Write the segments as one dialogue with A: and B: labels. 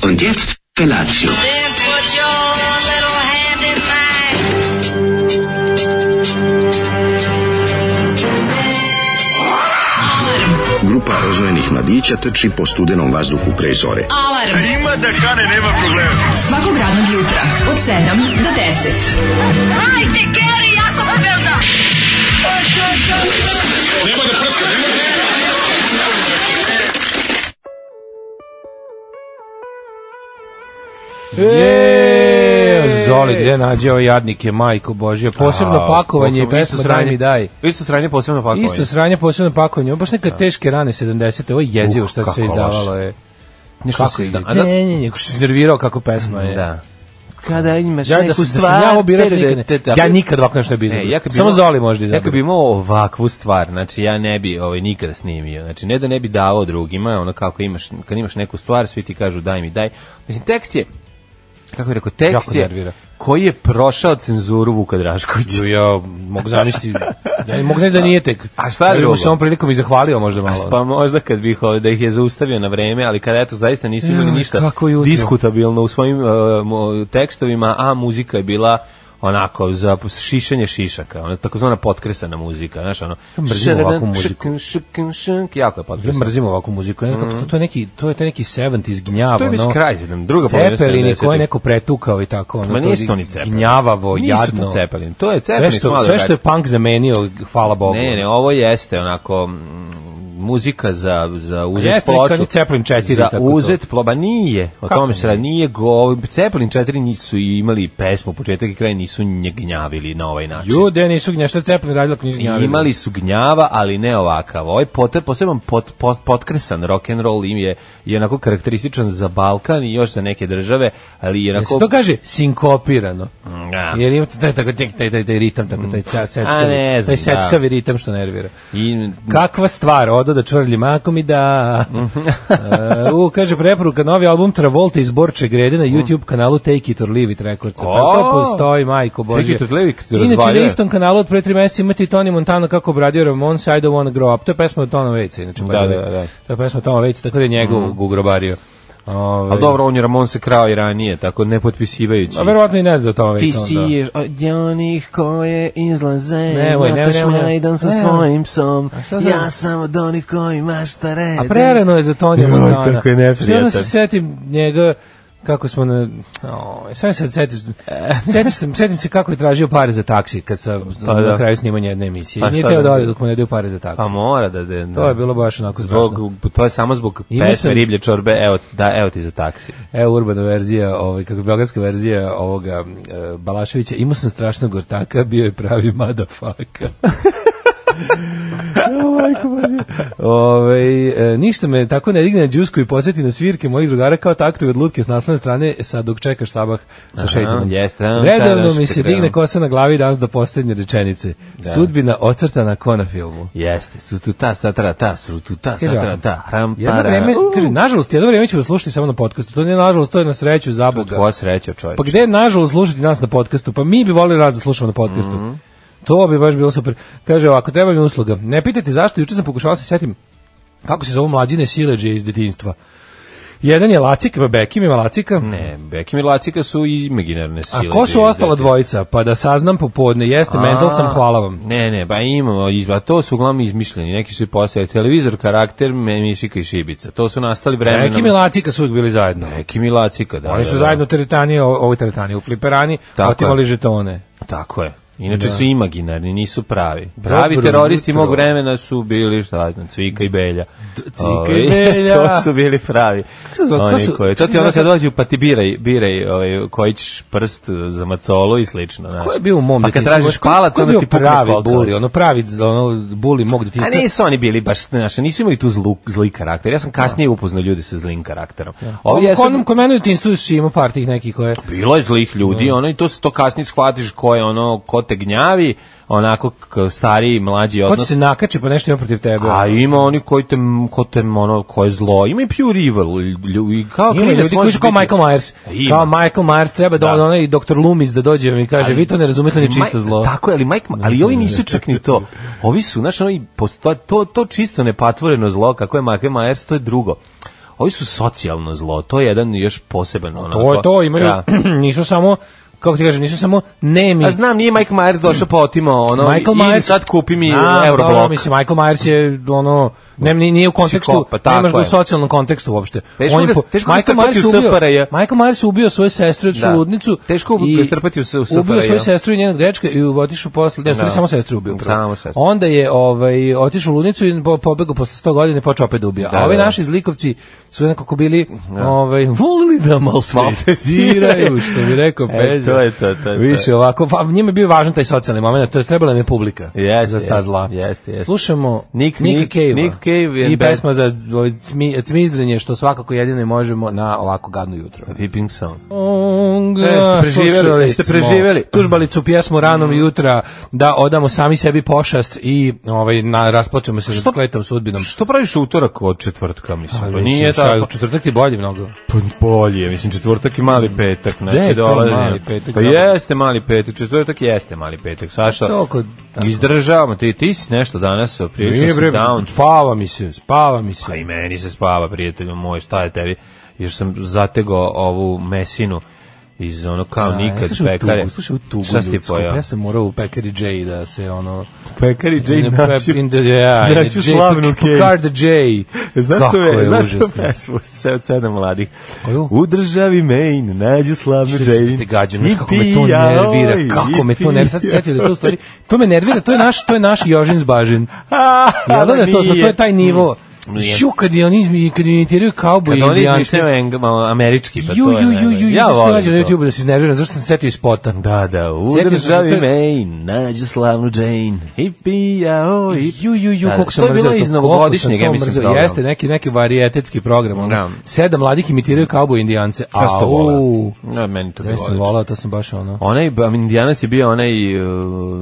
A: Und jetzt Felatio.
B: Then put your little hand in mine.
C: Grupa rozvojenih mladića trči po studenom vazduhu pre zore.
D: Alarm. Ima da kane, nema problema. Svakog radnog jutra, od 7 do 10.
E: Je, Zoli, gde nađe
F: ovaj
E: ove jadnike, majko božja. Posebno pakovanje i pesma Daj mi daj.
F: Isto sranje posebno pakovanje.
E: Isto sranje, posebno pakovanje. Ovo baš neka teške rane 70. Ovo je jezivo
F: Da.
E: šta
F: Uh,
E: se sve
F: kako
E: izdavalo. Je. Nešto
F: Kako
E: se
F: je
E: izdavalo.
F: izdavalo?
E: Ne, ne, ne, kako se iznervirao kako pesma je.
F: Da. Kada imaš
E: Ja da
F: neku
E: sam, da
F: stvar...
E: sam ja ovo birao, to
F: te-
E: nikad
F: te- te-
E: ne. Ja nikad ovako nešto ne bi
F: Ne,
E: izabrao.
F: ja kad bi
E: Samo
F: imao-
E: Zoli može da
F: Ja kad bi
E: izabra.
F: imao ovakvu stvar, znači ja ne bi ovaj, nikada snimio. Znači ne da ne bi davao drugima, ono kako imaš, kad imaš neku stvar, svi ti kažu daj mi, daj. Mislim, tekst je, kako bih rekao, tekst
E: Jako
F: je
E: nervira.
F: koji je prošao cenzuru Vuka Draškovića.
E: Ju, Ja mogu zamisliti, ja mogu zamisliti da nije tek.
F: A šta
E: Ja bih mu
F: drugo?
E: se ovom prilikom i zahvalio možda malo.
F: Pa možda kad bih ovaj, da ih je zaustavio na vreme, ali kada eto zaista nisu imali
E: Joj,
F: ništa
E: kako jutro.
F: diskutabilno u svojim eh, mo- tekstovima, a muzika je bila onako za šišanje šišaka, ona takozvana potkresana muzika, znaš ono.
E: Ja mrzim ovakvu muziku.
F: Šrkn, šrkn, šrnk, jako je
E: Ja
F: potkresana.
E: mrzim ovakvu muziku. Ne znam kako to, to je neki to je taj neki 70s gnjavo,
F: Mm. To je već kraj 70, druga polovina
E: Cepelini
F: 70-ih.
E: koje je neko pretukao i tako, ono.
F: Ma nisu to ni
E: je
F: Cepelini.
E: Gnjavavo,
F: Nisu to
E: jadno.
F: Cepelini, to je
E: Sve
F: Cepelini su
E: što
F: malo
E: sve što je
F: drugačiji.
E: punk zamenio, hvala Bogu.
F: Ne, znači- ne, ovo jeste onako mm, muzika za, za uzet
E: Jeste li
F: ploču.
E: kad je Zeppelin 4
F: Za
E: tako to?
F: uzet ploba nije, o
E: Kako
F: tome se radi,
E: nije?
F: nije go, ovi Zeppelin 4 nisu imali pesmu, početak i kraj nisu nje gnjavili na ovaj način.
E: Ljude nisu gnja, šta je Cepelin radila ako nisu gnjavili?
F: Imali su gnjava, ali ne ovakav. Ovaj pot, poseban pot, pot, potkresan rock and roll im je, je onako karakterističan za Balkan i još za neke države, ali je
E: Jel se
F: onako...
E: to kaže sinkopirano.
F: Ja.
E: Jer ima taj tako taj taj taj, taj ritam tako taj ca- seckavi,
F: Da. Mm. A, ne
E: taj
F: znam,
E: seckavi
F: da.
E: ritam što nervira.
F: I,
E: Kakva stvar, odo da čvrljim ako mi da. E, U, kaže preporuka, novi album Travolta iz Borče Grede na YouTube kanalu Take It or Leave It Records. Pa
F: Mm. O!
E: to postoji, majko Bože.
F: Take It or Leave It
E: Inače,
F: razvaljuje.
E: na istom kanalu od pre tri meseca imate i Tony Montana kako obradio Ramonse I Don't Wanna Grow Up. To je pesma od Tona Vejca, inače. by
F: Da,
E: the way.
F: da, da.
E: To je pesma od Tona Vejca, tako da je njegov mm. ugrobario. Ove,
F: ali dobro, on je Ramon se krao i ranije, tako ne potpisivajući.
E: A verovatno i ne zna o da. Tona
F: Ti
E: Vejca.
F: si
E: onda.
F: ješ od onih koje izlaze
E: Nemoj,
F: Nemoj,
E: nemoj,
F: nemoj,
E: nemoj.
F: Šmajdan sa
E: Nemoj.
F: svojim psom
E: A šta sad?
F: Ja sam od onih koji imaš šta reda
E: A prerano je za Tonija
F: Joj,
E: Montana.
F: kako je
E: Što onda
F: neprijatan.
E: se setim njega kako smo na... O, sve se setim, setim, se, setim se kako je tražio pare za taksi kad sam
F: Pa da.
E: na kraju snimanja jedne emisije.
F: A
E: Nije
F: šta
E: teo
F: da
E: da ode
F: radi?
E: dok mu ne daju pare za taksi.
F: Pa mora da, da, da.
E: To je bilo baš onako strašno.
F: Zbog, to je samo zbog
E: Imao sam-
F: pesme riblje čorbe, evo, da, evo ti za taksi.
E: Evo E, urbana verzija, ovaj, kako beogradska verzija ovoga e, Balaševića. Imao sam strašnog ortaka, bio je pravi madafaka. Ove, e, ništa me tako ne digne na džusku i podsjeti na svirke mojih drugara kao taktovi od lutke s naslovne strane sa dok čekaš sabah sa šeitinom.
F: jeste.
E: Redovno mi se
F: Čaraške,
E: digne
F: da.
E: kosa na glavi danas do poslednje rečenice. Sudbina ocrtana ko na filmu.
F: Jeste, su tu ta, satara, ta, su tu ta,
E: Kaže
F: satara,
E: ovako,
F: ta, ram,
E: Jedno
F: para. Uh.
E: vreme,
F: U,
E: kaže, nažalost, jedno vreme ću vas slušati samo na podcastu. To nije nažalost, to je na sreću, za Boga.
F: Tvoja sreća, čovječ.
E: Pa gde je nažalost slušati nas na podcastu? Pa mi bi volili nas da slušamo na podcastu.
F: Mhm.
E: To bi baš bilo super. Kaže ovako, treba mi usluga. Ne pitajte zašto, juče sam pokušao da se setim kako se zovu mlađine sileđe iz detinjstva. Jedan je Lacik, pa Bekim ima Lacika.
F: Ne, Bekimir Lacika su imaginarne sile.
E: A ko su
F: Dve-
E: ostala dvojica? Pa da saznam popodne. Jeste, Mendel sam,
F: A,
E: hvala vam.
F: Ne, ne, pa imamo, iz- a to su uglavnom izmišljeni, neki su i postali televizor, karakter, me- mišika i šibica. To su nastali vremenom.
E: Bekim i Lacika su uvijek bili zajedno.
F: Bekim i Lacika, da.
E: Oni
F: da,
E: su
F: da.
E: zajedno u teretani, o- ovoj teretani, u fliperani,
F: Tako je.
E: otimali žetone.
F: Tako je. Inače su imaginarni, nisu pravi. Pravi
E: Da. Dobro
F: teroristi
E: jutro.
F: mog vremena su bili, šta ja znam, Cvika i Belja.
E: Cvika i
F: Ovi,
E: Belja.
F: to su bili pravi.
E: se zove, ko
F: Oni
E: su-
F: koji, to ti ono kad dođu pa ti biraj, biraj ovaj, koji ćeš prst za macolu i slično. Znaš.
E: Ko je bio u mom
F: Pa kad
E: detinjstvu?
F: tražiš
E: Ko je-
F: palac,
E: ko je
F: onda
E: bio
F: ti pukne
E: pravi
F: kolka.
E: buli, ono pravi ono buli mog
F: A
E: detinjstva.
F: nisu oni bili baš, znaš, nisu imali tu zlu, zli karakter. Ja sam kasnije upoznao ljude sa zlim karakterom. Ovi
E: Ovo
F: jesu-
E: kod, kod mene u detinjstvu su imao par tih nekih koje...
F: Bilo je zlih
E: Da.
F: ljudi, ono i to se to kasnije shvatiš ko je ono, ko te gnjavi, onako k- stariji i mlađi
E: Ko ti
F: odnos.
E: se nakače pa nešto ima protiv tebe.
F: A ima oni koji te, ko te, ono, ko je zlo. Ima i pure evil. Ljudi, kao
E: Ima
F: klinac
E: ljudi koji
F: možeš
E: su kao
F: biti-
E: Michael Myers.
F: Ima.
E: Kao Michael Myers treba da,
F: Da.
E: onaj doktor Loomis da dođe i mi kaže, vi to ne razumete, on je čisto
F: Maj-
E: zlo.
F: Tako je, ali Mike, ali ovi nisu čak ni to. Ovi su, znaš, ono, i posto, to, to čisto nepatvoreno zlo, kako je Michael Myers, to je drugo. Ovi su socijalno zlo, to je jedan još poseban onako.
E: To je to, imaju,
F: Da.
E: nisu samo, kako ti kažem, nisu samo nemi.
F: A znam, nije Mike Myers došao pa otimao ono, Michael Myers, sad kupi mi
E: Znam, dobro,
F: Euroblok.
E: mislim, Michael Myers je, ono, ne, ni- nije u kontekstu,
F: Psihopata, tako
E: nemaš ga u
F: je.
E: socijalnom kontekstu uopšte.
F: Teško
E: je
F: ga-
E: po-
F: teško ga
E: Michael
F: strpati
E: Myers
F: u
E: ubio-
F: SFRJ.
E: Michael Myers ubio svoju sestru od
F: Da.
E: ludnicu.
F: Teško ga strpati u s- u
E: Ubio
F: SFRJ.
E: svoju sestru i njenog dečka i otišao posle, ne, u stvari
F: Da.
E: samo sestru ubio prvo.
F: Samo sestru.
E: Onda je ovaj, otišao u ludnicu i po, pobegao posle 100 godina i počeo opet da ubija.
F: Da,
E: A ovi
F: da, da.
E: naši zlikovci su nekako bili, ovaj, volili da maltretiraju, što bi rekao
F: E,
E: Peđa.
F: to je to, to je to.
E: Više ovako, pa njima je bio važan taj socijalni moment, to je trebala im je publika
F: Jeste,
E: za sta
F: jeste,
E: zla.
F: jeste, jeste.
E: Slušamo
F: Nick-
E: Nicka
F: Nick-
E: Cave-a.
F: Nick Cave and
E: i
F: Bad-
E: pesma za ovaj, cmi- cmizdrenje što svakako jedino i možemo na ovako gadno jutro. E,
F: Peeping song.
E: Jeste,
F: preživeli,
E: slušali
F: jeste
E: smo
F: preživeli.
E: Tužbalicu pjesmu ranom jutra da odamo sami sebi pošast i ovaj, na, rasplačemo se
F: Što-
E: nad kletom sudbinom.
F: Što praviš utorak od četvrtka, mislim?
E: Ali
F: Pa
E: mislim,
F: nije
E: šta je,
F: tako.
E: Četvrtak je bolji mnogo.
F: Pa bolje, mislim četvrtak i mali petak, znači
E: Gde je to
F: dolazi.
E: mali petak?
F: Pa jeste mali petak, četvrtak jeste mali petak. Saša,
E: To oko- tako.
F: izdržavamo, ti, ti si nešto danas, prilično si
E: Nije, bre,
F: down.
E: Spava mi se, spava mi
F: Pa i
E: se.
F: meni se spava, prijatelju moj, šta je tebi? Još sam zategao ovu mesinu iz ono kao nikad
E: slušaj, u
F: pekare.
E: tugu, slušaj, u tugu
F: Šta si ti
E: ljudsku,
F: pojao?
E: Ja sam morao u pekari J da se ono...
F: Pekari
E: In the prep- in the- yeah, in the
F: našu
E: J,
F: slavnu
E: Picard
F: Kate.
E: Picard J.
F: Znaš
E: Kako
F: što je,
E: je
F: znaš što
E: užasno.
F: pesmu se od sedam mladih?
E: Koju?
F: U državi Maine nađu slavnu
E: Sve ću
F: Jane.
E: da te gađam, znaš kako me
F: Ipi,
E: to
F: jaoj,
E: nervira, kako me to
F: ipi,
E: nervira, sad se
F: jaoj.
E: setio da je to u stvari, to me nervira, to je naš, to je naš Jožin Zbažin.
F: A,
E: Ja da
F: ali
E: je to, to, to
F: nije. Mm,
E: je taj nivo.
F: Nije.
E: Ju, kad je oni izmi- kad imitiraju kauboje
F: Kad
E: i
F: oni
E: indijance.
F: izmišljaju engl- američki, pa
E: Ju,
F: to je...
E: ju, ju,
F: najbolje.
E: ju,
F: ja
E: ja
F: volim
E: nađem na
F: to.
E: YouTube da se iznerviram, zašto sam se setio iz spota.
F: Da, da, u
E: Sjetio sam se
F: državi
E: to je-
F: Maine nađu slavnu Jane. Hipi, jao, hipi.
E: Ju, ju, ju,
F: Da,
E: koliko
F: da,
E: sam
F: to je
E: mrzeo.
F: bilo iz
E: koliko
F: novogodišnjeg,
E: sam
F: ja
E: to
F: mislim,
E: mrzeo.
F: programa.
E: Jeste, neki, neki varijetetski program. Ono.
F: Da.
E: Sedam mladih imitiraju kauboje i indijance.
F: Ja sam to
E: Au.
F: voleo. Da, meni to bilo
E: Ja sam
F: odlično.
E: volao, to sam baš ono...
F: Onaj ba- indijanac je bio onaj uh,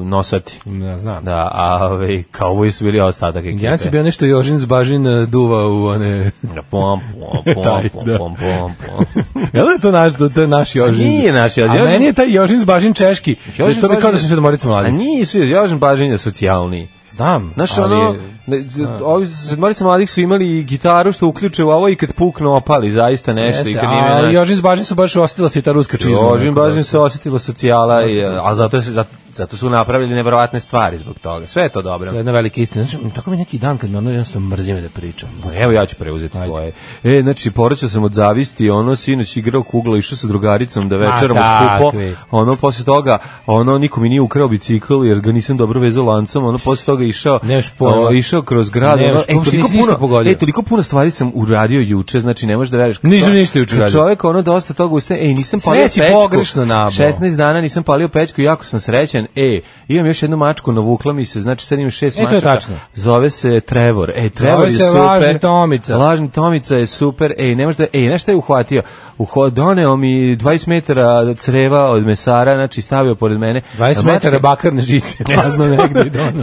F: nosati.
E: Ja znam.
F: Da, a ovaj, kauboji su bili ostatak ekipe.
E: Indijanac je bio nešto Jožin Zbažin eh, duva u one...
F: Da, pom, pom, pom,
E: Taj,
F: pom,
E: da.
F: pom, pom, pom.
E: Jel da je to naš, to je naš Jožin?
F: Nije naš Jožin.
E: A
F: Jožin-
E: meni je taj Jožin Zbažin češki.
F: Jožin
E: Jožin to bi kao da
F: Bažin-
E: sam sedmorica
F: A
E: mladih.
F: nisu, Jožin Bažin je socijalni.
E: Znam,
F: Znaš,
E: ali... Da.
F: ono, ne, z- ovi sedmorica mladih su imali i gitaru što uključe u ovo i kad puknu opali, zaista nešto.
E: Jeste,
F: i kad nije,
E: a Jožin Zbažin su baš ostila se i ta ruska čizma.
F: Jožin
E: onako, da
F: Bažin se osjetilo socijala, i,
E: Osjetilo se.
F: a zato, se, zato, zato su napravili neverovatne stvari zbog toga. Sve je to dobro.
E: To je jedna velika istina. Znači, tako mi neki dan kad me ono jednostavno mrzime da pričam.
F: Pa Evo ja ću preuzeti tvoje. E, znači, poraćao sam od zavisti, ono, sinoć igrao kugla, išao sa drugaricom da večeramo
E: Ma,
F: skupo.
E: takvi.
F: Ono, posle toga, ono, niko mi nije ukrao bicikl, jer ga nisam dobro vezao lancom, ono, posle toga išao,
E: Nemaš pojma.
F: o, išao kroz grad,
E: Nemaš
F: ono,
E: pojma, što nisi ništa pogodio.
F: e, toliko puno stvari sam uradio juče, znači, ne možeš da veriš.
E: Nisam ništa juče uradio.
F: Čovjek, ono, dosta toga ustaje, ej, nisam
E: Sve
F: palio
E: si
F: pečku.
E: pogrešno nabao.
F: 16 dana nisam palio pečku, jako sam srećan, e, imam još jednu mačku, navukla mi se, znači, sad imam šest
E: E, to je
F: mačaka.
E: tačno.
F: Zove se Trevor, e, Trevor
E: Zove
F: je
E: se
F: super.
E: lažni Tomica.
F: Lažni Tomica je super. Ej, ne možda, ej, znaš šta je uhvatio? Uho, doneo mi 20 metara creva od mesara, znači stavio pored mene.
E: 20
F: Mačka-
E: metara bakarne žice. Ja znam negde i dono.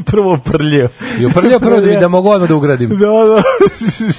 F: I prvo prljio.
E: I uprljao prvo da, mi- da mogu odmah da ugradim.
F: Da, da.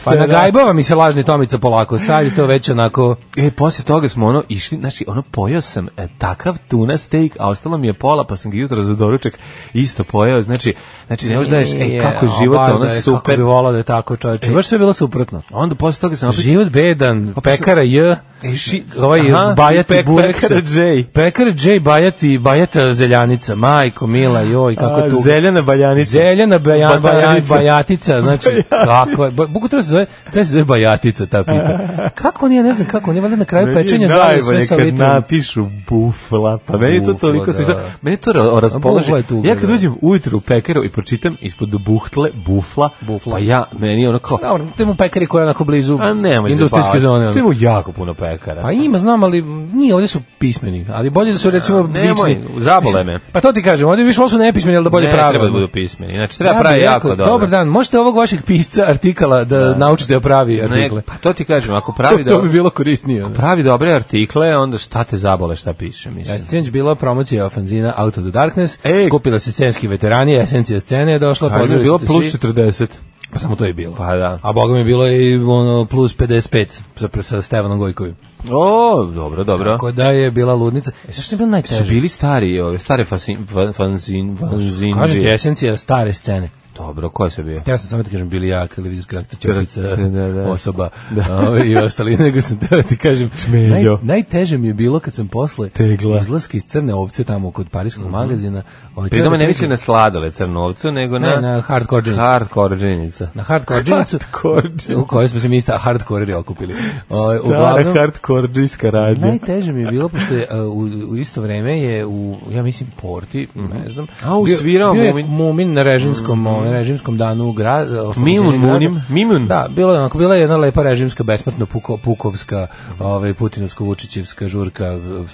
E: Pa na gajbava mi se lažni Tomica polako. Sad je to već onako...
F: E, posle toga smo ono išli, znači, ono, pojao sam e, takav tuna steak, a ostalo mi je pola, pa sam ga jutro za doručak isto pojao, znači, znači, ne možda ješ, e,
E: Nije,
F: kako je
E: a,
F: život,
E: bar da
F: ono,
E: je, Kako
F: super. E,
E: bi volao da je tako čovječe. Baš sve je bilo suprotno.
F: Onda posle toga sam opet
E: Život bedan, pekara J,
F: E, ši-
E: ovaj
F: aha,
E: bajati
F: pek-
E: burek.
F: pekara J.
E: Pekara J, bajati, bajata zeljanica, majko, mila, joj, kako
F: a,
E: tu.
F: zeljana baljanica.
E: Zeljana baja, baja,
F: Bajanica.
E: bajatica, znači, kako je, buku treba se zove, treba se zove bajatica ta pita. Kako on je, ne znam kako on je, valjda na kraju
F: Meni je
E: pečenja zavio sve
F: najbolje
E: sa
F: kad
E: litrom.
F: napišu bufla, pa meni je to
E: Bufla,
F: toliko
E: da.
F: smišno. Meni je to ra- raspoloži.
E: bufla je tuga,
F: Ja kad
E: da.
F: uđem ujutru u pekaru i pročitam ispod buhtle bufla,
E: Bufla.
F: pa ja, meni je ono kao,
E: Dobro, to ima pekari koja je onako blizu
F: a nemoj se
E: industrijske
F: baviti.
E: zone. ono.
F: Tu ima jako puno pekara.
E: Pa ima, znam, ali nije, ovdje su pismeni. Ali bolje da su, recimo,
F: nemoj,
E: vični.
F: zabole me.
E: Pa to ti kažem, ovdje više ovo su nepismeni, ali da bolje
F: ne,
E: prave.
F: treba da budu pismeni. Znači, treba pravi
E: bih
F: jako
E: rekao,
F: dobro.
E: Dobar dan, možete ovog vašeg pisca artikala da, naučite da pravi
F: Ne,
E: artikle.
F: pa to ti kažem, ako pravi,
E: to
F: do,
E: bi bilo korisnije. ono.
F: pravi dobre artikle, onda šta te zabole, šta piše,
E: Ja,
F: mislim.
E: Sinoć bila promocija fanzina Out of the Darkness,
F: Ej.
E: skupila se scenski veterani, esencija scene je došla,
F: Kažem,
E: pozdravili
F: E. bilo
E: ste
F: plus
E: svi.
F: 40.
E: Pa samo to je bilo.
F: Pa da.
E: A boga mi je bilo i ono, plus 55 sa, sa Stevanom Gojkovim.
F: O, dobro, dobro.
E: Tako da je bila ludnica. E, što je bilo
F: su
E: najteže?
F: bili stari, ove, stare fasin, fa- fanzin, fanzin.
E: Kažem ti, esencija stare scene.
F: Dobro, ko je sve bio?
E: Ja sam samo da kažem bili ja, televizorski aktor, čepica,
F: Da, da.
E: osoba da. i ostali, nego sam teo da ti kažem, naj,
F: Čmeljo.
E: najteže mi je bilo kad sam posle Tegla. izlaska iz Crne ovce tamo kod parijskog mm -hmm. magazina. Ovaj,
F: Mhm. Pri
E: teo da
F: tome ne
E: kažem-
F: mislim na sladove crnovcu, nego na,
E: Ne, na hardcore džinicu.
F: hardcore džinjica.
E: na hardcore džinicu,
F: Hardcore džinicu.
E: u kojoj smo se mi sta hardcore okupili. Ovaj, uglavnom,
F: hardcore džinska radnja.
E: Najteže mi je bilo, pošto je uh, u, u isto vreme je u, ja mislim, Porti, ne znam.
F: Mhm. A, u
E: bio-
F: svirao
E: bio je
F: Mumin. Mhm.
E: Mumin na režimskom, mm. režimskom danu u gra, uh,
F: Mimun,
E: gradu.
F: Munim, Mimun.
E: Da, bilo je onako, bila je jedna lepa režimska, besmrtno puko, pukovska, ovaj, putinovsko-vučićevska žurka uh,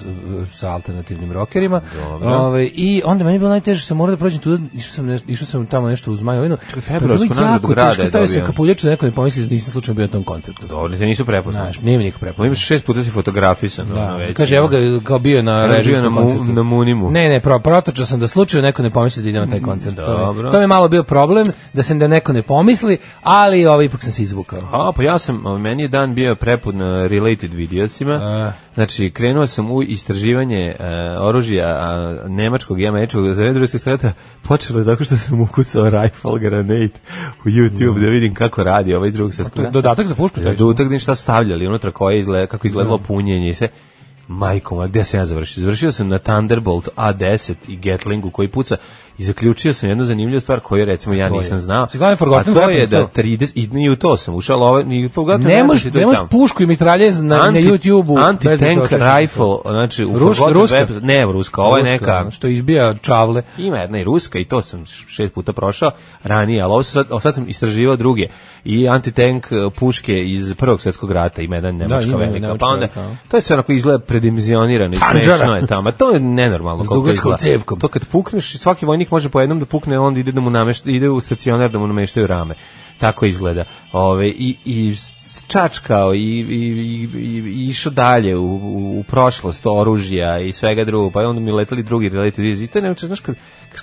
E: sa alternativnim rokerima. Ovaj, I onda meni je bilo najteže, sam morao da prođem tu, išao sam, neš, išao sam tamo nešto uz Majovinu. Pa je bilo
F: februarsku nagradu
E: jako
F: grada
E: teško,
F: je
E: Stavio sam
F: dobio.
E: kapuljaču da neko ne pomisli da nisam slučajno bio na tom koncertu.
F: Dobro, te nisu prepoznali.
E: Znaš, nije mi niko prepoznao.
F: Imaš šest puta si fotografisan. ono,
E: Da,
F: već.
E: kaže, evo ga kao bio na
F: Evo ga bio
E: režimskom
F: na mu-
E: koncertu.
F: na Munimu.
E: Ne, ne, pro, protočao sam da slučaju neko ne pomisli da idem na taj koncert. To, mi,
F: dobro.
E: to mi je malo bio problem, da se da neko ne pomisli, ali ovaj, ipak sam se izvukao.
F: A, pa ja sam, a, meni je dan bio prepun e, related videocima.
E: E.
F: Znači, krenuo sam u istraživanje e, oružja a, nemačkog i američkog za vreme drugog strata. Počelo je tako što sam ukucao rifle granate u YouTube da vidim kako radi ovaj iz drugog
E: Pa To je
F: strata.
E: dodatak za pušku.
F: Da, da utakdim šta su stavljali unutra, koje izgleda, kako
E: Da.
F: izgledalo punjenje i sve. Majko, ma gde sam ja završio? Završio sam na Thunderbolt A10 i Gatlingu koji puca i zaključio sam jednu zanimljivu stvar koju recimo ja
E: To je.
F: nisam znao.
E: Si gledao
F: A
E: Forgotten
F: to je
E: Weapons,
F: da
E: to?
F: 30 i, i u to sam ušao, ali ovaj ni Forgotten
E: Ne
F: Weapons
E: možeš
F: i to
E: ne
F: i
E: možeš
F: tamo.
E: pušku i mitraljez na, na YouTube-u.
F: anti
E: bez da se
F: tank
E: očešeš.
F: rifle, znači u
E: Ruš-
F: Forgotten
E: ruska?
F: Weapons, ne ruska, ovo je
E: Ruska, da.
F: neka
E: ono, Što izbija čavle.
F: ima jedna i ruska i to sam š- šest puta prošao ranije, ali ovo sad, ovo sad sam istraživao druge. I antitank e, puške iz Prvog svjetskog rata, ima jedan nemačka
E: Da, ima jedna
F: velika,
E: nemačka
F: pa onda
E: velika, da. a?
F: to je sve onako izgleda predimenzionirano i
E: Pandžara.
F: smešno je tamo. To je nenormalno.
E: da. S
F: koliko to
E: dugačkom
F: izgleda.
E: cevkom.
F: To kad pukneš, svaki vojnik može po jednom da pukne, onda ide, da mu namešta, ide u stacionar da mu nameštaju rame. Tako izgleda. Ove, i, i s- čačkao i, i, i, i- i išao dalje u, u, u prošlost oružja i svega drugog, pa onda mi letali drugi related videos. I to je nemoguće, znaš, kad,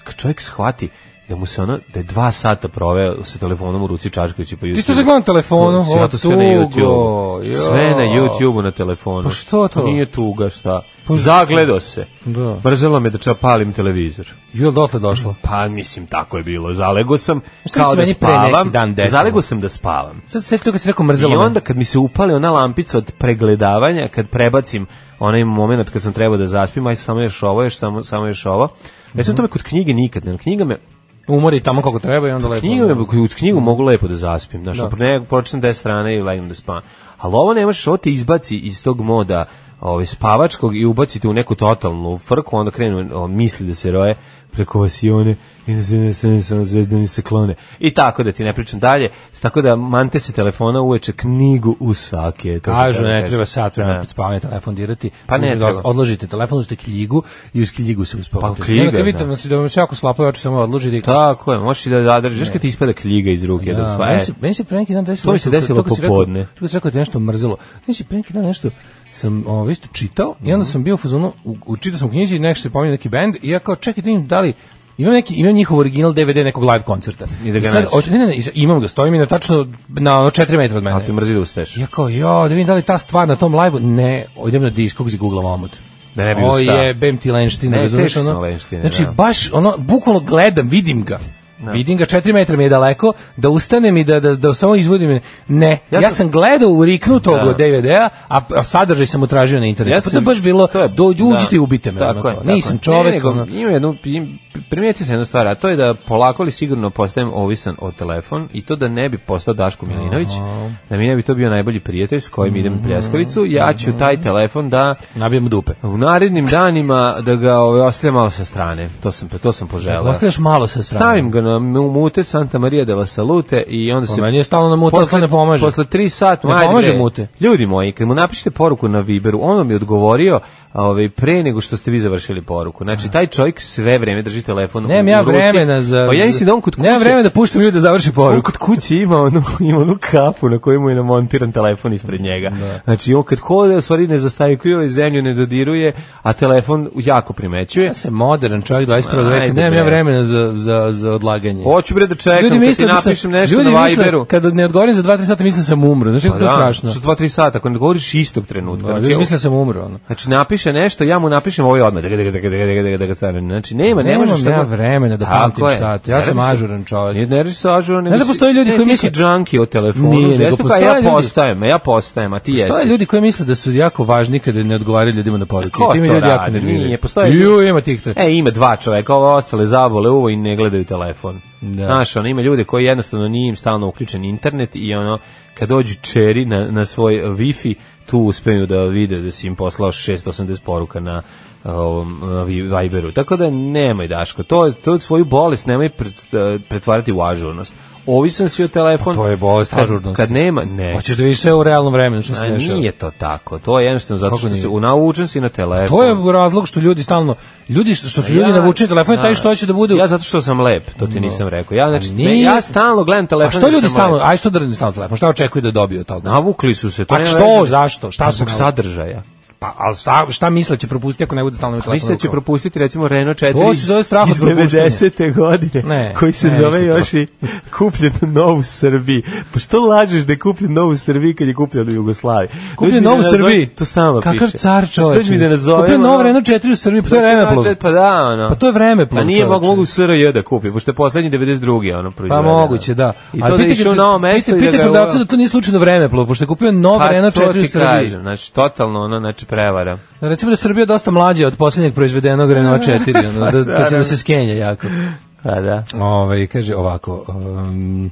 F: kad čovjek shvati da mu se ono, da je dva sata proveo sa telefonom u ruci pa Čačkovići po YouTube.
E: Ti što se gleda na telefonu?
F: Sve
E: O,
F: to sve na
E: tugo,
F: YouTube.
E: jo.
F: Sve na YouTube na telefonu.
E: Pa što to?
F: Nije tuga, šta?
E: Pa-
F: Zagledao se.
E: Da.
F: Mrzelo me da čapalim televizor.
E: Jel, dotle došlo?
F: Pa mislim tako je bilo. Zalego sam
E: Šta
F: kao
E: se
F: da
E: meni pre neki
F: spavam.
E: dan desilo?
F: Zalego sam da spavam.
E: Sad se to kad si rekao mrzelo.
F: I
E: me.
F: onda kad mi se upali ona lampica od pregledavanja, kad prebacim onaj moment kad sam trebao da zaspim, aj samo još ovo, još samo, samo još ovo. Ja sam tome kod knjige nikad, ne, knjiga me,
E: Umori tamo kako treba i onda lepo.
F: knjiga me, kod knjigu mogu lepo da zaspim, znaš,
E: Da.
F: da. ne, pročitam 10 strana i legnem da spavam. Ali ovo ne možeš, ovo te izbaci iz tog moda ovaj, spavačkog i ubacite u neku totalnu frku, onda krenu o, misli da se roje preko vasione i da se ne se ne sam zvezda mi se klone. I tako da ti ne pričam dalje. Tako da mante se telefona uveče knjigu u sake. to sam
E: Kažu,
F: teo da
E: ne
F: kažem.
E: treba sat
F: Ne.
E: vremena pred spavanje telefon dirati.
F: Pa ne
E: Odložite-
F: treba.
E: Odložite telefon, uzete knjigu i uz knjigu se uspavate.
F: Pa knjiga,
E: Onda kad
F: da.
E: vidite da se da vam se jako slapaju oči samo odložite. i-
F: Tako je, možeš i da zadržiš. Znaš kad ti ispada knjiga iz ruke? dok
E: Da,
F: sva-
E: meni
F: e,
E: se, meni se pre neki dan desilo.
F: To mi se
E: nešto-
F: desilo
E: kad si rekao-
F: popodne.
E: To kad si rekao da je nešto mrzelo. Znači, pre neki dan nešto sam ovo, isto čitao i
F: Mhm.
E: onda sam bio u fazonu, u, u čitao sam u knjizi, nešto se pominje neki band i ja kao čekaj da im da li Imam neki imam njihov original DVD nekog live koncerta.
F: I da ga
E: sad,
F: nađeš.
E: hoću- ne, ne, ne, imam ga, stoji mi na tačno na ono 4 metra od mene.
F: A ti mrzi da ustaješ.
E: Ja kao, jo, da vidim da li ta stvar na tom live-u, ne, idem na diskog i googlam omot.
F: Da ne bi
E: O
F: ustao.
E: je, bem ti lenštine,
F: Ne,
E: razumeš
F: teško
E: ono?
F: su lenštine,
E: Znači,
F: da.
E: baš, ono, bukvalno gledam, vidim ga. Vidim ga, četiri metra mi je daleko, da ustanem i da, da, da samo izvodim. Ne, ja,
F: Ja
E: sam,
F: sam-
E: gledao u riknu tog
F: Da.
E: DVD-a, a, a sadržaj sam utražio na internetu.
F: Ja
E: pa to je baš bilo,
F: to je- da,
E: dođu, uđite i ubite me. ono,
F: Tako je,
E: kao.
F: tako
E: Nisam
F: je.
E: čovek.
F: Ne, nego,
E: ono.
F: ima jednu, im- primetio sam jednu stvar, a to je da polako ali sigurno postajem ovisan o telefon i to da ne bi postao Daško Milinović, da mi ne bi to bio najbolji prijatelj s kojim idem u
E: Mhm,
F: pljeskavicu, ja ću taj telefon da
E: Nabijem u dupe.
F: u narednim danima da ga ovaj, ostavim malo sa strane. To sam, to sam poželao.
E: Ostaviš malo sa strane.
F: da? Stavim ga na mu- mute Santa Maria de la Salute i onda se...
E: Pa meni je stalno na mute, ali to ne pomaže.
F: Posle tri sata...
E: Ne
F: ajde
E: pomaže
F: bre.
E: mute.
F: Ljudi moji, kad mu napišete poruku na Viberu, on vam je odgovorio a, ovaj, pre nego što ste vi završili poruku. Znači, taj čovjek sve vreme drži telefon
E: Nemam
F: u,
E: ja
F: u ruci.
E: vremena za...
F: Pa ja mislim da on kod kuće...
E: Nemam vremena da puštam ljude da završi
F: On
E: poruku.
F: kod kuće ima onu, ima onu kapu na kojoj mu je namontiran telefon ispred njega.
E: Da.
F: Znači, on kad hode, u stvari ne zastajkuje, zemlju ne dodiruje, a telefon jako primećuje.
E: Ja sam modern čovjek 21. veka,
F: Ajde,
E: nemam ja
F: bre.
E: vremena za, za, za odlaganje.
F: Hoću bre da čekam kad ti napišem nešto
E: ljudi
F: na
E: misle,
F: Viberu. Pa
E: Kad ne odgovorim za 2 3 sata mislim da sam umro. Znači kako to strašno.
F: Što 2 3 sata, ako ne govoriš istog trenutka.
E: Da, ljudi misle da sam umro. Ono.
F: znači napišeš napiše nešto, ja mu napišem ovo je odmah. Dega, dega, dega, dega, dega, dega, dega, stavim. Znači, nema, ne
E: Nemam
F: možeš... sad-
E: ja vremena da
F: Tako
E: pamtim
F: je.
E: šta. to. Ja
F: Ne
E: sam
F: radi se-
E: ažuran čovjek.
F: Ne, ne reši se ažuran.
E: Znaš da postoje ljudi koji misle-
F: Ti si junkie o telefonu.
E: Nije,
F: Nije,
E: nego
F: nego
E: postoje
F: Ja
E: ljudi-
F: postajem, a ja postajem, a ti jesi.
E: Postoje ljudi koji misle da su jako važni kada ne odgovaraju ljudima na poruke.
F: Ko
E: Ti me
F: to
E: ljudi jako
F: radi?
E: nerviraju.
F: Nije, postoje
E: Ju,
F: ljudi-
E: ima tih to.
F: E, ima dva čoveka, ova ostale zabole uvo i ne gledaju telefon.
E: Da.
F: Znaš, ono, ima ljude koji jednostavno nije im stalno uključen internet i ono, kad dođu čeri na, na svoj Wi-Fi, tu uspeju da vide da si im poslao 680 poruka na uh, ovom na Vi- Viberu. Tako da nemoj, Daško, to, to svoju bolest nemoj pret- pretvarati u ažurnost. Ovisan si o telefon.
E: Pa to je bolest
F: kad-
E: ažurnosti.
F: Kad nema, ne.
E: Hoćeš da vidiš sve u realnom vremenu što se
F: E. A
E: dešava.
F: nije to tako. To je jednostavno zato
E: Kako
F: što
E: nije?
F: se naučen si na telefon.
E: To je razlog što ljudi stalno, ljudi što što su ljudi navučeni da telefon je taj što hoće da bude.
F: Pa Ja zato što sam lep, to ti nisam rekao. Ja znači ne,
E: nije.
F: ja stalno gledam telefon.
E: A što
F: jer
E: ljudi
F: sam
E: stalno,
F: lep.
E: aj što drni stalno telefon, šta očekuju da dobiju od toga?
F: navukli su se. To
E: Pa
F: nema
E: što,
F: veze.
E: zašto, šta
F: Pa
E: su
F: zbog
E: navukli?
F: sadržaja?
E: Pa al šta, šta misle će propustiti ako ne bude stalno telefon?
F: Mislim da će
E: u rukama?
F: propustiti recimo Renault 4
E: To se zove strah od
F: iz
E: propuštanja.
F: 90. godine
E: Ne,
F: koji se
E: ne,
F: zove
E: mislim to.
F: još i kupljen nov u Srbiji. Pa što lažeš da je kupljen nov u Srbiji kad je kupljen u Jugoslaviji? Dođi
E: Kupljen
F: mi da
E: nov u
F: nazove-
E: Srbiji.
F: To stalno piše.
E: Kakav car
F: Što
E: čoveče.
F: mi da nazovemo?
E: Kupio nov
F: ono-
E: Renault 4 u Srbiji, pa to je
F: Znači,
E: vremeplov.
F: Pa da, ono.
E: Pa to je vremeplov,
F: Pa nije mogu
E: čoveče.
F: mogu u SRJ da kupi, pošto je poslednji 92. ono
E: Pa
F: proizvedeno.
E: moguće, da.
F: I
E: Ali
F: to da je
E: pitaj
F: išao
E: kad-
F: na ovo mesto
E: pitaj-
F: i da
E: Pitaj
F: ga-
E: prodavca da to nije slučajno vremeplov, pošto je kupio nov
F: Pa
E: Renault
F: to
E: 4 u
F: ti
E: Srbiji.
F: kažem, znači totalno ono, znači prevara.
E: Da, Recimo da je Srbija dosta mlađa od posljednjeg proizvedenog Renault 4, ono, da, da, se, da se skenja jako. Pa,
F: A da.
E: Ove, Ovaj, kaže ovako, um,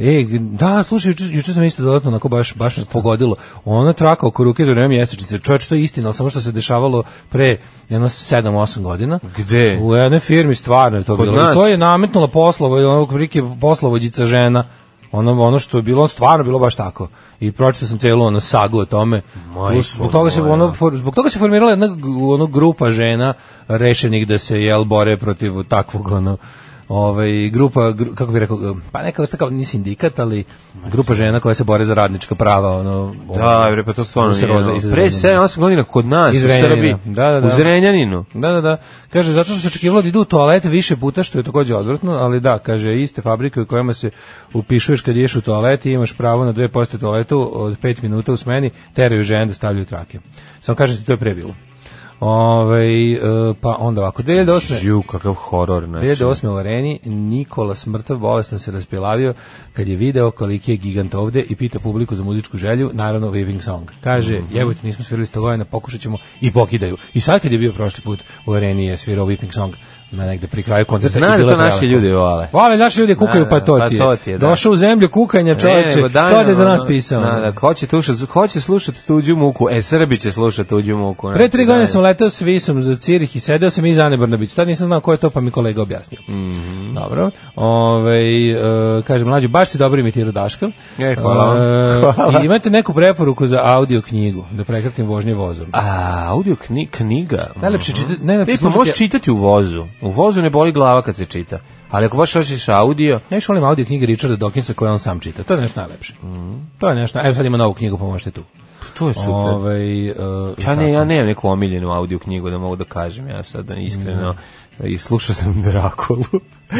E: E, g- da, slušaj, juče, juče sam isto dodatno onako baš, baš nas pogodilo. Ona traka oko ruke za vreme mjesečnice. Čovječ, to je istina, ali samo što se dešavalo pre jedno 7-8 godina.
F: Gde?
E: U jednoj firmi stvarno je to
F: Kod
E: bilo.
F: nas?
E: I to je nametnula poslovo, onog prike poslovođica žena. Ono, ono što je bilo, stvarno bilo baš tako. I pročitao sam celu ono sagu o tome.
F: Majko
E: Plus, zbog, toga se,
F: moja.
E: ono, for- zbog toga se formirala jedna g- ono, grupa žena rešenih da se jel bore protiv takvog ono, ovaj, grupa, gru- kako bih rekao, pa neka vrsta kao ni sindikat, ali grupa žena koja se bore za radnička prava. Ono,
F: Da, bre, pa to stvarno
E: Iz
F: nije.
E: Roza-
F: ono.
E: iz
F: Pre
E: Renjanina.
F: 7-8 godina kod nas, u
E: Iz Renjanina.
F: Srbiji.
E: Da, da, da.
F: U Zrenjaninu.
E: Da, da, da. Kaže, zato što se očekivalo da idu u toalet više puta, što je takođe odvrtno, ali da, kaže, iste fabrike u kojima se upišuješ kad ješ u toalet i imaš pravo na dve poste toaletu od pet minuta u smeni, teraju žene da stavljaju trake. Samo kažem ti, to je prebilo. Ove, pa onda ovako, 2008.
F: Žiju, kakav horor, znači.
E: 2008. u Areni Nikola smrtav bolestan se raspjelavio kad je video koliki je gigant ovde i pita publiku za muzičku želju, naravno Weaving Song. Kaže,
F: Mhm.
E: mm nismo svirali 100 godina, pokušat ćemo i pokidaju. I sad kad je bio prošli put u Areni je svirao Weaving Song na negde pri kraju koncerta.
F: Zna
E: i
F: da
E: bilo je
F: to naši
E: prelepo.
F: ljudi vole.
E: Vole, naši ljudi kukaju,
F: Da,
E: pa
F: da,
E: to
F: pa
E: ti je.
F: to ti je, da.
E: Došao u zemlju kukanja, čovječe,
F: nego
E: to
F: daj
E: da je
F: nam
E: za nas
F: ono-
E: pisao.
F: Da, da, ko će, tuša, ko će slušati tuđu muku? E, Srbi će slušati tuđu muku.
E: Pre tri
F: znači,
E: godine
F: daj.
E: sam letao s Visom za Cirih i sedeo sam iza Ane Brnabić. Tad nisam znao ko je to, pa mi kolega objasnio.
F: Mhm.
E: Dobro. Ove, e, kaže, mlađo, baš si dobro imitirao Daška.
F: E, hvala vam.
E: E,
F: Hvala.
E: I imate neku preporuku za audio knjigu, da prekratim vožnje vozom.
F: A, audio kni, knjiga.
E: Najlepše čita-
F: Mhm.
E: najlepše
F: E, pa
E: slušati-
F: možeš čitati u vozu. U vozu ne boli glava kad se čita. Ali ako baš hoćeš audio,
E: Ja još volim audio knjige Richarda Dawkinsa koje on sam čita. To je nešto najlepše. To je nešto. Evo sad ima novu knjigu, pomožete tu.
F: to je Mhm. super.
E: Ovaj, e,
F: Ja ne,
E: tako.
F: ja nemam neku omiljenu audio knjigu da mogu da kažem, ja sad iskreno i slušao sam Drakulu.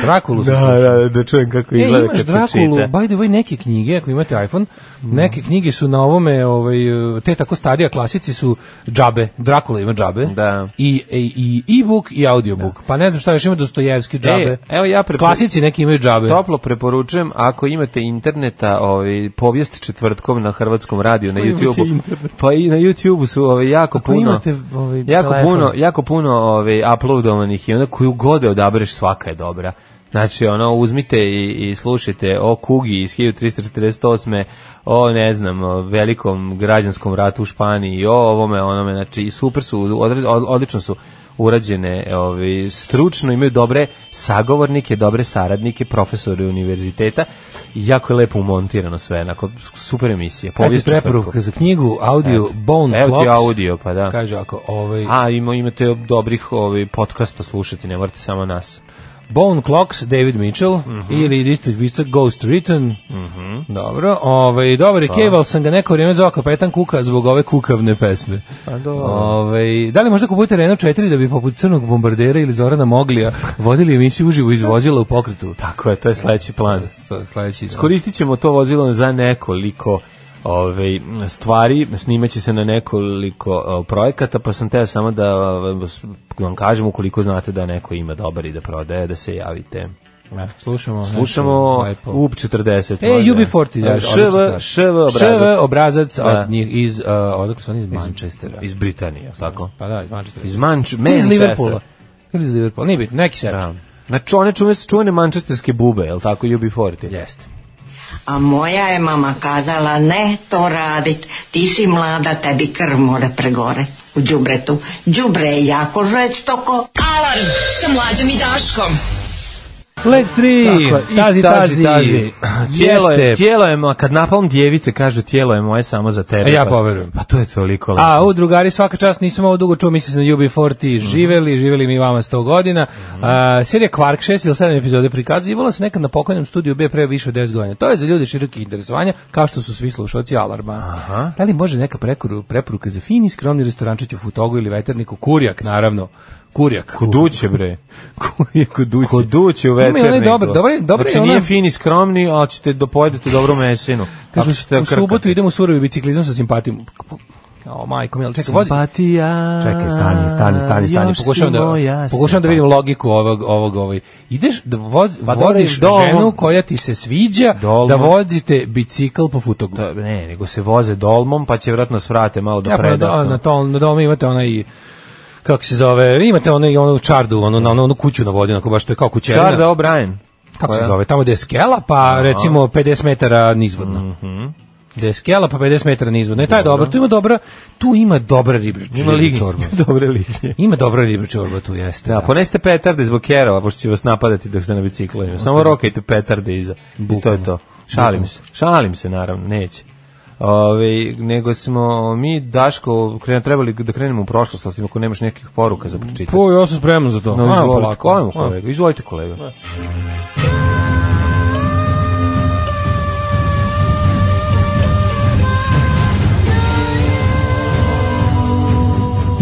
E: Drakulu sam
F: da,
E: slušao.
F: da, da, da čujem kako
E: E,
F: izgleda
E: imaš
F: kad
E: Drakulu,
F: se čita.
E: by the way, neke knjige, ako imate iPhone, neke knjige su na ovome, ovaj, te tako starija klasici su džabe, Drakula ima džabe,
F: Da.
E: i, i, i e-book i audiobook, pa ne znam šta još ima Dostojevski džabe,
F: E, evo ja prepo-
E: klasici neki imaju džabe.
F: Toplo preporučujem, ako imate interneta, ovaj, povijest četvrtkom na Hrvatskom radiju, na
E: imate
F: YouTube-u.
E: internet?
F: Pa i na YouTube-u su ovaj, jako
E: Ako
F: puno...
E: imate, ovaj,
F: jako
E: telefon.
F: puno, jako puno ovaj, uploadovanih i onda koju god da odabereš svaka je dobra. Znači, ono, uzmite i, i slušajte o Kugi iz 1348. o, ne znam, o velikom građanskom ratu u Španiji, o ovome, onome, znači, i super su, odre- od- odlično su urađene, ovi, stručno imaju dobre sagovornike, dobre saradnike, profesore univerziteta i jako je lepo umontirano sve, onako, super emisija.
E: Eto
F: povijest
E: preporuka
F: četvrtkom.
E: za knjigu, audio,
F: Eto.
E: bone
F: Evo ti
E: clocks.
F: audio, pa da.
E: Kaže ako, ovaj,
F: A, ima, imate dobrih ovaj, podcasta slušati, ne morate samo nas.
E: Bone Clocks, David Mitchell
F: Mhm.
E: ili distribuica Ghost Written. Dobro, ovaj, dobar je Cave, ali sam ga neko vrijeme zvao kapetan Kuka zbog ove kukavne pesme.
F: Pa dobro.
E: Ovaj, da li možda kupujete Renault 4 da bi poput Crnog bombardera ili Zorana Moglija vodili emisiju uživo iz vozila u
F: Da.
E: pokretu?
F: Tako je, to je sledeći plan.
E: To je sledeći.
F: Koristit ćemo to vozilo za nekoliko ove, stvari, snimaće se na nekoliko e, projekata, pa sam teo samo da e, vas- vam kažem ukoliko znate da neko ima dobar i da prodaje, da se javite.
E: Ne, Da, slušamo. nešto
F: Slušamo
E: Znači, lepo.
F: UP40.
E: E, UB40, da, odlična
F: ŠV,
E: stvar.
F: ŠV obrazac.
E: ŠV obrazac
F: Da.
E: od njih, iz, uh, odakle su oni iz Manchestera.
F: Iz Britanije, jel tako?
E: Pa da, iz Manchestera.
F: Iz Manč,
E: Ili iz
F: Manchestera.
E: Liverpoola. Ili iz Liverpoola, nije bitno, neki sebi.
F: Da. Znači, one čume su čuvene mančesterske bube, jel tako, UB40?
E: Jeste.
A: A moja je mama kazala, ne to radit, ti si mlada, tebi krv more pregore u džubretu. Džubre je jako žveć toko.
D: Alarm sa mlađom i Daškom.
E: Leg 3,
F: Tako je, i
E: tazi, tazi,
F: Tijelo je,
E: Jeste.
F: tijelo je, moje- kad napalm djevice kažu tijelo je moje samo za tebe.
E: E, ja
F: pa-
E: poverujem.
F: Pa to je toliko lepo.
E: A, u drugari, svaka čast, nisam ovo dugo čuo, mislim da se na UB40, živeli, živeli mi vama 100 godina. A, serija Quark 6 ili 7 epizode prikazivala se nekad na pokojnom studiju B pre više od 10 godina. To je za ljude širokih interesovanja, kao što su svi slušalci Alarma. Da li može neka prekoru- preporuka za fini skromni restorančić u Futogu ili veterniku? Kurijak, naravno. Kurijak.
F: Kuduće, bre.
E: Kurijak, kuduće.
F: Kuduće u
E: Ima i onaj
F: veterniku.
E: dobar- dobar je- dobar je
F: znači, nije
E: ona-
F: fin i skromni, ali ćete do pojedete dobru mesinu.
E: Kažu,
F: Ako ćete
E: u
F: krkati.
E: subotu idem u surovi biciklizam sa simpatijom. O, majko, mjel, čekaj, vozi.
F: Simpatija.
E: Čekaj, stani, stani, stani, stani.
F: još si
E: Pokušavam da
F: moja
E: pokušavam da vidim logiku ovog ovog ovaj. Ideš da voz,
F: Pa dobro,
E: vodiš
F: idem dolom.
E: ženu koja ti se sviđa
F: Dolom.
E: da vozite bicikl po futogu.
F: Da, ne, nego se voze dolmom, pa će vratno svrate malo da
E: Ja, pa, da,
F: predahnu.
E: na to na dome imate onaj kako se zove, imate onaj onu čardu, onu na onu, onu kuću na vodi, onako baš to je kao kućerina.
F: Čarda Pa da. O'Brien.
E: kako se
F: koja?
E: zove, tamo gde je skela, pa recimo 50 metara nizvodno.
F: Mhm.
E: Gde je skela, pa 50 metara nizvodno. I taj je dobar, tu ima dobra, tu ima dobra riblja
F: Ima
E: riblja
F: lignje.
E: čorba.
F: Dobre lignje.
E: Ima dobra riblja čorba tu, jeste.
F: Da,
E: da.
F: poneste petarde zbog kerova, pošto će vas napadati dok ste na biciklu. Samo rokajte petarde iza. I to je to. Šalim se. Šalim se, naravno, neće. Ove, nego smo mi, Daško, krenu, trebali da krenemo u prošlost, osim ako nemaš nekih poruka za pročitati.
E: Po, ja sam spreman za to.
F: No,
E: Ajmo
F: izvolite,
E: polako.
F: ajmo, kolega, izvolite kolega.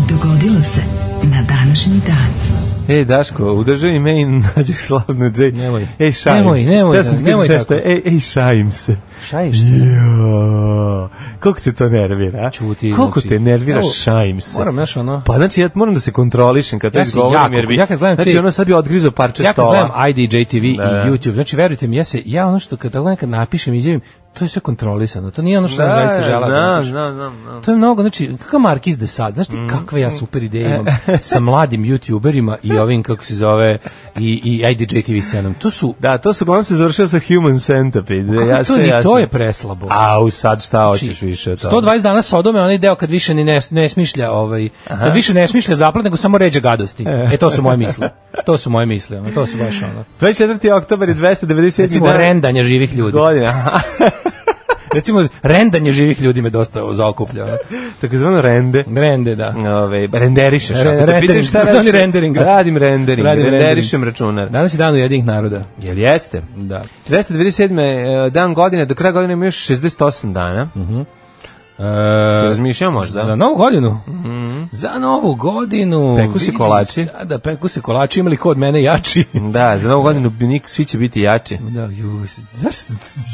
D: Dogodilo se na današnji dan.
F: Ej, E, Daško, udržaj me i nađe slavnu džej.
E: Nemoj.
F: Ej, šajim
E: Nemoj,
F: se.
E: nemoj,
F: Da sam ti kažem
E: nemoj
F: često,
E: tako.
F: ej, ej, šajim se.
E: Šajiš se?
F: Jo, koliko te to nervira? a?
E: Čuti,
F: Koliko
E: znači,
F: te nervira,
E: evo,
F: šajim se.
E: moram, znaš, ono-
F: Pa znači, ja moram da se kontrolišem kad to
E: Ja sam
F: izgovorim,
E: jako-
F: jer bi...
E: ja kad gledam
F: znači,
E: te-
F: ono sad bi odgrizao parče
E: Ja kad
F: stola.
E: gledam IDJ TV
F: Da.
E: i YouTube, znači verujte mi, ja se, ja ono što kada nekad napišem i izjavim, to je sve kontrolisano, to nije ono što
F: Da,
E: ja zaista želim.
F: znam, Mm. znam, znam, znam.
E: To je mnogo, znači, kakav Markiz de sad, znaš ti kakve ja super ideje imam sa mladim youtuberima i ovim, kako se zove, i, i IDJ TV scenom. To su,
F: Da, to se uglavnom se završio sa Human Centipede.
E: kako
F: ja
E: to,
F: sve
E: ni
F: jasno.
E: to je preslabo.
F: Au, sad šta
E: Znači,
F: hoćeš više od toga?
E: 120 dana Sodome, onaj deo kad više ni ne, ne smišlja, ovaj, kad više ne smišlja zaplet, nego samo ređe gadosti. E, to su moje misle. To su moje misle, ono, to su baš ono.
F: 24. oktober je 297.
E: Recimo,
F: dan
E: rendanje živih ljudi.
F: godine. Aha,
E: Recimo, rendanje živih ljudi me dosta zaokuplja. ono.
F: takozvano rende.
E: Rende, da.
F: Ove, renderišeš.
E: Re-
F: ako te
E: rendering,
F: pitam šta
E: takozvani
F: radiš,
E: rendering. da.
F: Radim
E: Radim
F: rendering,
E: rendering. Da.
F: renderišem računar.
E: Danas je dan Ujedinih naroda.
F: Jel jeste?
E: Da.
F: 297. e, dan godine, do kraja godine ima još 68 dana.
E: E,
F: Se razmišljamo možda?
E: Za novu godinu? Za novu godinu.
F: Peku se
E: vidim
F: Mhm. kolači.
E: Sada peku se kolači, imali ko od mene jači?
F: Da, za novu godinu bi nik, svi će biti jači.
E: Da, ju, znaš,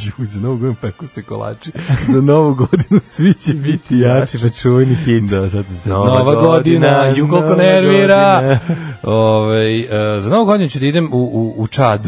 E: ju, za novu godinu peku se kolači. Za novu godinu svi će biti jači.
F: pa čuveni hit. Da, sad se
E: Nova godina, ju koliko nervira. Ove, e, za novu godinu ću da idem u, u, u Čad.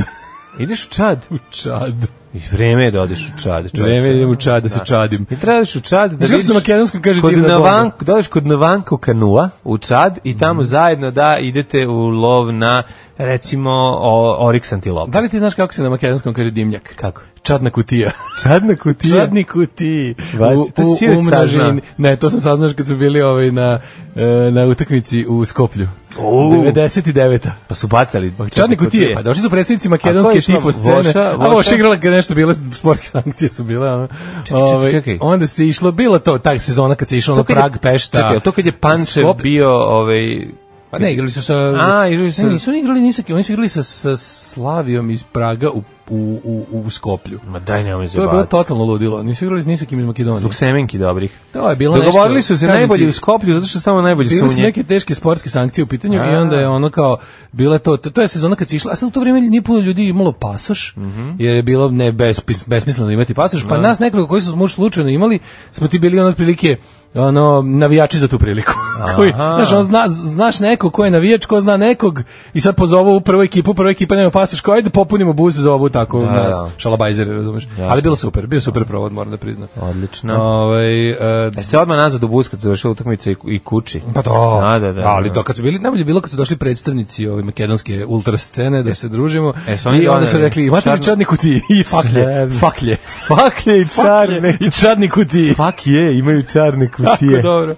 F: Ideš u Čad?
E: U Čad.
F: I vreme je da odeš u Čad. čoveče.
E: Vreme idem u Čad da se čadim.
F: I trebaš u Čad da
E: Znaš kako se na makedonskom kaže
F: kod
E: divna bomba?
F: Navank, dođeš kod Navanku kanua u Čad i tamo
E: Mhm.
F: zajedno da idete u lov na recimo o, Oryx antilopa.
E: Da li ti znaš kako se na makedonskom kaže dimnjak?
F: Kako?
E: Čadna kutija.
F: Čadna kutija.
E: Čadni kutiji.
F: Vaci,
E: U,
F: to si sinoć
E: u, u množini.
F: saznao.
E: Ne, to sam saznaš kad su bili ovaj na, e, na utakmici u Skoplju.
F: O.
E: 99.
F: Pa su bacali.
E: Čadni kutije. Pa došli su predstavnici
F: A ko
E: makedonske
F: je išla?
E: tifo scene.
F: Voša?
E: A
F: Voša?
E: Voša igrala kad nešto bile, sportske sankcije su bile. Ono.
F: čekaj,
E: Ovaj,
F: čekaj.
E: Onda se išlo, bilo to, ta sezona kad se išlo na
F: kad je-
E: Prag, Pešta.
F: Čekaj, a to kad je Pančev
E: Skop-
F: bio ovaj
E: Pa ne, igrali su sa...
F: A, igrali su-
E: Ne, nisu oni igrali ni sa kim, oni su igrali sa, sa Slavijom iz Praga u, u, u, u Skoplju.
F: Ma daj nemoj
E: To je bilo
F: zabavati.
E: totalno ludilo. Nisu igrali ni sa kim iz Makedonije.
F: Zbog semenki dobrih.
E: To je bilo
F: Dogovorili
E: nešto,
F: su se
E: kažem
F: najbolji
E: ti,
F: u Skoplju zato što su tamo najbolji
E: Bili su
F: sunje.
E: neke teške sportske sankcije u pitanju i
F: A.
E: onda je ono kao bila to to je sezona kad se išla, a sad u to vrijeme nije puno ljudi imalo pasoš,
F: Mhm.
E: jer je bilo ne bespis- besmisleno imati pasoš,
F: Da.
E: pa nas nekoliko koji smo možda slučajno imali, smo ti bili ono otprilike ono navijači za tu priliku. Koji, znaš, on zna, znaš nekog ko je navijač, ko zna nekog i sad pozovu u prvu ekipu, prva ekipa nema pasoš, kao ajde popunimo bus za ovu tako nas,
F: da.
E: šalabajzeri, razumeš. Ali bilo super, bio super provod, moram da priznam.
F: Odlično.
E: Ovaj, e,
F: Jeste odmah nazad u bus kad se završila utakmica i, i kući.
E: pa to.
F: Da, da, da.
E: Ali to kad su bili najbolje je bilo kad su došli predstavnici ove makedonske ultra scene da se družimo.
F: e, su oni
E: I onda su
F: doneli
E: rekli imate li
F: čarnu-
E: čadnik u ti i faklje,
F: Čarnu.
E: faklje.
F: Fak je i
E: Faklje i čadnik u ti.
F: Fak je, imaju čarne
E: Tako dobro.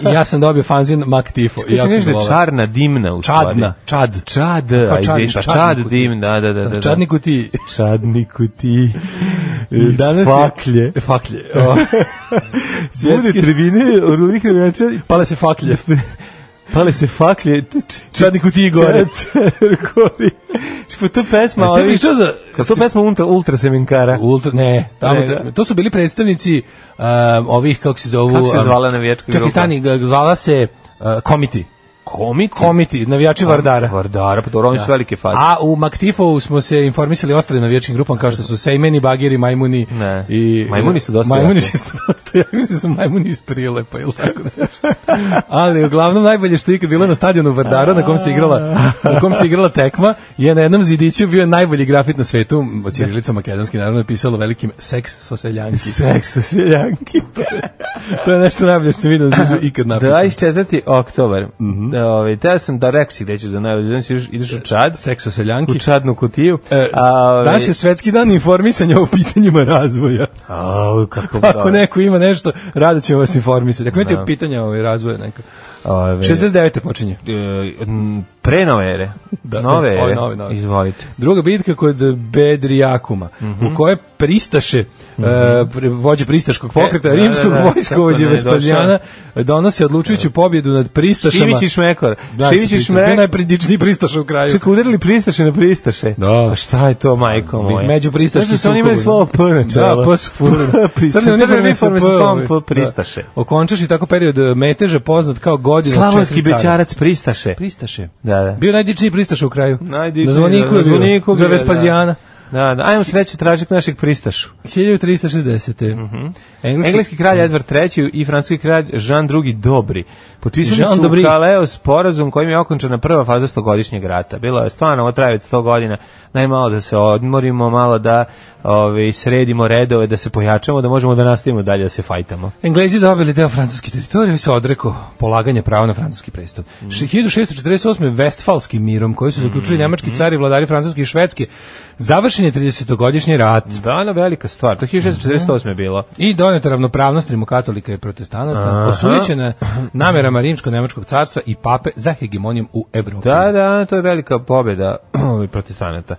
E: I ja sam dobio fanzin Mak Tifo. i
F: Kako
E: jako
F: se
E: sam
F: kaže
E: volao.
F: čarna dimna u stvari?
E: Čadna, čad.
F: Čad,
E: Kao čad-
F: a izvini, pa
E: čadnik
F: čad
E: u ti.
F: dim, da, da, da. da, da.
E: Čadnik u ti.
F: Čadniku ti.
E: Danas je-
F: Faklje.
E: Faklje. O,
F: Svjetske
E: Svjetski.
F: tribine, rudnih navijača,
E: Pale se faklje.
F: pale se faklje, č- č-
E: Čadnik u ti i gore.
F: Cer- gori. Pa to pesma,
E: Jeste
F: ali...
E: pričao za
F: Kad to pesma ultra, ultra seminkara?
E: Ultra, ne, tamo,
F: Ne, da.
E: to su bili predstavnici um, ovih, kako se zovu...
F: Kako se
E: um,
F: zvala navijačka
E: Čekaj,
F: grupa?
E: stani, g- zvala se uh, Komiti.
F: Komik?
E: Komiti, navijači Vardara.
F: Vardara, pa dobro, oni su velike faze.
E: A u Maktifovu smo se informisali ostalim navijačkim grupama kao što su Sejmeni, Bagiri, Majmuni
F: Ne.
E: i...
F: Majmuni su dosta
E: Majmuni
F: jaki.
E: su dosta jaki, mislim da su Majmuni iz Prilepa ili tako nešto. Ali uglavnom najbolje što je ikad bilo na stadionu Vardara na kom se igrala, na kom se igrala tekma je na jednom zidiću bio najbolji grafit na svetu, Cirilica makedonski naravno je pisalo velikim seks soseljanki.
F: Seksu seljanki.
E: To je nešto najbolje što sam vidio na zidu ikad napisano.
F: 24. da, oktobar. Mm
E: Mhm.
F: -hmm. Ove, teo sam da rekao si gde ćeš za najbolje. Danas ideš, ideš u Čad,
E: Seks soseljanki.
F: u Čadnu kutiju. ovaj,
E: E,
F: ove,
E: danas je svetski dan informisanja o pitanjima razvoja.
F: Au, kako
E: Pa ako
F: dobro.
E: neko ima nešto, rado ćemo vas informisati. Ako
F: Da.
E: imate pitanja ovaj razvoja neka.
F: Ove,
E: 69. počinje.
F: e, m, pre nove ere.
E: Da,
F: nove
E: ove,
F: ere.
E: nove, nove.
F: Izvolite.
E: Druga bitka kod Bedrijakuma, u kojoj pristaše, e, pri- vođe pristaškog pokreta,
F: Mhm. E, da, da,
E: rimskog
F: da,
E: vojskovođe
F: kako ne,
E: Vespazijana, donose odlučujuću pobjedu nad pristašama.
F: Šivić i Šmekor.
E: Da,
F: Šivić i
E: Pristaš, bio
F: Šmekor.
E: najpridičniji pristaš u kraju.
F: Čekaj, udarili pristaše na pristaše.
E: Da.
F: Pa šta je to, majko moja?
E: Među pristaški
F: Znaš da su oni imali slovo P na
E: Da,
F: čelo.
E: P su furali.
F: Pri-
E: Crne
F: crne
E: uniforme su
F: uniforme sa
E: P,
F: slovom
E: ovaj.
F: P pristaše.
E: Da. Okončaš i tako period e, meteže poznat kao godina
F: Slavonski
E: četiri cara.
F: bećarac pristaše.
E: Pristaše.
F: Da, da.
E: Bio najdičniji pristaš u kraju.
F: Najdičniji,
E: Na zvoniku,
F: da,
E: je bio,
F: zvoniku
E: za
F: bio, da.
E: Vespazijana.
F: Da, da. Ajmo sreću tražiti našeg pristašu.
E: 1360. Mhm. Engleski,
F: Engleski kralj Edward III i francuski kralj Jean II Dobri potpisali
E: Jean
F: su
E: Dobri.
F: u Kaleo sporazum kojim je okončana prva faza stogodišnjeg rata. Bilo je stvarno, ovo traje od 100 godina, najmalo da se odmorimo, malo da ove, sredimo redove, da se pojačamo, da možemo da nastavimo dalje da se fajtamo.
E: Englezi dobili deo francuske teritorije i se odreko polaganje prava na francuski prestol. Mm. 1648. Vestfalskim mirom koji su zaključili njemački cari, vladari francuske i švedske, završen je 30-godišnji rat.
F: Da, no, velika stvar. To 1648. je bilo.
E: I doneta ravnopravnost rimokatolika i protestanata,
F: Aha.
E: osujećena namerama rimsko-nemačkog carstva i pape za hegemonijom u Evropi.
F: Da, da, to je velika pobjeda ovaj, protestanata.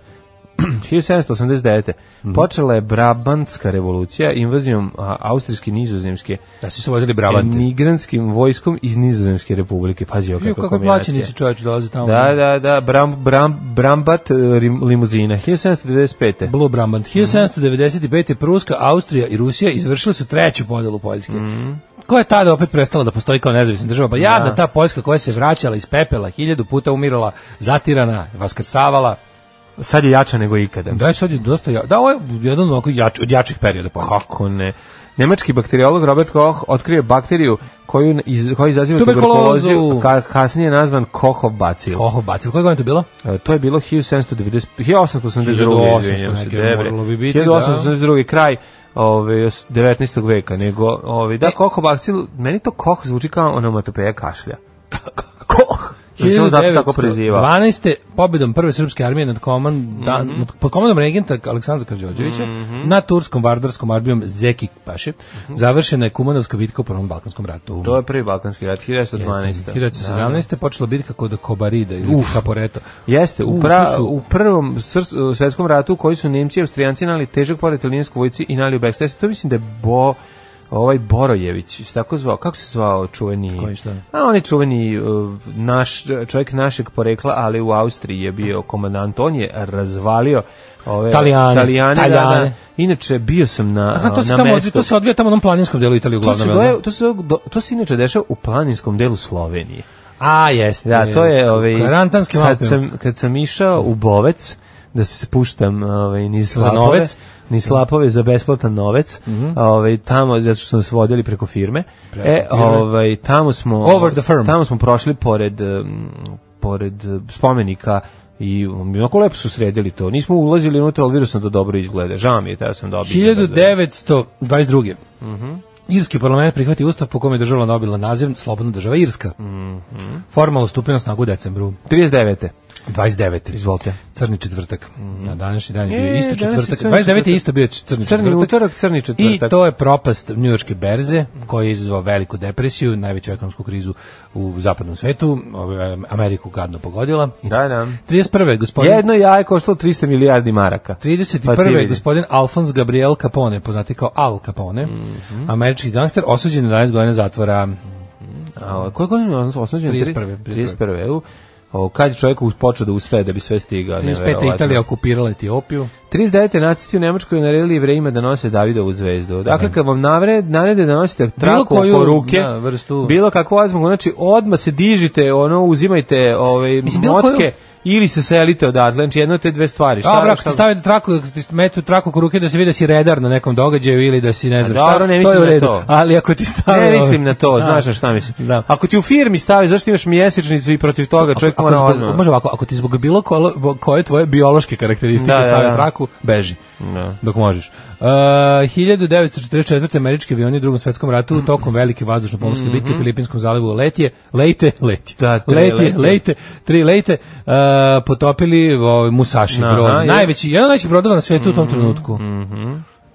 F: 1789.
E: Mhm.
F: Počela je Brabantska revolucija invazijom a, austrijske i nizozemske
E: da svi su vozili Brabante.
F: Emigranskim vojskom iz Nizozemske republike. Pazi, ovo
E: Ju,
F: kako
E: kako plaćeni su čovječ dolaze tamo.
F: Da, da, da, bram, bram, Brambat e, rim- limuzina, 1795.
E: Blue Brabant. 1795. je Pruska, Austrija i Rusija izvršile su treću podelu Poljske. Koja je tada opet prestala da postoji kao nezavisna država? Pa jadna ta Poljska koja se vraćala iz pepela, hiljadu puta umirala, zatirana, vaskrsavala.
F: Sad je jača nego ikada.
E: Da je sad je dosta ja, Da, ovo je jedan ovako jač, od jačih perioda Poljske.
F: Kako ne? Nemački bakteriolog Robert Koch otkrio je bakteriju koju, iz, koja izaziva
E: Tuberkulozu.
F: tuberkulozu, ka, kasnije nazvan Kochov bacil.
E: Oho, bacil. Koje godine je to bilo?
F: E, To je bilo 1790, 1882.
E: 1800
F: izvinjam se,
E: neke,
F: debre.
E: moralo bi biti, da.
F: 1882. kraj ove, 19. veka, nego, ove, da, Koch bakcil, meni to Koch zvuči kao onomatopeja kašlja. Koch! Ili se on zato tako preziva.
E: 1912. pobedom prve srpske armije nad
F: Mhm.
E: komanda, nad, pod komandom regenta Aleksandra Karđorđevića na turskom vardarskom armijom Zeki Paše završena je Kumanovska bitka u Prvom Balkanskom ratu.
F: Mhm. To je Da, prvi balkanski rat, 1912.
E: 1917. počela bitka kod Kobarida ili Kaporeto.
F: Jeste, u,
E: U,
F: pra,
E: tu su-
F: u prvom srs- svetskom ratu koji su Nemci i Austrijanci nali težak pored italijanskoj vojci i nali u backstage, to mislim da je bo, ovaj Borojević, se tako zvao, kako se zvao čuveni?
E: Koji, šta?
F: A on je čuveni uh, naš čovjek našeg porekla, ali u Austriji je bio komandant, on je razvalio ove
E: Talijane,
F: Talijane, da, da.
E: Talijane.
F: Inače bio sam na
E: Aha, to
F: na
E: se tamo,
F: mestu.
E: to se odvija tamo u onom planinskom delu Italije
F: To se,
E: uglavnom. jel da?
F: doje, to, se, do- to se inače dešava u planinskom delu Slovenije.
E: A, jeste.
F: Da, to je ovaj
E: Karantanski
F: kad
E: Alpima.
F: sam kad sam išao u Bovec da se spuštam ovaj niz slapove,
E: novec?
F: niz slapove za besplatan novec, ovaj tamo zato što smo se vodili preko firme.
E: Mhm. Preko
F: e,
E: firme.
F: ovaj tamo smo
E: Over the firm.
F: Tamo smo prošli pored em, pored eh, spomenika i um, onako lepo su sredili to. Nismo ulazili unutra, ali vidio sam da dobro izgleda. Žao mi je, tada sam da dobio.
E: 1922.
F: Mhm.
E: Irski parlament prihvati ustav po kome je država nobila naziv Slobodna država Irska.
F: Mhm.
E: Formalno stupio na snagu u decembru
F: 39.
E: 29.
F: Izvolite.
E: Crni četvrtak. Na današnji dan je bio
F: Mhm. E,
E: isto
F: danas je
E: četvrtak.
F: crni
E: 29. je
F: četvrtak.
E: isto bio crni,
F: Crni
E: četvrtak.
F: utorak, crni četvrtak.
E: I to je propast njujorške berze koji je izazvao veliku depresiju, najveću ekonomsku krizu u zapadnom svetu. Ove, Ameriku gadno pogodila.
F: Da, da.
E: 31. gospodin...
F: Jedno jaje koštalo 300 milijardi maraka. Pa ti
E: 31. je
F: vidi.
E: gospodin Alfons Gabriel Capone, poznati kao Al Capone,
F: Mhm.
E: američki gangster, osuđen na 11 godina zatvora.
F: A, koje godine je osnođen?
E: 31..
F: 31. evo. O, kad je čovjek us- počeo da usve da bi sve stigao?
E: 35.
F: neverovatno.
E: Italija okupirala Etiopiju.
F: 39. nacisti u Nemačkoj naredili jevrejima da nose Davidovu zvezdu. Dakle, kad vam navred, narede da nosite traku
E: Da. koju,
F: oko ruke,
E: da, vrstu.
F: bilo kakvu azmu, znači odmah se dižite, ono, uzimajte ove,
E: Mislim, bilo
F: motke
E: koju-
F: ili se selite odatle, znači jedno od te dve stvari.
E: A, brak, ti stavite traku, ti metu traku oko ruke da se vidi da si redar na nekom događaju ili da si ne znam šta,
F: dobro, ne
E: to je
F: mislim
E: u
F: na
E: redu.
F: to.
E: Ali ako ti stave...
F: Ne
E: ove-
F: mislim na to, znaš na šta mislim.
E: Pa Da.
F: Ako ti u firmi stavi, zašto imaš mjesečnicu i protiv toga da čovjek
E: Ako
F: mora
E: zbog-
F: odmah.
E: Može ovako, ako ti zbog bilo kolo, bo- koje tvoje biološke karakteristike
F: Da, da,
E: stave
F: da.
E: traku, beži.
F: Da.
E: Dok možeš. Uh, 1944. američki avioni u drugom svetskom ratu tokom velike vazdušno-pomorske bitke u Filipinskom zalivu letje, lejte, leti.
F: Mhm. Da, tri
E: letje,
F: letje.
E: lejte, tri lejte, uh, potopili ovaj, Musashi
F: Aha,
E: brod.
F: je. Mhm,
E: Najveći, jedan od najvećih brodova na svetu u tom trenutku.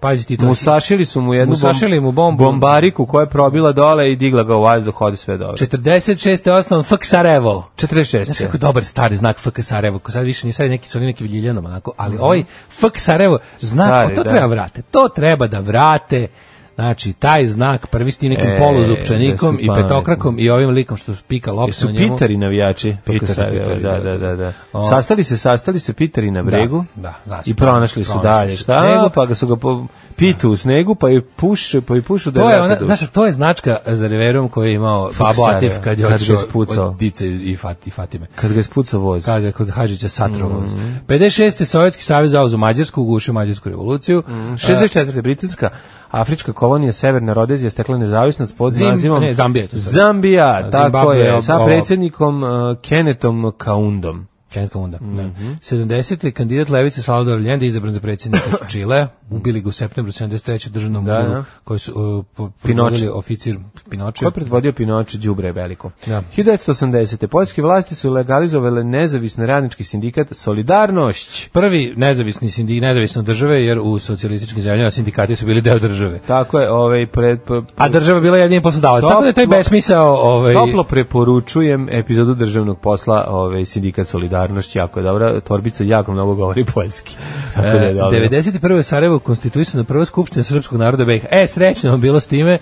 E: Pazi ti to.
F: Musašili su mu jednu
E: Musašili mu bombu.
F: bombariku koja je probila dole i digla ga u vazduh, ode sve dobro.
E: 46. osnovan FK Sarajevo.
F: 46.
E: Znaš kako je dobar stari znak FK Sarajevo, ko sad više ni sad je neki su oni neki Ljiljanom, onako, ali ovaj FK Sarajevo znak,
F: Stari,
E: o, to
F: da.
E: treba vrate, to treba da vrate, znači taj znak prvi s tim nekim
F: E,
E: poluzupčanikom
F: da si
E: i petokrakom i ovim likom što pika loptu
F: Su
E: na njemu.
F: pitari navijači.
E: Pitari,
F: Pitari,
E: pitari,
F: da,
E: da,
F: da, da, da.
E: O.
F: Sastali se, sastali se pitari na bregu
E: da, znači,
F: i pronašli su
E: pronašli
F: dalje.
E: su
F: Šta?
E: snegu.
F: Pa ga su ga po, pitu u snegu, pa je pušu, pa je pušu da
E: To
F: je
E: je
F: vrata
E: ona,
F: duša.
E: znaš, to je značka za reverom koju je imao Babo
F: Sarajevo,
E: Atif kad je
F: kad ga
E: otišao
F: je spucao.
E: od Dice i, Fat- i Fatime.
F: Kad ga je spucao voz.
E: Kad je kod Hadžića satrovo.
F: Mhm.
E: 56. Sovjetski savez zauzu Mađarsku, ugušio Mađarsku revoluciju.
F: Mhm. 64. britanska afrička kolonija Severna Rodezija stekla nezavisnost pod
E: Zim-
F: nazivom
E: ne, Zambija je to sad.
F: Zambija,
E: A,
F: tako
E: Zimbabwe je
F: je, sa
E: ovo-
F: predsjednikom uh, Kenetom Kaundom.
E: Kenneth Kaunda. da.
F: Mhm.
E: 70. kandidat Levice Salvador Allende izabran za predsjednika Čile. Ubili ga u septembru 73. u državnom
F: Da,
E: udaru
F: da.
E: koji su uh, po-
F: Pinoče.
E: probudili oficir Pinoče.
F: Ko je predvodio Pinoče Đubre veliko?
E: Da.
F: 1980. Poljske vlasti su legalizovale nezavisni radnički sindikat Solidarnošć.
E: Prvi nezavisni sindi, nezavisne od države, jer u socijalističkim zemljama sindikati su bili deo države.
F: Tako je, ovaj pred pre-
E: A država bila jedini poslodavac.
F: Top-
E: Tako da je taj besmisao... Ovaj,
F: Toplo preporučujem epizodu državnog posla, ovaj sindikat Solidarnošć jako je dobra, torbica jako mnogo govori poljski. Tako da je
E: E,
F: dobro.
E: 91. u Sarajevu konstituisana prva skupština srpskog naroda BiH. E, srećno vam bilo s time.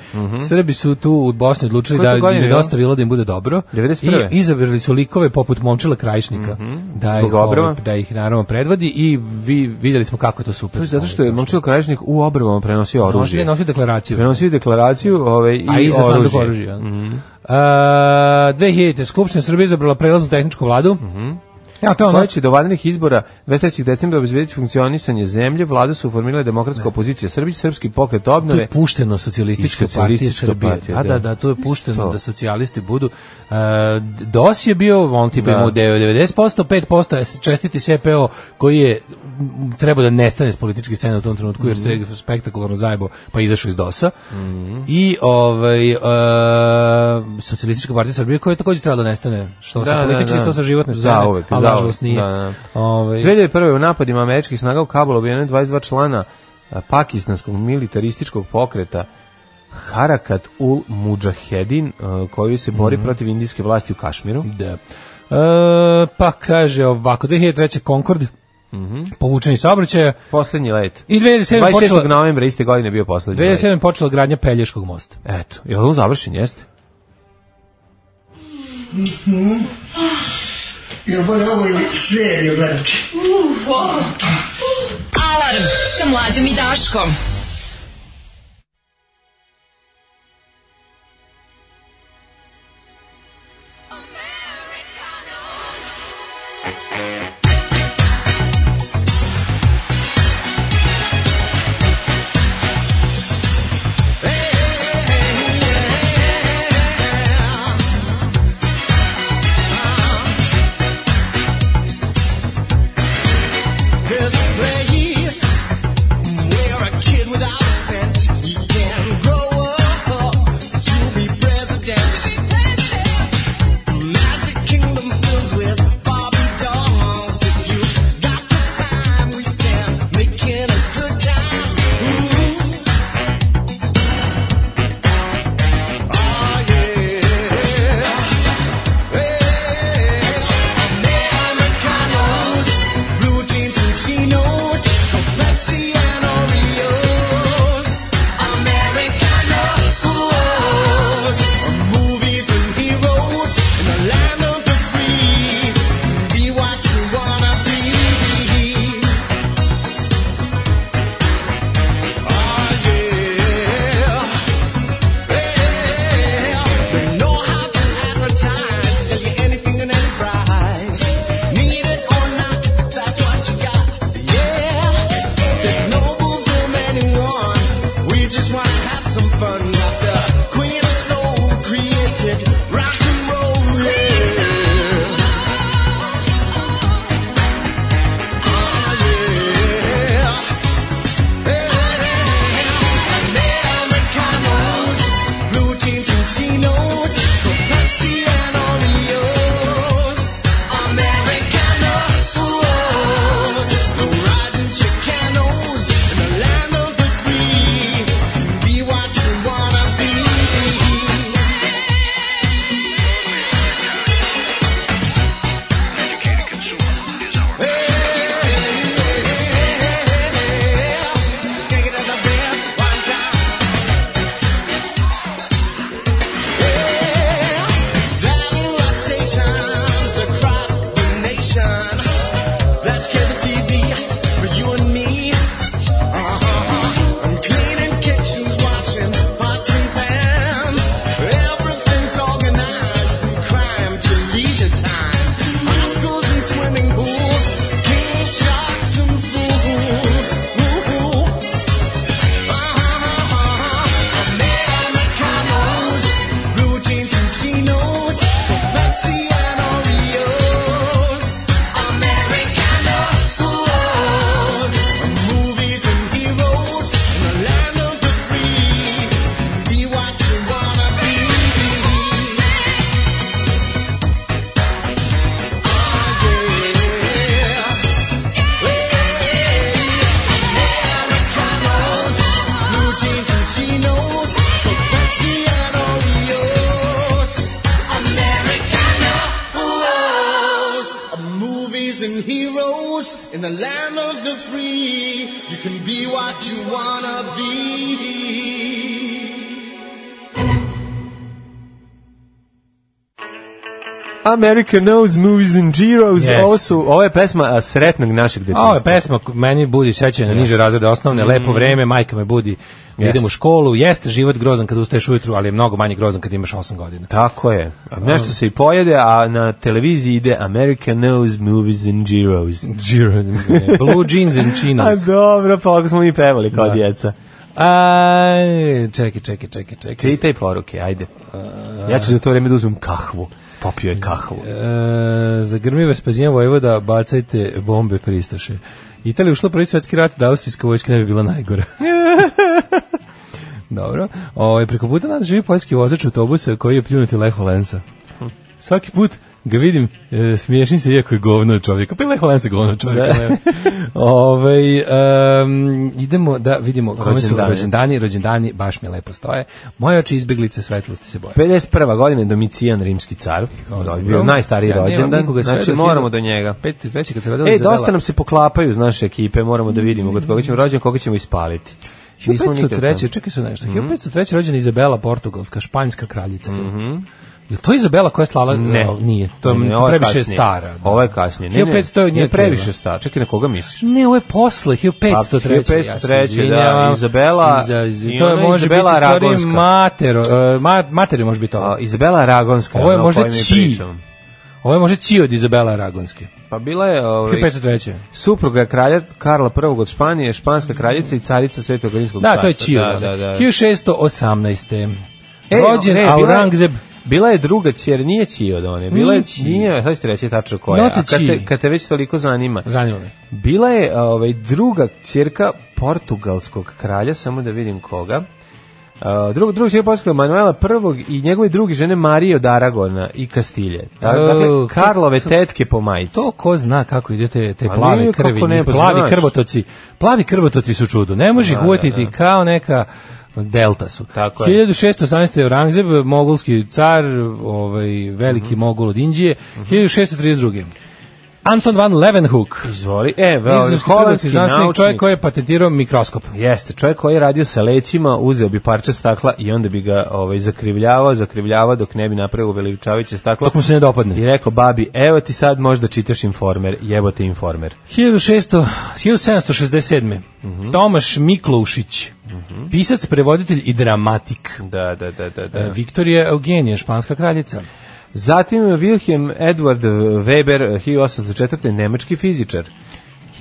E: Srbi su tu u Bosni odlučili
F: Mhm. Koje to
E: da im
F: godine
E: je
F: bilo?
E: dosta bilo da im bude dobro.
F: 91..
E: I izabrali su likove poput Momčila Krajišnika da,
F: Mhm. Zbog
E: ih, ovaj,
F: obrva?
E: da ih naravno predvodi i vi vidjeli smo kako je to super. Ovaj,
F: To je zato što je Momčilo Krajišnik u obrvama prenosio
E: Nosio,
F: oružje.
E: nosio deklaraciju.
F: Prenosio je deklaraciju ovaj, i
E: a iza sanduk
F: oružje. Mhm.
E: oružja. Mm 2000. Skupština Srbije izabrala prelaznu tehničku vladu. Ja, to je ono.
F: Mhm. Koja će do vanrednih izbora 23. decembra obezbediti funkcionisanje zemlje, vlada su formirale demokratska opozicija Srbić, srpski pokret
E: To je
F: obnove.
E: pušteno socijalistička
F: I
E: partija
F: socijalistička
E: Srbije.
F: partija,
E: da, da,
F: da.
E: da, to je pušteno
F: Isto.
E: da socijalisti budu. E, DOS je bio, on tipa
F: Da.
E: imao deo 90%, 5% je čestiti SPO koji je m, trebao da nestane s političke scene u tom trenutku jer se
F: Mhm.
E: je spektakularno zajebo pa izašao iz DOS-a i ovaj, e, socijalistička partija Srbije koja je takođe trebala da nestane što
F: Da,
E: sa
F: da,
E: političke
F: da.
E: što sa životne scene
F: Zauvek,
E: ali
F: zauvek,
E: nažalost nije
F: da, da.
E: Ovaj,
F: 2001. u napadima američkih snaga u Kabulu ubijeno je 22 člana a, pakistanskog militarističkog pokreta Harakat ul Mujahedin a, koji se
E: Mhm.
F: bori protiv indijske vlasti u Kašmiru.
E: Da. E, pa kaže ovako, 2003. Concord
F: Mhm.
E: povučeni saobraćaja.
F: Poslednji let.
E: I 2007.
F: 26.
E: počela,
F: novembra iste godine bio poslednji let.
E: 2007. počela gradnja Pelješkog mosta.
F: Eto, je li on završen, jeste?
G: Ja moram ovo seriju gledati.
D: Alarm sa mlađom i Daškom.
H: This place where a kid without scent can grow up to be president. Magic kingdom filled with Bobby dolls. If you got the time, we can make it a good time. Ooh. Oh yeah, yeah. Americanos, blue jeans and chinos, con Pepsi and Oreos. Americanos, movies and heroes in the land of the free. Be what you wanna be. Oh yeah. They know how to advertise, sell you anything and any price. Need it or not, that's what you got. Yeah, there's no move from anyone. We just wanna have some fun. Got the queen of soul created rock and roll. Yeah, oh yeah. Americanos, blue jeans and chinos, con Pepsi and Oreos. Americanos, no riding chicanos in the land of the free. Be what you wanna be. Take it to the best one time. Yeah. Satellite stations across the nation. That's cable TV for you and me. Uh-huh. I'm cleaning kitchens, washing pots and pans. Everything's organized from crime to leisure time. High schools and swimming pools, king sharks and fools. Woo-hoo. Ah, Americanos, blue jeans and chinos, con Pepsi and Oreos. Americanos, movies and heroes in the land of the free. Be what you wanna be. Oh yeah. Americanos, blue jeans and chinos, con Pepsi and Oreos. Americanos, movies and heroes in the land of the free. You can be what you wanna be.
F: America knows movies and heroes.
E: Yes.
F: Ovo, su, ovo je pesma a, sretnog našeg detinjstva.
E: Ovo je pesma ko- meni budi sećanje na niže razrede osnovne, lepo vreme, majka me budi,
F: Mhm. Jeste.
E: idem u školu, jeste život grozan kad ustaješ ujutru, ali je mnogo manje grozan kad imaš 8 godina.
F: Tako je. A Nešto se i pojede, a na televiziji ide America knows movies and heroes.
E: Blue jeans and
F: A
E: chinos.
F: dobro, pa ovako smo mi pevali kao
E: Da.
F: djeca.
E: Aj, čekaj, čekaj, čekaj, čekaj. Uh,
F: Čitaj poruke, ajde. Ja ću za to vreme da uzmem kahvu. Popio je kahvu.
E: E, zagrmi Vespazijan Vojvoda, bacajte bombe pristaše. Italija je ušla u prvi svetski rat, da austrijska vojska ne bi bila najgora. Dobro. Ovaj, O, preko puta nas živi poljski vozač autobusa koji je pljunuti Leho Lenca. Svaki put ga vidim, e, smiješim se iako je govno od čovjeka. Pa je hvalan se govno od čovjeka. Da. Ove, um, idemo da vidimo kome su
F: Rođendani.
E: rođendani. Rođendani baš mi lepo stoje. Moje oči izbjeglice svetlosti se boje.
F: 51. godine Domicijan rimski car,
E: Dobro.
F: bio najstariji
E: Ja nemam nikoga sve
F: rođendan, znači
E: do
F: moramo
E: hiljadu-
F: do njega.
E: 53. kad se rodila
F: E,
E: Izabela.
F: dosta nam se poklapaju iz naše ekipe, moramo da vidimo kod koga ćemo rođen, koga ćemo ispaliti. Nismo nikad-
E: 1503. Čekaj se nešto.
F: Mhm.
E: 1503. rođena Izabela Portugalska, španjska kraljica. Mhm. Je to Izabela koja je slala?
F: Ne.
E: O, nije. To je
F: Ne, ovo
E: previše
F: kasnije.
E: stara. da.
F: Ovo je kasnije. Ne, Pa, ne,
E: 1500 je
F: nije
E: nije
F: previše
E: kriva.
F: stara. Čekaj, na koga misliš?
E: Ne, ovo je posle, 1503. ja se
F: 1503, da,
E: izvinjavam.
F: Izabela- i
E: to je
F: ona
E: može
F: Izabela
E: biti u stvari
F: Aragonska.
E: matero, e, ma, materi može biti ovo.
F: A, Izabela Aragonska.
E: Ovo je
F: ona o
E: možda
F: kojoj mi
E: Ci.
F: pričamo.
E: Ovo je može Ći od Izabela Aragonske.
F: Pa bila je... Ovaj,
E: 1503.
F: supruga je kralja Karla I od Španije, španska kraljica i carica Svetog Rimskog
E: Da, to je
F: carstva.
E: Čio.
F: Da, da, da.
E: 1618.
F: E,
E: Rođen
F: ne, bila je-
E: Aurangzeb.
F: Bila je druga ćer, nije Čio od one. Bila je
E: Nije Čio.
F: Čio, sad ću ti reći tačno koja.
E: Not
F: A kad te,
E: Čio.
F: kad te već toliko zanima.
E: Zanima me.
F: Bila je ovaj, druga ćerka portugalskog kralja, samo da vidim koga. Uh, drug, drug čerka portugalskog Manuela I i njegove druge žene Marije od Aragona i Kastilje. Da- Dakle,
E: Oh,
F: Karlove tetke po majici.
E: To ko zna kako ide te, te
F: Pa
E: plave
F: nije, kako
E: krvi,
F: ne,
E: njih-
F: pa
E: plavi
F: znaš. Da,
E: krvotoci, plavi krvotoci su čudo. Ne može ih uvetiti kao neka delta su.
F: Tako je.
E: 1618. je Orangzeb, mogulski car, ovaj, veliki
F: Mhm.
E: mogul od Indije. 1632. Anton van Leeuwenhoek.
F: Izvoli. E, veli,
E: Nizozemski prvac i
F: holandski
E: znanstvenik, čovjek
F: naučnik.
E: koji je patentirao mikroskop.
F: Jeste, čovjek koji je radio sa lećima, uzeo bi parče stakla i onda bi ga ovaj, zakrivljavao, zakrivljavao dok ne bi napravio veličaviće staklo.
E: Dok mu se ne dopadne.
F: I rekao, babi, evo ti sad možda čitaš informer, jebo te informer.
E: 1600, 1767.
F: Mhm.
E: Tomaš Mikloušić, pisac, prevoditelj i dramatik.
F: Da, da, da, da. Mhm. da.
E: E, Viktorija Eugenija, španska kraljica.
F: Zatim Wilhelm Edward Weber, 1804. nemački fizičar.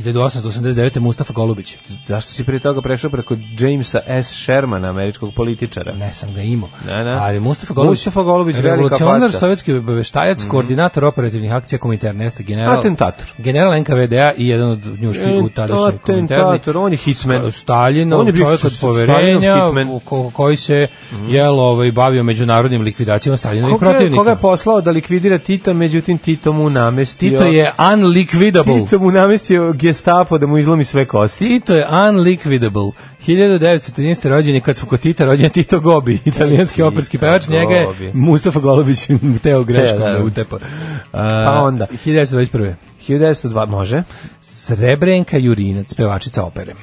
E: 1889. Mustafa Golubić.
F: Zašto si prije toga prešao preko Jamesa S. Shermana, američkog političara?
E: Ne sam ga imao.
F: Ne, ne.
E: Ali Mustafa Golubić,
F: Mustafa Golubić, velika Mhm.
E: revolucionar,
F: faca.
E: sovjetski obaveštajac, koordinator operativnih akcija komite Ernesta, general,
F: Atentator.
E: general NKVD-a i jedan od njuških u tadašnjoj komiterni.
F: Atentator, on E, je hitman.
E: Stalin,
F: On je bio
E: čovjek od
F: sa- sa
E: poverenja,
F: Stalinom hitman. Mhm.
E: u ko- koji se jel, ovaj, bavio međunarodnim likvidacijama Stalinovih
F: Koga je,
E: protivnika.
F: koga je poslao da likvidira Tita, međutim Tito mu namestio...
E: Tito je unliquidable.
F: Tito mu namestio gestapo da mu izlomi sve kosti.
E: Tito je unliquidable. 1913. rođen je kad su kod Tita rođen je Tito Gobi, italijanski
F: Tito
E: operski pevač, njega je
F: Gobi.
E: Mustafa Golubić teo greškom
F: da.
E: da utepa.
F: Pa onda.
E: 1921.
F: 1902, može.
E: Srebrenka Jurinac, pevačica opere.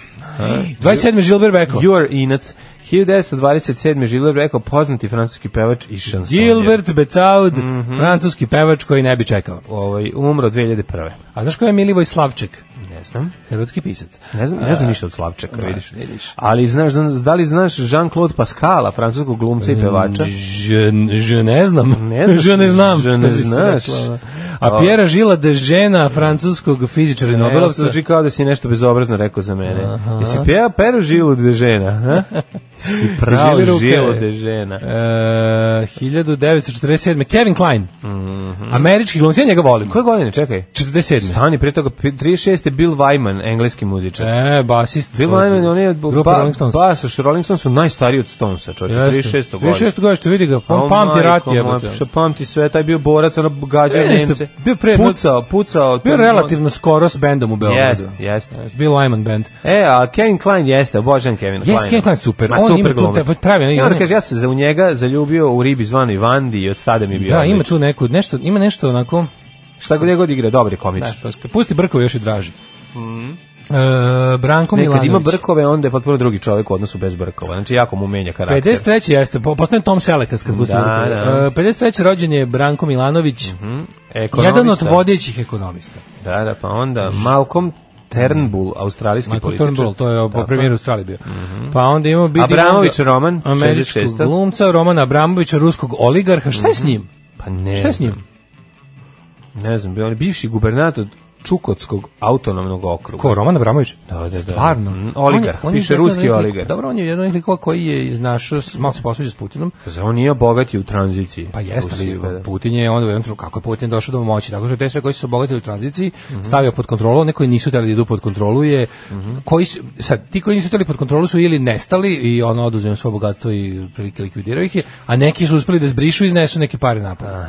E: 27. Žilber Beko.
F: Your Inac. 1927. Žilber rekao poznati francuski pevač i šansonjer.
E: Gilbert Becaud,
F: Mhm.
E: francuski pevač koji ne bi čekao.
F: Ovaj, umro 2001.
E: A znaš ko je Milivoj Slavček?
F: Ne znam.
E: Hrvatski pisac.
F: Ne znam, ne znam ništa od Slavčeka,
E: da,
F: vidiš.
E: vidiš.
F: Ali znaš, da li znaš Jean-Claude Pascala, francuskog glumca i pevača?
E: Je, je ne znam.
F: Ne znaš,
E: je ne znam.
F: je
E: što
F: ne
E: bi se
F: znaš.
E: reklo, da. A Pjera Žila de žena francuskog fizičara i
F: Ne, ovo
E: Nobelovca. e,
F: zvuči kao da si nešto bezobrazno rekao za mene. Jesi pjeva peru žilu de žena? Ha? si pravo
E: Žili ruke.
F: žilu de žena.
E: E, 1947. Kevin Klein.
F: Mhm.
E: Američki glumac, ja njega volim.
F: Koje godine, čekaj?
E: 47.
F: Stani, prije toga, pi- 36. je Bill Wyman, engleski muzičar.
E: E, basist.
F: Bill Wyman, on je
E: Grupa
F: ba,
E: Rolling Stones.
F: basaš Rolling Stones su najstariji od Stonesa, čovječe,
E: Jeste.
F: 36. godine.
E: 36. godine, što vidi ga, Pa on pamti rat jebote.
F: Što pamti sve, taj bio borac, ono gađao
E: E, nešto,
F: Nemce.
E: bio pre-
F: Pucao, pucao.
E: Bio
F: to-
E: relativno da. skoro s bendom u Beogradu.
F: Jeste, jeste.
E: Bill Wyman band.
F: E, a Kevin Klein jeste, obožavam Kevin Klein.
E: Kevin Kline super,
F: Ma,
E: on
F: super
E: ima tu
F: glumac.
E: te- pravi, onaj-
F: I onda
E: onaj-
F: kaže, ja se za u njega zaljubio u ribi zvanoj Vandi i od tada mi je bio.
E: Da, ima
F: odličan.
E: tu neku, nešto, ima nešto onako...
F: Šta god je god igra, dobar je komič.
E: Da, prosto. Pusti Brkove još i draži. E, Branko
F: Ne, kad
E: Milanović.
F: Mm-hmm. ima brkove, onda je potpuno drugi čovjek u odnosu bez brkova. Znači, jako mu menja karakter.
E: 53. jeste, po- postane Tom Selekas kad pusti
F: Da,
E: brkove.
F: da. Mm-hmm.
E: E, 53. rođen je Branko Milanović,
F: Ekonomista.
E: jedan od vodećih ekonomista.
F: Da, da, pa onda Malcolm Turnbull, australijski
E: Michael
F: političar.
E: Turnbull, to je po
F: Tako. Mm-hmm.
E: premijeru Australije bio. Pa onda imamo Bidi
F: Abramović Roman,
E: američkog
F: 66.
E: glumca, Romana Abramovića, ruskog
F: Mm-hmm.
E: oligarha. Šta je s njim?
F: Pa ne.
E: Šta je s njim?
F: znam. Ne znam, bio on je bivši gubernator Čukotskog autonomnog okruga.
E: Ko, Roman Abramović?
F: Da, da, da.
E: Stvarno?
F: Mm, oligarh,
E: On je- on je
F: piše
E: jedan od
F: ruski
E: onih likova-
F: oligarh.
E: Dobro, on je jedan od onih likova koji je našao, s- malo se posveđa s Putinom,
F: Za on nije bogat je u tranziciji.
E: Pa jeste, ali
F: Rusija, da.
E: Putin je onda u jednom trenutku, kako je Putin došao do moći, tako što te sve koji su se obogatili u tranziciji,
F: Mhm.
E: stavio pod kontrolu, one koji nisu hteli da idu pod kontrolu je, koji su, sad, ti koji nisu hteli pod kontrolu su ili nestali i ono oduzeo im svoje bogatstvo i prilike likvidirao ih je, a neki su uspeli da zbrišu i iznesu neke pare napad.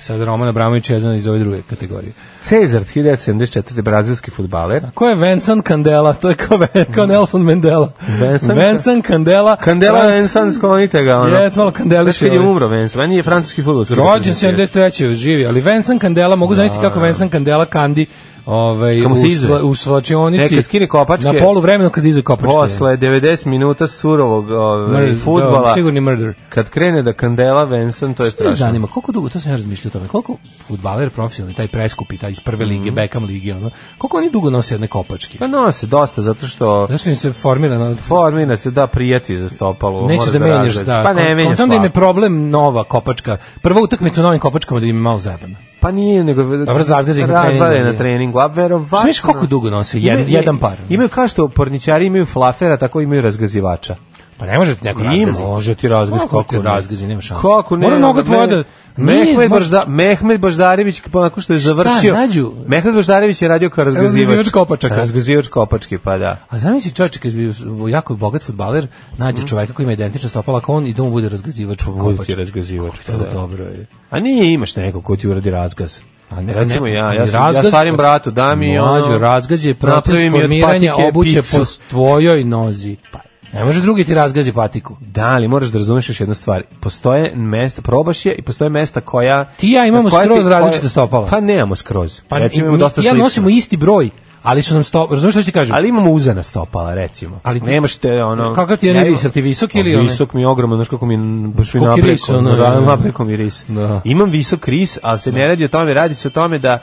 E: Sad Roman Abramović je jedan iz ove druge kategorije.
F: Cezar 1974. brazilski fudbaler.
E: Ko je Vincent Candela? To je kao, kao Nelson Mandela.
F: Vincent-
E: Vincent Candela.
F: Kandela
E: Franc-
F: Vensan, sklonite ga. Ono.
E: Jes, malo kandeliše,
F: Znaš kad je
E: ovaj.
F: umro Vensan? Meni je francuski futbolski.
E: Rođen 73. živi, ali Vincent Candela, mogu zamisliti kako Vincent Candela kandi ovaj, u,
F: Da. Kako se izve.
E: sva, u svlačionici.
F: Neka skine kopačke.
E: Na polu vremenu kad izve kopačke.
F: Posle 90 minuta surovog ovaj,
E: Mrz- da,
F: futbala,
E: sigurni murder.
F: kad krene da Kandela Vensan, to je
E: Što me
F: strašno.
E: zanima, koliko dugo, to sam ja razmišljao o tome, koliko futbaler profesionalni, taj preskupi, taj iz prve
F: Mhm.
E: lige, Beckham lige, ono, koliko oni dugo nose jedne kopačke?
F: Pa nose dosta, zato što
E: Zašto im se formira na...
F: formina se da prijeti za stopalo.
E: Nećeš
F: Pa, moraš
E: da menjaš,
F: razrez-
E: da.
F: Pa ne
E: kon-
F: menjaš
E: kontam da im je
F: svako.
E: problem nova kopačka. Prva utakmica u novim kopačkama da im je malo zajebana.
F: Pa nije, nego...
E: Dobro, razgazi ih na
F: razvade
E: treningu,
F: na
E: nije.
F: treningu, a verovatno...
E: Znaš koliko dugo nose? Jedan,
F: Imaju-
E: jedan par.
F: Imaju kao što porničari imaju flafera, tako imaju razgazivača.
E: Pa ne može ti neko
F: I
E: razgazi.
F: može ti razgaz
E: Kako
F: kako
E: ti razgazi, nema šanse.
F: Kako ne?
E: Mora noga
F: Me-
E: tvoja da- Nije,
F: Mehmed,
E: može-
F: Bažda, Mehmed Baždarević, pa nakon što je završio...
E: nađu?
F: Mehmed Baždarević je radio kao razgazivač.
E: Razgazivač kopačaka.
F: Razgazivač kopački, pa da.
E: A zamisli čovjek kad bi jako bogat fudbaler nađe
F: Mhm.
E: čovjeka koji ima identična stopala kao on i da mu bude razgazivač u
F: Bude
E: kopač.
F: ti razgazivač,
E: To
F: pa
E: je
F: da.
E: dobro je.
F: A nije imaš nekog ko ti uradi razgaz.
E: A ne-
F: Recimo
E: ne-
F: ja,
E: ali
F: ja, sam,
E: razgaz-
F: ja starim bratu dam i Pa ono...
E: Mlađo, razgaz je proces
F: napravi mi od
E: formiranja
F: patike
E: obuće
F: picu.
E: po tvojoj nozi. Pa, ne može drugi ti razgazi patiku.
F: Da, ali moraš da razumeš još jednu stvar. Postoje mesta, probaš je i postoje mesta koja...
E: Ti i ja imamo
F: koja ti-
E: skroz
F: koja-
E: različite stopala.
F: Pa nemamo skroz.
E: Pa
F: recimo
E: i-
F: imamo
E: mi-
F: dosta
E: ja
F: slično.
E: nosimo isti broj, ali su nam sto, razumiješ što ću ti kažem?
F: Ali imamo uzana stopala, recimo.
E: Ali ti-
F: Nemaš te, ono...
E: Kakav ti je
F: ja
E: ris,
F: imam-
E: jel ti visok ili onaj?
F: Visok mi je ogroman, znaš kako mi je baš i
E: Koliki
F: napreko.
E: ris, ono,
F: da,
E: da.
F: napreko mi je ris.
E: Da.
F: Imam visok ris, ali se ne radi o tome, radi se o tome da...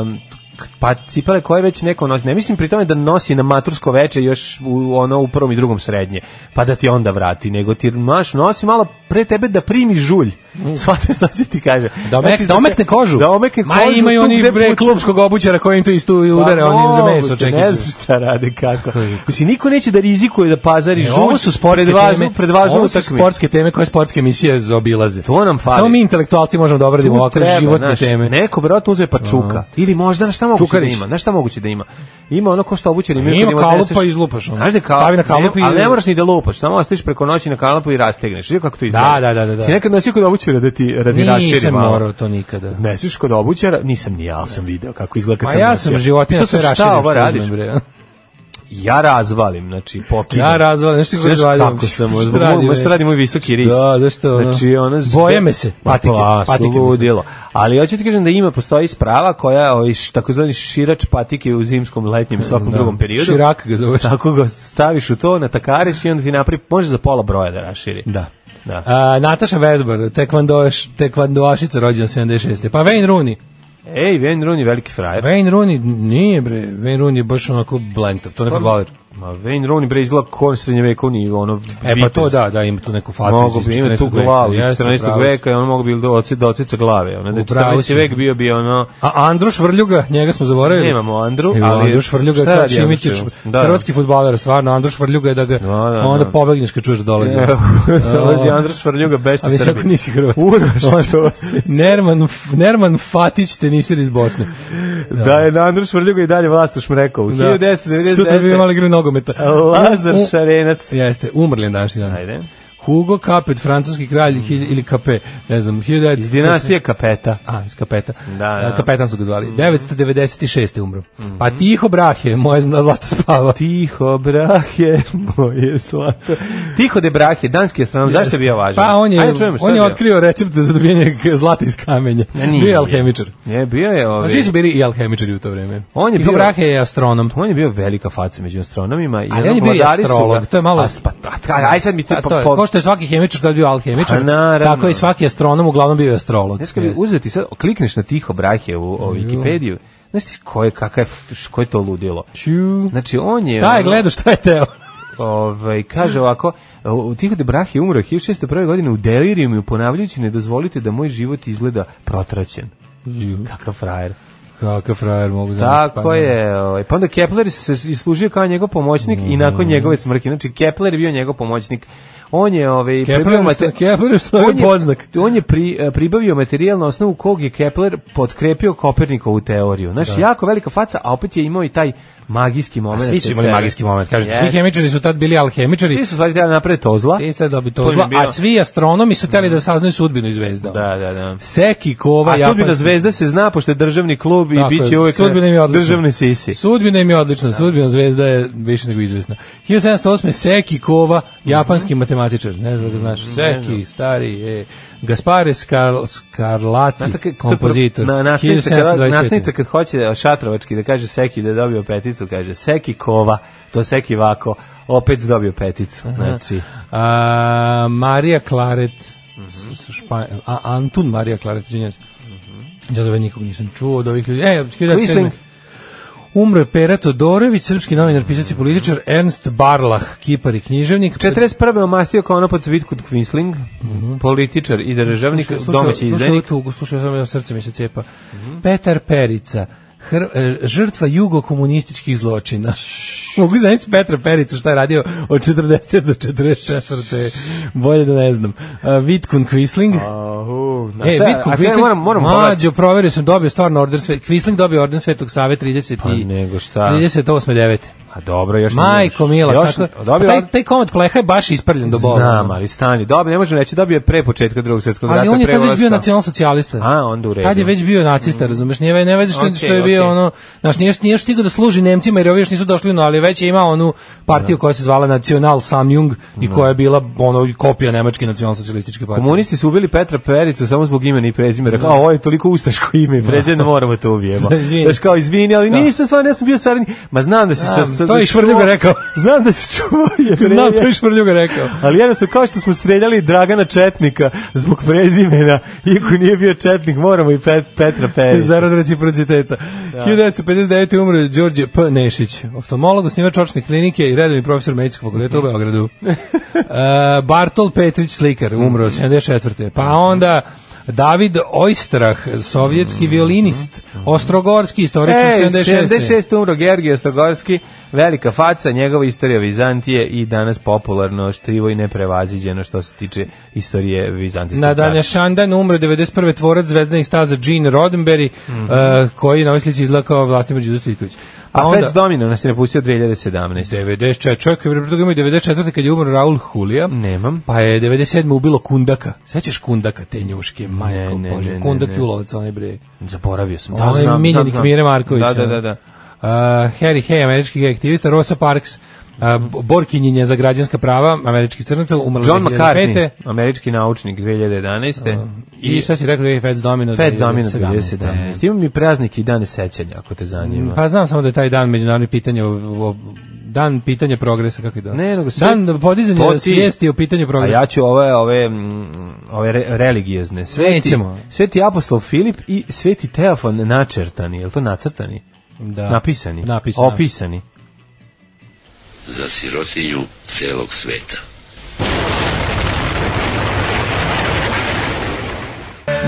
F: um, k- pa cipele koje već neko nosi. Ne mislim pri tome da nosi na matursko veče još u, ono u prvom i drugom srednje, pa da ti onda vrati, nego ti maš nosi malo pre tebe da primi žulj. Shvataš šta se ti kaže?
E: Mm. da, omek,
F: Znači,
E: da
F: se-
E: omekne kožu.
F: Da omekne
E: Ma,
F: kožu.
E: imaju
F: tu
E: oni
F: gde
E: bre
F: puca.
E: klubskog obućara koji im tu istu udare,
F: Pa,
E: on im za
F: moguće,
E: meso čekiće.
F: Ne znam šta rade kako. Mislim, niko neće da rizikuje da pazari
E: E,
F: žulj.
E: Ovo su sportske
F: pred važnu-
E: teme,
F: Pred važnu
E: ovo su
F: utakmicu.
E: sportske teme koje sportske emisije zaobilaze.
F: To nam fali.
E: Samo mi intelektualci možemo da obradimo
F: Tu
E: ovakve
F: treba,
E: životne
F: znaš,
E: teme.
F: Neko verovatno uzme pa čuka. Ili možda, znaš šta moguće
E: Čukarić.
F: da ima? Znaš šta moguće da ima? Ima ono ko što obućari imaju.
E: Ima
F: kad im
E: kalup
F: odneseš-
E: pa izlupaš ono.
F: Znaš da kao,
E: Stavi na kalup
F: ne,
E: i-
F: Ali ne moraš ni da lupaš, samo ostaviš preko noći na kalupu i rastegneš. Vidio kako to izgleda?
E: da, da, da, da.
F: Si nekad nosio kod obućara da ti radi raširi
E: Nisam
F: malo?
E: morao to nikada.
F: Nesiš kod obućara? Nisam ni ja, ali sam video kako izgleda kad
E: Ma
F: sam
E: ja
F: nosio.
E: sam životinja
F: To
E: sve
F: sam šta
E: raširim
F: ovo
E: što
F: radiš?
E: uzmem, bre.
F: Ja razvalim, znači pokidam.
E: Ja razvalim, nešto kako
F: Znaš
E: razvalim.
F: kako sam,
E: Šta
F: možda
E: radi,
F: radi,
E: bre?
F: radi moj visoki ris.
E: Da, da što, ono.
F: Znači, ono... zve-
E: Boje me se,
F: Ma,
E: patike,
F: pa,
E: patike mi se.
F: Sludilo. Ali hoću ti kažem da ima, postoji sprava koja, ovaj, š- takozvani širač patike u zimskom, letnjem i svakom
E: Da.
F: drugom periodu.
E: Širak ga zoveš.
F: Tako ga staviš u to, natakariš i onda ti napravi, može za pola broja da raširi.
E: Da.
F: Da.
E: A, Nataša Vezbar, tekvandoš, tekvandoašica rođena 76. Pa Wayne Rooney.
F: Ej, Wayne Rooney, veliki frajer.
E: Wayne Rooney nije bre, Wayne Rooney je baš onako blentov, to je
F: Pa,
E: neko baler.
F: Ma, Wayne Rooney, bre, izgleda kon srednjevekovni, ono,
E: E pa to
F: vitez.
E: da, da, ima tu neku facu
F: Mogu
E: iz
F: bi imati tu
E: 14.
F: glavu iz
E: Jeste,
F: 14.
E: pravo si.
F: veka i on mogu bi do oci do ocica glave. Ono da
E: Upravo
F: 14.
E: si.
F: vek bio bi ono
E: A Androš Vrljuga, njega smo zaboravili.
F: Nemamo Andru,
E: Evo,
F: ali-
E: Androš Vrljuga
F: Šta
E: je kao
F: radi Andruš
E: Šimićić,
F: Vrljuga? Da, da.
E: hrvatski fudbaler, stvarno Androš Vrljuga je da ga
F: da,
E: onda
F: da.
E: pobegneš kad čuješ da dolazi.
F: Dolazi Androš Vrljuga bešta
E: A već ako
F: Srbi.
E: nisi Hrvat.
F: Uroš,
E: Onda-
F: to si.
E: Nerman, F- Nerman Fatić, tenisir iz Bosne.
F: Da je na Androš Vrljuga i dalje vlast u Šmrekovu.
E: Da.
F: 1999.
E: Sutra bi imali igru nogometa.
F: Lazar
E: U- u-
F: Šarenac.
E: Jeste, umrli je današnji dan.
F: Ajde.
E: Hugo Kapet, francuski kralj hilj- ili Kape, ne znam, 1900...
F: Iz dinastije Kapeta.
E: A, iz kapeta.
F: Da, da. Mhm.
E: A, Kapetan su ga zvali. 996. je umro. Pa tiho brahe, moje zna- zlato spava.
F: Tiho brahe, moje zlato. Tiho de brahe, danski astronom, zašto je bio važan?
E: Pa on je,
F: Ajde, čujemo, šta
E: on je
F: bio?
E: otkrio recept za dobijanje k- zlata iz kamenja.
F: Ne, nije.
E: Bio je alhemičar.
F: Ne, bio je
E: Pa
F: ovaj...
E: svi su bili i alhemičari u to vreme.
F: On je
E: Tiho
F: bio-
E: brahe je astronom.
F: On je bio velika faca među astronomima. i
E: Ali
F: ono,
E: on je bio i
F: vladari su
E: astrolog,
F: ga-
E: to je malo-
F: A, pa, a, aj sad mi ti
E: Pa,
F: po-
E: to je,
F: po-
E: ko što je svaki hemičar tad bio alhemičar,
F: Pa, naravno.
E: tako je i svaki astronom uglavnom bio i astrolog.
F: Znaš kad bi
E: Jeste.
F: uzeti sad, klikneš na tiho brahe u, u Wikipediju, znaš ti koje, kakav, je f- š- koje je to ludilo?
E: Ću.
F: Znači, on je...
E: Taj
F: ono,
E: gledao šta je teo.
F: Ovaj, kaže ovako, u- u Tiho de Brahe je umro 1601. godine u delirijumu ponavljajući ne dozvolite da moj život izgleda protraćen. Kakav frajer.
E: Kakav frajer mogu zamisliti. da.
F: Tako je. ovaj, Pa onda Kepler se s- služio kao njegov pomoćnik i
E: Mhm.
F: nakon njegove smrti. Znači, Kepler je bio njegov pomoćnik. On je ovaj
E: Kepler je
F: pribavio
E: usta- Kepler je ustavio
F: on je-
E: podznak.
F: On je pri, eh, pribavio materijal na osnovu kog je Kepler potkrepio Kopernikovu teoriju. Znači, jako velika faca, a opet je imao i taj magijski moment.
E: Da. Svi su imali
F: Sve.
E: magijski moment, kažete. Svi
F: Jeste.
E: hemičari su tad bili alhemičari.
F: Svi su stvari trebali napraviti to zla.
E: Isto je dobio
F: To
E: to
F: im je
E: zlo, a
F: bilo-
E: svi astronomi su teli da saznaju sudbinu iz zvezda.
F: Da, da, da.
E: Seki Kova,
F: A sudbina
E: japanski-
F: zvezda se zna, pošto je državni klub i
E: Tako
F: bit će
E: je,
F: uvek eh,
E: sudbina im je odlična.
F: državni sisi. Da.
E: Sudbina im je odlična, sudbina zvezda je više nego izvesna. 1708. Seki Kova, japanski matematičar, ne znam da ga znaš, Seki, stari, e, Gaspare Scar, Scarlati,
F: Znaš šta, kad- to je pro-
E: kompozitor,
F: Na, nasnica, kad,
E: 1725.
F: nasnica kad hoće šatrovački da kaže Seki da je dobio peticu, kaže Seki kova, to Seki vako, opet dobio peticu. Znači,
E: A, Marija Klaret, s- s- Špa- a, Antun Marija Klaret, izvinjam se. Ja da nikog nisam čuo od ovih ljudi. E, 1907.
F: Quisling.
E: Umro je Pera Todorović, srpski novinar, pisac i političar, Ernst Barlach, kipar i književnik.
F: 41. omastio ono pod svitku Quisling, Mhm. političar i državnik,
E: Slušaj,
F: domaći
E: Slušaj ovu
F: izdenik.
E: tugu, slušaj, samo jedno srce mi se cepa. Petar Perica, hr, e, žrtva jugokomunističkih zločina. Mogu zamisliti Petra Pericu šta je radio od 40. do 44. Bolje da ne znam. Uh, Vitkun Quisling.
F: Ahu, znaš
E: E,
F: šta,
E: Vitko
F: a čekaj,
E: Quisling,
F: moram, moram pogledati.
E: mađo, proverio sam, dobio stvarno order, sve, Quisling dobio orden Svetog Save 30
F: Pa
E: i...
F: nego šta.
E: 38. 9.
F: A dobro, još nije
E: Majko
F: još.
E: Mila,
F: Još-
E: kako,
F: dobio
E: pa taj,
F: od-
E: taj komad pleha je baš isprljen do bola.
F: Znam, ali stani. Dobro, ne možemo reći, dobio je pre početka drugog svjetskog rata.
E: Ali on je
F: pre
E: tad već bio
F: ulaska.
E: nacionalsocijalista.
F: A, onda u redu. Mm.
E: Tad je već bio nacista, razumeš? Nije, ne veze što,
F: Okej,
E: što je bio
F: okej.
E: ono... Znaš, nije, nije stigao da služi Nemcima jer ovi još nisu došli, no, ali već je imao onu
F: Da.
E: partiju koja se zvala Nacional Samjung i koja je bila ono, kopija Nemačke nacionalsocijalističke partije.
F: Komunisti su ubili Petra Pericu samo zbog imena i prezimena. Kao, ovo je toliko ustaško ime i prezime, da moramo to ubijemo.
E: Izvini.
F: Znaš, kao, izvini, ali nisam stvarno, ja sam bio saradnik. Ma znam da si sa... sa
E: to je
F: da
E: i
F: si
E: Švrljuga
F: čuvao-
E: rekao.
F: Znam da si čuvao jevreje.
E: Znam, to je Švrljuga rekao.
F: Ali jednostavno, kao što smo streljali Dragana Četnika zbog prezimena, iako nije bio Četnik, moramo i Pet, Petra Pericu.
E: Zarad reciprociteta. 1959. umro je Đorđe P. Nešić, oftalmolog, osnivač očne klinike i redovni profesor medicinskog fakulteta u Beogradu. E, Bartol Petrić Slikar, umro 74. Pa onda David Ojstrah, sovjetski violinist, ostrogorski istoričar
F: E,
E: 76.
F: 76. umro Gergij Ostogorski, velika faca, njegova istorija Vizantije i danas popularno štivo i neprevaziđeno što se tiče istorije Vizantijskog
E: Na
F: carstva.
E: današandan umro 91. tvorac zvezdanih staza Gene Roddenberry, e, koji na ovoj slici izgleda kao Vlastimir Đudo Stojković.
F: A onda... Fats Domino nas je napustio 2017.
E: 94. Čovjek je pre toga imao i 94. kad je umro Raul Hulija.
F: Nemam.
E: Pa je 97. ubilo Kundaka. Sećaš Kundaka, te njuške, majko
F: ne,
E: Bože.
F: ne, ne,
E: Kundak
F: ne.
E: Julovac, onaj bre.
F: Zaboravio sam.
E: Onaj miljenik Mire Markovića.
F: Da, da, da. da.
E: Uh, Harry Hay, američki gej aktivista, Rosa Parks, uh, Borkinjenje za građanska prava, američki crnaca, umrla
F: John
E: 2005.
F: McCartney, američki naučnik 2011.
E: Um, I šta si rekao, da je Fats Domino?
F: Fats Domino
E: 2017.
F: 2017. Imam i praznik i dane sećanja, ako te zanima.
E: Pa znam samo da je taj dan međunarodni pitanje o, o- dan pitanja progresa kako je dan.
F: Ne, nego sve-
E: dan podizanja
F: To ti-
E: svijesti o pitanju
F: A
E: progresa.
F: ja ću ove ove mm, ove re, religiozne. Sveti,
E: Nećemo.
F: Sveti apostol Filip i Sveti Teofan načrtani, jel to nacrtani?
E: da.
F: Napisani.
E: Napisani.
F: Opisani.
I: za sirotinju celog sveta.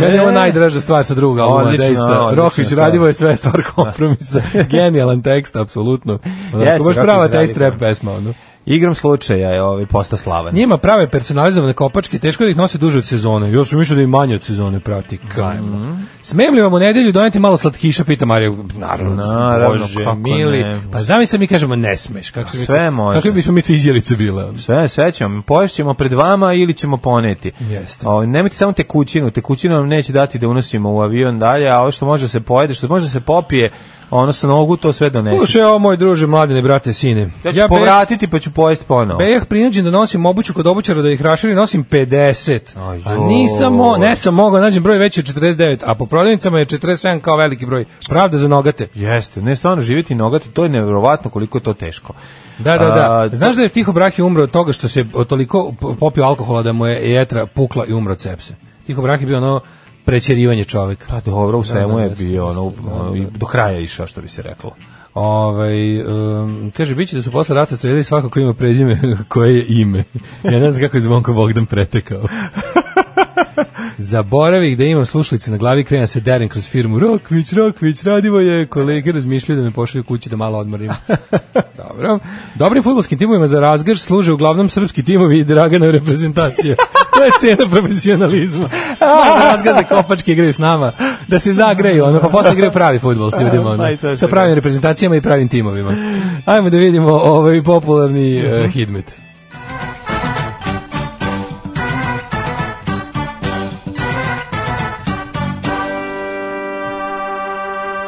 E: Meni
F: E.
E: je ovo najdraža stvar sa druga albuma,
F: Odlična,
E: deista.
F: odlična
E: Rokvić
F: stvar.
E: Radivo je sve stvar
F: Da.
E: kompromisa. Genijalan tekst, apsolutno.
F: Jeste,
E: Onako, baš
F: Rokvić da.
E: prava
F: Radivo.
E: tekst rap pesma. Ono.
F: Igrom slučaja je ovaj posta slavan.
E: Njima prave personalizovane kopačke, teško da ih nose duže od sezone. Još sam mislio da i manje od sezone prati. Kajmo.
F: Mhm.
E: Smem li vam u nedelju doneti malo slatkiša, pita Marija. Naravno,
F: Naravno,
E: bože,
F: kako
E: mili.
F: ne. Pa
E: Pa zamisli mi kažemo, ne smeš. Kako bi-
F: Sve može.
E: Kako bismo mi to izjelice bile? ono?
F: Sve, sve ćemo, poješćemo pred vama ili ćemo poneti.
E: Jeste.
F: O, nemojte samo tekućinu, tekućinu vam neće dati da unosimo u avion dalje, a ovo što može da se pojede, što može da se popije, ono sa nogu, to sve donesi.
E: Slušaj, ovo moj druže, mladine, brate, sine.
F: Ja ću
E: Ja bez-
F: povratiti pa ću pojesti ponovo.
E: Bejah prinuđen da nosim obuću kod obućara da ih raširi, nosim 50. A nisam, mo, ne sam mogao, da nađem broj veći od 49, a po prodavnicama je 47 kao veliki broj. Pravda za nogate.
F: Jeste, ne stvarno živjeti nogati, to je nevjerovatno koliko je to teško.
E: Da, da,
F: A,
E: da. Znaš da je Tiho Brahi umro od toga što se od toliko p- popio alkohola da mu je jetra pukla i umro od sepse. Tiho Brahi je bio ono prećerivanje čoveka.
F: Pa dobro, u svemu
E: da,
F: je
E: jeste,
F: bio,
E: jeste,
F: ono,
E: da, da,
F: i
E: da.
F: do kraja išao, što bi se reklo.
E: Ovaj um, kaže biće da su posle rata streljali svako ko ima prezime koje je ime. Ja ne znam kako je Zvonko Bogdan pretekao. Zaboravih da imam slušalice na glavi, krenem se derem kroz firmu. Rokvić, Rokvić, radimo je. Kolege razmišljaju da me pošalju kući da malo odmorim. Dobro. Dobrim futbolskim timovima za razgrš služe uglavnom srpski timovi i Draganov reprezentacija. To je cena profesionalizma. Malo razga za kopačke igraju s nama. Da se zagreju, ono, pa posle igraju pravi futbol s ljudima. Ono,
F: Pa i to je
E: sa
F: tako.
E: pravim reprezentacijama i pravim timovima. Ajmo da vidimo ovaj popularni
F: Mhm.
E: eh, hidmet.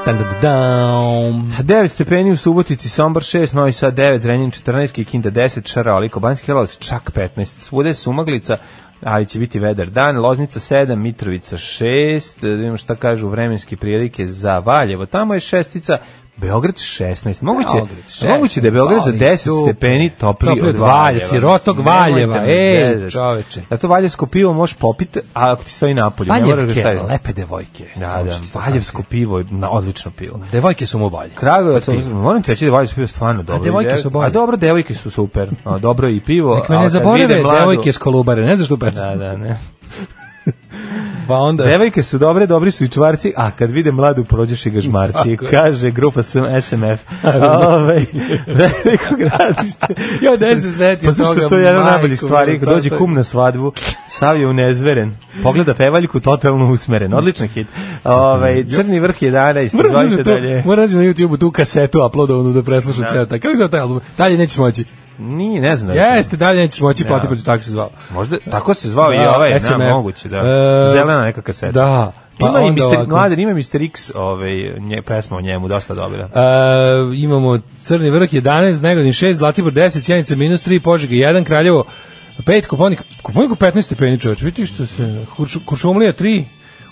E: Dan, dan, dan.
F: 9 Pa stepeni u Subotici, Sombor 6, Novi Sad 9, Zrenjanin 14, Kikinda 10, Šaralik, Banski Karlovac čak 15. Svude sumaglica, ali će biti vedar dan, Loznica 7, Mitrovica 6, da vidimo šta kažu vremenske prilike za Valjevo. Tamo je šestica, Beograd 16. Moguće,
E: Beograd 16,
F: moguće da je Beograd za
E: ali
F: 10
E: tu-
F: stepeni topliji
E: topliji
F: od
E: od Valjeva,
F: Valjeva.
E: sirotog
F: Mislim,
E: Valjeva,
F: nemojte me
E: ej,
F: zezati.
E: čoveče.
F: Zato valjevsko pivo možeš popiti, a ako ti stoji napolju. ne moraš ga
E: Valjevke,
F: staviti.
E: lepe devojke.
F: Da,
E: Samo što to
F: da, valjevsko pivo je na, odlično pivo.
E: Devojke su mu bolje.
F: Kragujevac,
E: Od piva.
F: moram ti reći da Valjevsko pivo stvarno dobro.
E: Pa devojke
F: ide.
E: su bolje.
F: A dobro, devojke su super. A, dobro je i pivo.
E: Nek me
F: ali
E: ne
F: kad
E: zaborave
F: vide mladu-
E: devojke s kolubare, ne znaš što pesmu.
F: Da, da, ne. Da.
E: Pa onda...
F: Devojke su dobre, dobri su i čvarci, a kad vide mladu prođeš i ga žmarci.
E: Tako je.
F: Kaže grupa SM- SMF. Ove, Ovaj, veliko gradište.
E: Ja ne se setim
F: Pa zašto
E: toga,
F: to je jedna od
E: majko
F: najboljih stvari,
E: moja,
F: kad
E: to-
F: dođe
E: to-
F: kum na svadbu, sav je unezveren, pogleda pevaljku totalno usmeren, odličan hit. Ove, crni vrh 11,
E: Moram da uzmem
F: izvolite
E: to,
F: dalje.
E: moram da nađem na YouTube-u tu kasetu uploadovanu da preslušam ceo taj. Kako se zove taj album? Dalje nećeš moći.
F: Nije, ne znam.
E: Jeste, dalje nećeš moći,
F: Da.
E: plati prođu, tako se zvao.
F: Možda, tako se zvao i
E: Da,
F: ovaj,
E: SMF.
F: na, moguće, da.
E: E,
F: Zelena neka kaseta.
E: Da.
F: Pa ima i
E: onda
F: Mr.
E: ovako.
F: Mladen, ima Mr. X, ovaj, nje, pesma o njemu, dosta dobra.
E: E, imamo Crni vrh 11, Negodin 6, Zlatibor 10, Sjenica minus 3, Požega 1, Kraljevo 5, Koponik, Koponik u 15 stepeni čoveč, vidi što se, Kurš, Kuršumlija 3,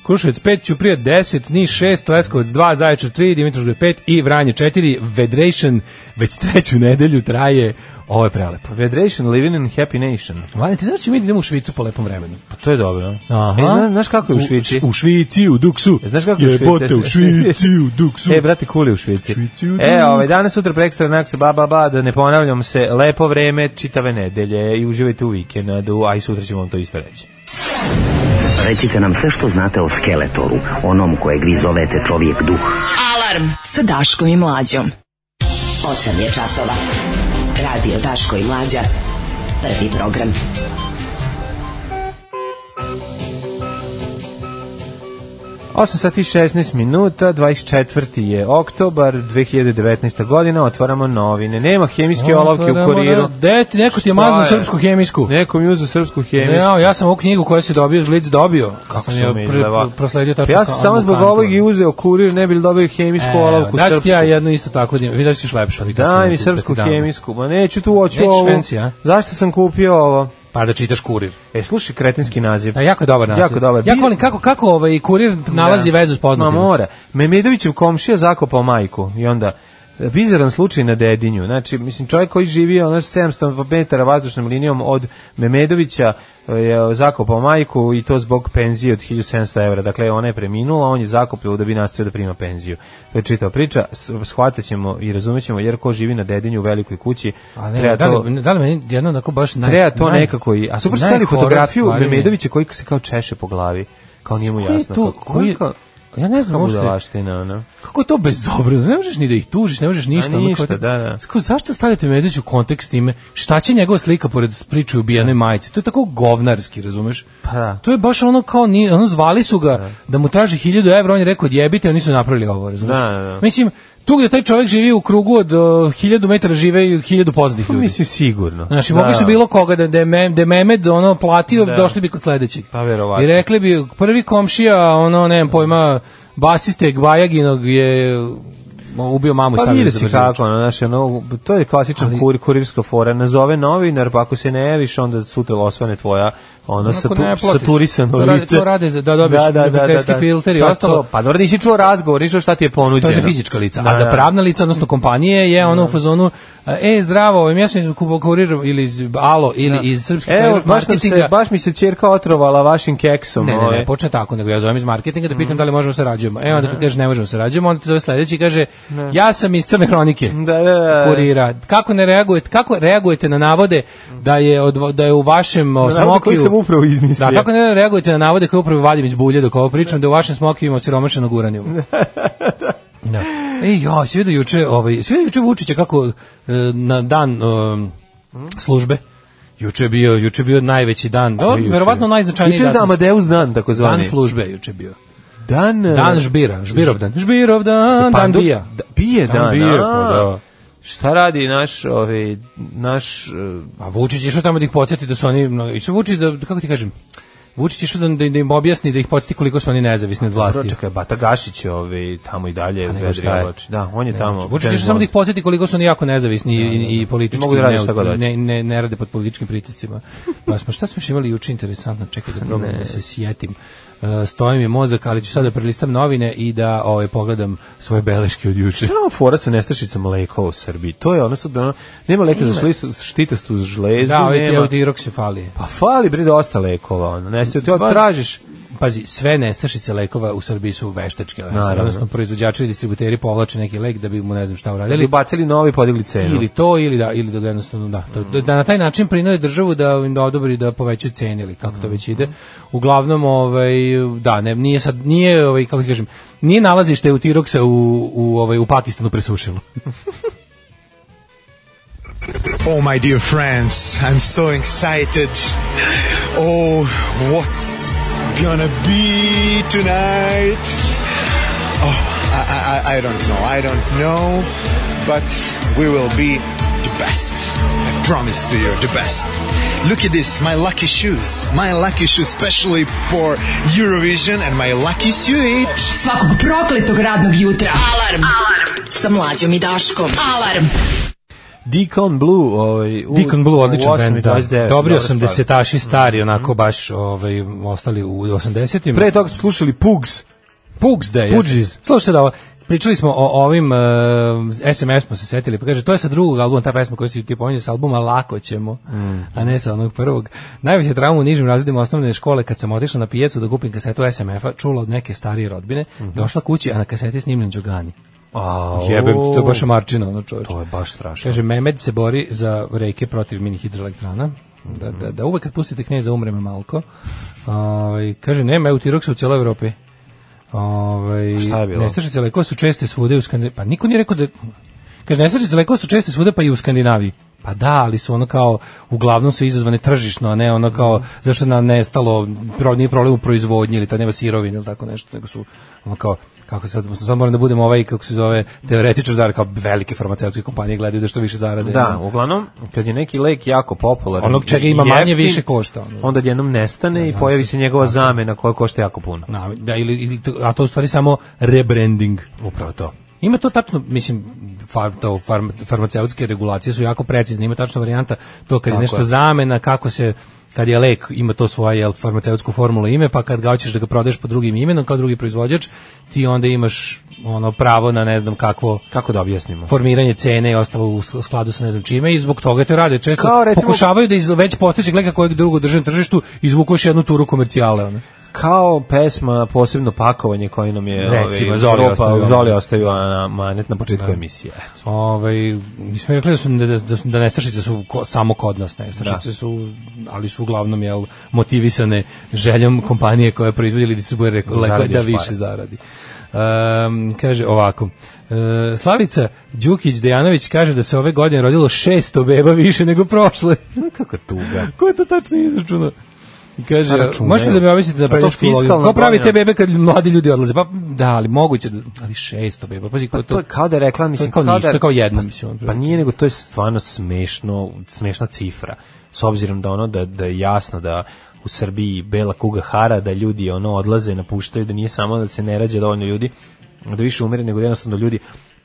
E: Kruševac 5, Ćuprija 10, Niš 6, Leskovac 2, Zaječar 3, Dimitrovgrad 5 i Vranje 4, Vedration već treću nedelju traje, ovo je prelepo.
F: Vedration, Living in Happy Nation.
E: Mlade, ti znaš će mi idemo u Švicu po lepom vremenu?
F: Pa to je dobro. E, zna, znaš kako je u Švici?
E: U, Švici, u Duksu.
F: Znaš kako je u Švici?
E: Jebote, u Švici, u Duksu.
F: E, brate, kuli u Švici.
E: Švici u
F: e,
E: duks.
F: ovaj, danas, sutra, prekstra, nakon, ba, ba, ba, da ne ponavljam se, lepo vreme, čitave nedelje i uživajte u vikendu, a i sutra ćemo vam to isto reći.
J: Recite nam sve što znate o Skeletoru, onom kojeg vi zovete čovjek duh.
D: Alarm sa Daškom i Mlađom.
K: 8 je časova. Radio Daško i Mlađa. Prvi program.
F: Osam sati i 16 minuta, 24. je oktobar 2019. godina, otvaramo novine. Nema hemijske olovke u kuriru.
E: Deti, neko ti je
F: Šta
E: mazno
F: je?
E: srpsku hemijsku.
F: Neko mi je uzeo srpsku hemijsku.
E: Ja, ja sam ovu knjigu koju si dobio, Žlic dobio. Kako sam
F: su
E: je
F: mi
E: pr-
F: izleva-
E: pr- prosledio
F: Pa
E: tačno.
F: ja sam
E: kao
F: samo
E: onu
F: zbog
E: kantu.
F: ovog i uzeo kurir, ne bi li dobio hemijsku olovku
E: daš ti
F: srpsku.
E: ja jednu isto tako, da vidiš ćeš lepšu. ali kako
F: Daj
E: ne
F: mi
E: ti-
F: srpsku
E: da ti dam.
F: hemijsku. Ma neću tu oću
E: Nećeš
F: ovu.
E: fancy, a?
F: Zašto sam kupio ovo?
E: Pa da čitaš kurir.
F: E, slušaj kretinski naziv.
E: Da, jako je dobar naziv.
F: Jako dobar.
E: Jako
F: Bi-
E: volim kako, kako ovaj kurir nalazi
F: Da.
E: vezu s poznatim.
F: Ma mora. Memedovićev komšija zakopao majku i onda bizaran slučaj na Dedinju. Znači, mislim, čovjek koji živi ono 700 metara vazdušnom linijom od Memedovića e, je zakopao majku i to zbog penzije od 1700 evra. Dakle, ona je preminula, a on je zakopio da bi nastavio da prima penziju. To je čitava priča, S- shvatat ćemo i razumet ćemo, jer ko živi na Dedinju u velikoj kući,
E: A ne,
F: treba
E: da,
F: to...
E: li, da li meni jedno onako baš naj...
F: Treba to
E: naj-
F: nekako i... A super stavili
E: najhoror
F: fotografiju
E: stvari mi je-
F: Memedovića koji se kao češe po glavi. Kao nije mu
E: Koji je
F: jasno.
E: tu,
F: Kao,
E: koji,
F: kako- da
E: ja ne znam
F: Samo
E: uopšte,
F: budalaština, ono.
E: Kako je to bezobrazno? Ne možeš ni da ih tužiš, ne možeš ništa.
F: A
E: ono,
F: ništa,
E: kao-
F: da, da.
E: Kao, zašto stavljate Medić u kontekst time? Šta će njegova slika pored priče o ubijenoj majici? To je tako govnarski, razumeš?
F: Da. Pa da.
E: To je baš ono kao, ni, ono zvali su ga da, mu traži 1000 evra, on je rekao odjebite, oni su napravili ovo, razumeš?
F: Da, da, da.
E: Mislim, tu gde taj čovjek živi u krugu od uh, 1000 metara žive i 1000 poznatih ljudi.
F: Pa Mislim sigurno.
E: Znači, mogli su bilo koga da, da, je Mem- da je Mehmed ono platio,
F: Da.
E: došli bi kod sledećeg.
F: Pa, verovatno.
E: I rekli bi, prvi komšija, ono, nemam pojma, basiste Gbajaginog je mo, ubio mamu i
F: Pa
E: stavio
F: vidi
E: za
F: se
E: brzač.
F: kako, ono, znaš, ono, to je klasičan
E: da Ali-
F: kur, kurirska fora. Nazove novinar, pa ako se ne javiš, onda sutra osvane tvoja, ono,
E: Ako
F: sa, tu,
E: ne platiš.
F: saturisano
E: To rade-
F: lice.
E: to rade za- da dobiješ neprijateljski filter i
F: Pa to,
E: ostalo.
F: Pa dobro, nisi čuo razgovor, nisi čuo šta ti je
E: To
F: ponuđeno.
E: je za fizička lica,
F: Da,
E: a za
F: da.
E: pravna lica, odnosno kompanije, je ono u fazonu, e, zdravo, ovaj, ja sam kupo kurir ili iz Alo, ili iz Srpske
F: Da. Evo,
E: telegraf
F: baš, nam se,
E: marketinga.
F: baš mi se čerka otrovala vašim keksom.
E: Ne, ne,
F: ovaj. Mhm.
E: da ne, počne tako, nego ja zovem iz marketinga da pitam da li možemo sarađujemo. E, onda kad kaže ne možemo sarađujemo, onda te zove sledeći i kaže, Ja sam iz Crne Hronike.
F: Da, da, da.
E: Kurira. Kako ne reagujete, kako reagujete na navode da je od, da je u vašem o,
F: Na navode da, koji
E: smokiju-
F: sam upravo izmislio.
E: Da, kako ne reagujete na navode koje upravo vadim iz bulje dok ovo pričam da u vašem smokiju ima siromašenog uranijuma. Da. E, ja, svi vidio juče, ovaj, svi vidio juče Vučića kako e, na dan um, službe. Juče je bio, juče je bio najveći dan. Da,
F: Koji juče?
E: verovatno najznačajniji
F: Juče je
E: datum.
F: Amadeus dan, takozvani.
E: Dan službe je juče bio.
F: Dan, e,
E: Dan žbira, žbirov dan. Žbirov dan, dan
F: Pandu-
E: bija.
F: Da, bije dan,
E: bija,
F: a.
E: pa da.
F: Šta radi naš, ovaj, naš... e,
E: A Vučić je što tamo da ih podsjeti da su oni, no, i što Vučić da, kako ti kažem, Vučić je što da, da, da im objasni, da ih podsjeti koliko su oni nezavisni od vlasti.
F: Čekaj, Bata Gašić je ovaj, tamo i dalje.
E: A nego
F: vedri
E: šta je?
F: oblači. Da, on je
E: Ne,
F: tamo.
E: znači, Vučić je
F: James
E: što samo da
F: Bond.
E: ih podsjeti koliko su oni jako nezavisni i- i, i politički
F: Mogu da rade šta god
E: ne,
F: hoće.
E: ne, ne, ne rade pod političkim pritiscima. Pa smo šta smo još imali juče interesantno, čekaj da probam
F: Ne.
E: da se sjetim. E, stoji mi mozak, ali ću sad da prelistam novine i da ovaj, pogledam svoje beleške od juče.
F: Šta je ono fora sa nestašicom leka u Srbiji? To je ono sad, ono, nema leka za šlis- štitastu žlezdu,
E: Da, ovaj
F: nema...
E: teodirok se fali.
F: Pa fali bre dosta lekova, ono, nestaju, ti
E: Pa-
F: tražiš,
E: Pazi, sve nestašice lekova u Srbiji su veštačke. lekove.
F: Naravno.
E: Odnosno, proizvođači i distributeri povlače neki lek da bi mu ne znam šta uradili.
F: ili bacili novi, podigli cenu.
E: Ili to, ili da, ili da ga jednostavno da. To- Da, da na taj način prinudi državu da im da odobri da povećaju cene ili kako to već ide. Uglavnom, ovaj, da, ne, nije sad, nije, ovaj, kako ti kažem, nije nalazište u Tiroksa u, u, ovaj, u Pakistanu presušilo.
L: Oh, my dear friends, I'm so excited. Oh, what's gonna be tonight? Oh, I, I- I, I don't know. I don't know, but we will be the best. I promise to you, the best. Look at this, my lucky shoes. My lucky shoes, especially for Eurovision and my lucky suit.
D: Svakog prokletog radnog jutra. Alarm. Alarm. Sa mlađom i Daškom. Alarm.
F: Deacon Blue, ovaj, u,
E: Deacon Blue, odličan
F: u
E: band, da. Dobri
F: 8.29, dobra stvar. Mhm.
E: 80-aši stari, onako baš ovaj, ostali u 80-im.
F: Pre toga smo slušali Pugs,
E: Pugs da je.
F: Pugis.
E: Slušajte da ovo, pričali smo o ovim e, SMS smo se setili, pa kaže, to je sa drugog albuma, ta pesma koju si ti pominjao sa albuma Lako ćemo, a ne sa onog prvog. Najveća trauma u nižim razredima osnovne škole kad sam otišla na pijecu da kupim kasetu SMF-a, čula od neke starije rodbine, došla kući, a na kaseti je snimljen Đogani.
F: A,
E: Jebem ti, to je baš
F: o,
E: marčina, ono čovječ.
F: To je baš strašno.
E: Kaže, Mehmed se bori za reke protiv mini hidroelektrana. Da, da, da, uvek kad pustite knjeza umre me malko. Ovaj, kaže, nema eutiroksa u cijeloj Evropi. Ovaj,
F: A šta je bilo?
E: Nestašice lekova su česte svude u Skandinaviji. Pa niko nije rekao da... Kaže, nestašice lekova su česte svude pa i u Skandinaviji. Pa da, ali su ono kao, uglavnom su izazvane tržišno, a ne ono kao, zašto nam nestalo, pro, nije problem u proizvodnji ili ta nema sirovine ili tako nešto, nego su ono kao, kako sad, sad moram da budem ovaj, kako se zove, teoretičar, da, kao velike farmaceutske kompanije gledaju da što više zarade.
F: Da, uglavnom, kad je neki lek jako popularan,
E: Onog čega
F: i
E: ima manje,
F: jeftin,
E: više košta, ono. Da,
F: Onda jednom nestane i pojavi se njegova zamena koja košta jako puno.
E: Na, da, ili, ili, to- a to u stvari samo rebranding.
F: Upravo to.
E: Ima to tačno, mislim, far, to, farm, farmaceutske regulacije su jako precizne, ima tačna varijanta to kad je
F: Tako
E: nešto
F: je.
E: zamena, kako se kad je lek, ima to svoje jel, farmaceutsku formulu ime, pa kad ga hoćeš da ga prodeš pod drugim imenom, kao drugi proizvođač, ti onda imaš ono pravo na ne znam kakvo
F: Kako da objasnimo?
E: formiranje cene i ostalo u s- u skladu sa ne znam čime i zbog toga to rade. Često
F: Kao, recimo-
E: pokušavaju da iz već postojećeg leka kojeg drugo drže na tržištu izvuku još jednu turu komercijale. Ono.
F: kao pesma posebno pakovanje koje nam je
E: Recimo,
F: ovaj,
E: Zoli
F: Europa-
E: ostavio. Da.
F: Zoli ostavio na manet na početku emisije. Eto.
E: Ovaj nismo rekli da su da, da, su- da nestašice su ko, samo kod nas
F: Da.
E: nestašice su ali su uglavnom jel motivisane željom kompanije koja proizvodi ili distribuira reko-
F: Da
E: lekove
F: zaradi
E: da
F: još
E: više
F: pare.
E: zaradi. Ehm, kaže ovako. e, Slavica Đukić Dejanović kaže da se ove godine rodilo 600 beba više nego prošle.
F: Kako tuga.
E: Ko je to tačno izračunao? Kaže,
F: Računaju.
E: možete da mi objasnite
F: A
E: da
F: Pa to
E: pređeš
F: fiskalna
E: Ko pravi te
F: godina.
E: bebe kad mladi ljudi odlaze? Pa da, ali moguće da, ali 600 beba. Pazi, ko
F: To je kao da je rekla, mislim,
E: kao ništa,
F: da-
E: to kao jedna, mislim,
F: Pa nije, nego to je stvarno smešno, smešna cifra. S obzirom da ono, da, da je jasno da u Srbiji bela kuga hara, da ljudi ono odlaze, napuštaju, da nije samo da se ne rađa dovoljno ljudi, da više umire, nego da jednostavno ljudi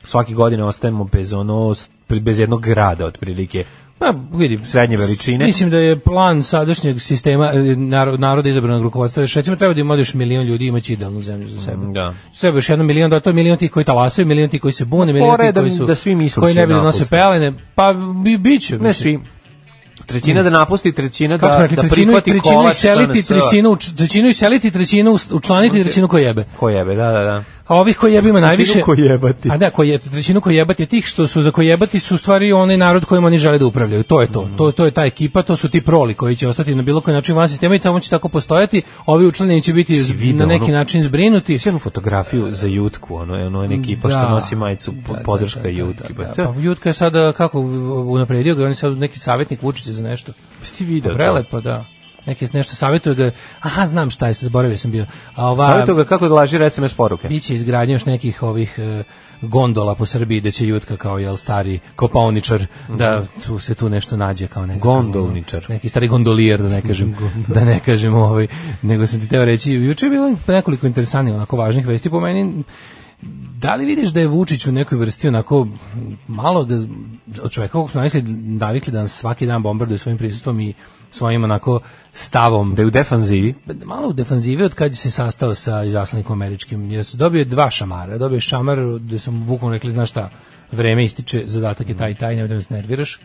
F: svake godine ostajemo bez ono, bez jednog grada otprilike
E: Pa vidim,
F: srednje veličine.
E: Mislim da je plan sadašnjeg sistema e, naro- naroda izabranog rukovodstva. Šećemo treba da ima još milion ljudi imaći idealnu zemlju za sebe.
F: Da.
E: Sebe još jedno milion, da to je milion tih koji talasaju, milion tih koji se bune, milion
F: Fora je
E: tih
F: da-
E: koji su
F: da svi misle
E: koji
F: da će
E: ne bi da nose
F: napustiti.
E: pelene, pa bi biće.
F: Ne
E: mislim.
F: svi. Trećina da napusti, trećina
E: Kako smo
F: da,
E: rekli,
F: da
E: trećinu,
F: prihvati
E: trećinu
F: kolač da.
E: iseliti,
F: SNS-a.
E: trećinu, uč- trećinu iseliti, trećinu us- učlaniti, trećinu koje jebe.
F: Ko jebe, da, da, da.
E: A ovih koji jebima
F: Trećinu
E: najviše...
F: koji jebati.
E: A da, koji je, trećinu koji jebati, tih što su za koji jebati su u stvari onaj narod kojim oni žele da upravljaju. To je to. To, to je ta ekipa, to su ti proli koji će ostati na bilo koji način van sistema i tamo će tako postojati. Ovi učlanjeni će biti
F: Si
E: na
F: vidio
E: neki
F: onu-
E: način zbrinuti.
F: Sjednu fotografiju za Jutku, ono, ono je ekipa
E: Da.
F: što nosi majicu po-
E: Da, da,
F: podrška
E: da, da,
F: Jutki.
E: da,
F: Pa
E: da.
F: to-
E: Pa Jutka je sada kako unapredio ga, on je sad neki savjetnik Vučića za nešto.
F: Pa si ti video to?
E: Prelepo, da. Neki nešto savjetuje ga. Aha, znam šta je, zaboravio sam bio. A ova
F: Savjetuju ga kako da laži SMS poruke.
E: Biće izgradnja još nekih ovih e, gondola po Srbiji da će Jutka kao jel stari kopaoničar da tu se tu nešto nađe kao neki gondolničar. Neki stari gondolijer da ne kažem da ne kažem ovaj nego sam ti teo reći juče je bilo nekoliko interesantnih onako važnih vesti po meni da li vidiš da je Vučić u nekoj vrsti onako malo da od čoveka kog smo najviše navikli da nas svaki dan bombarduje svojim prisustvom i svojim onako stavom
F: Da je u defanzivi.
E: malo u defanzivi od kad je se sastao sa izaslanikom američkim, jer se dobio je dva šamara, dobio je šamar gde su mu bukvalno rekli, znaš šta, vreme ističe, zadatak je taj i taj, nemoj da me se nerviraš.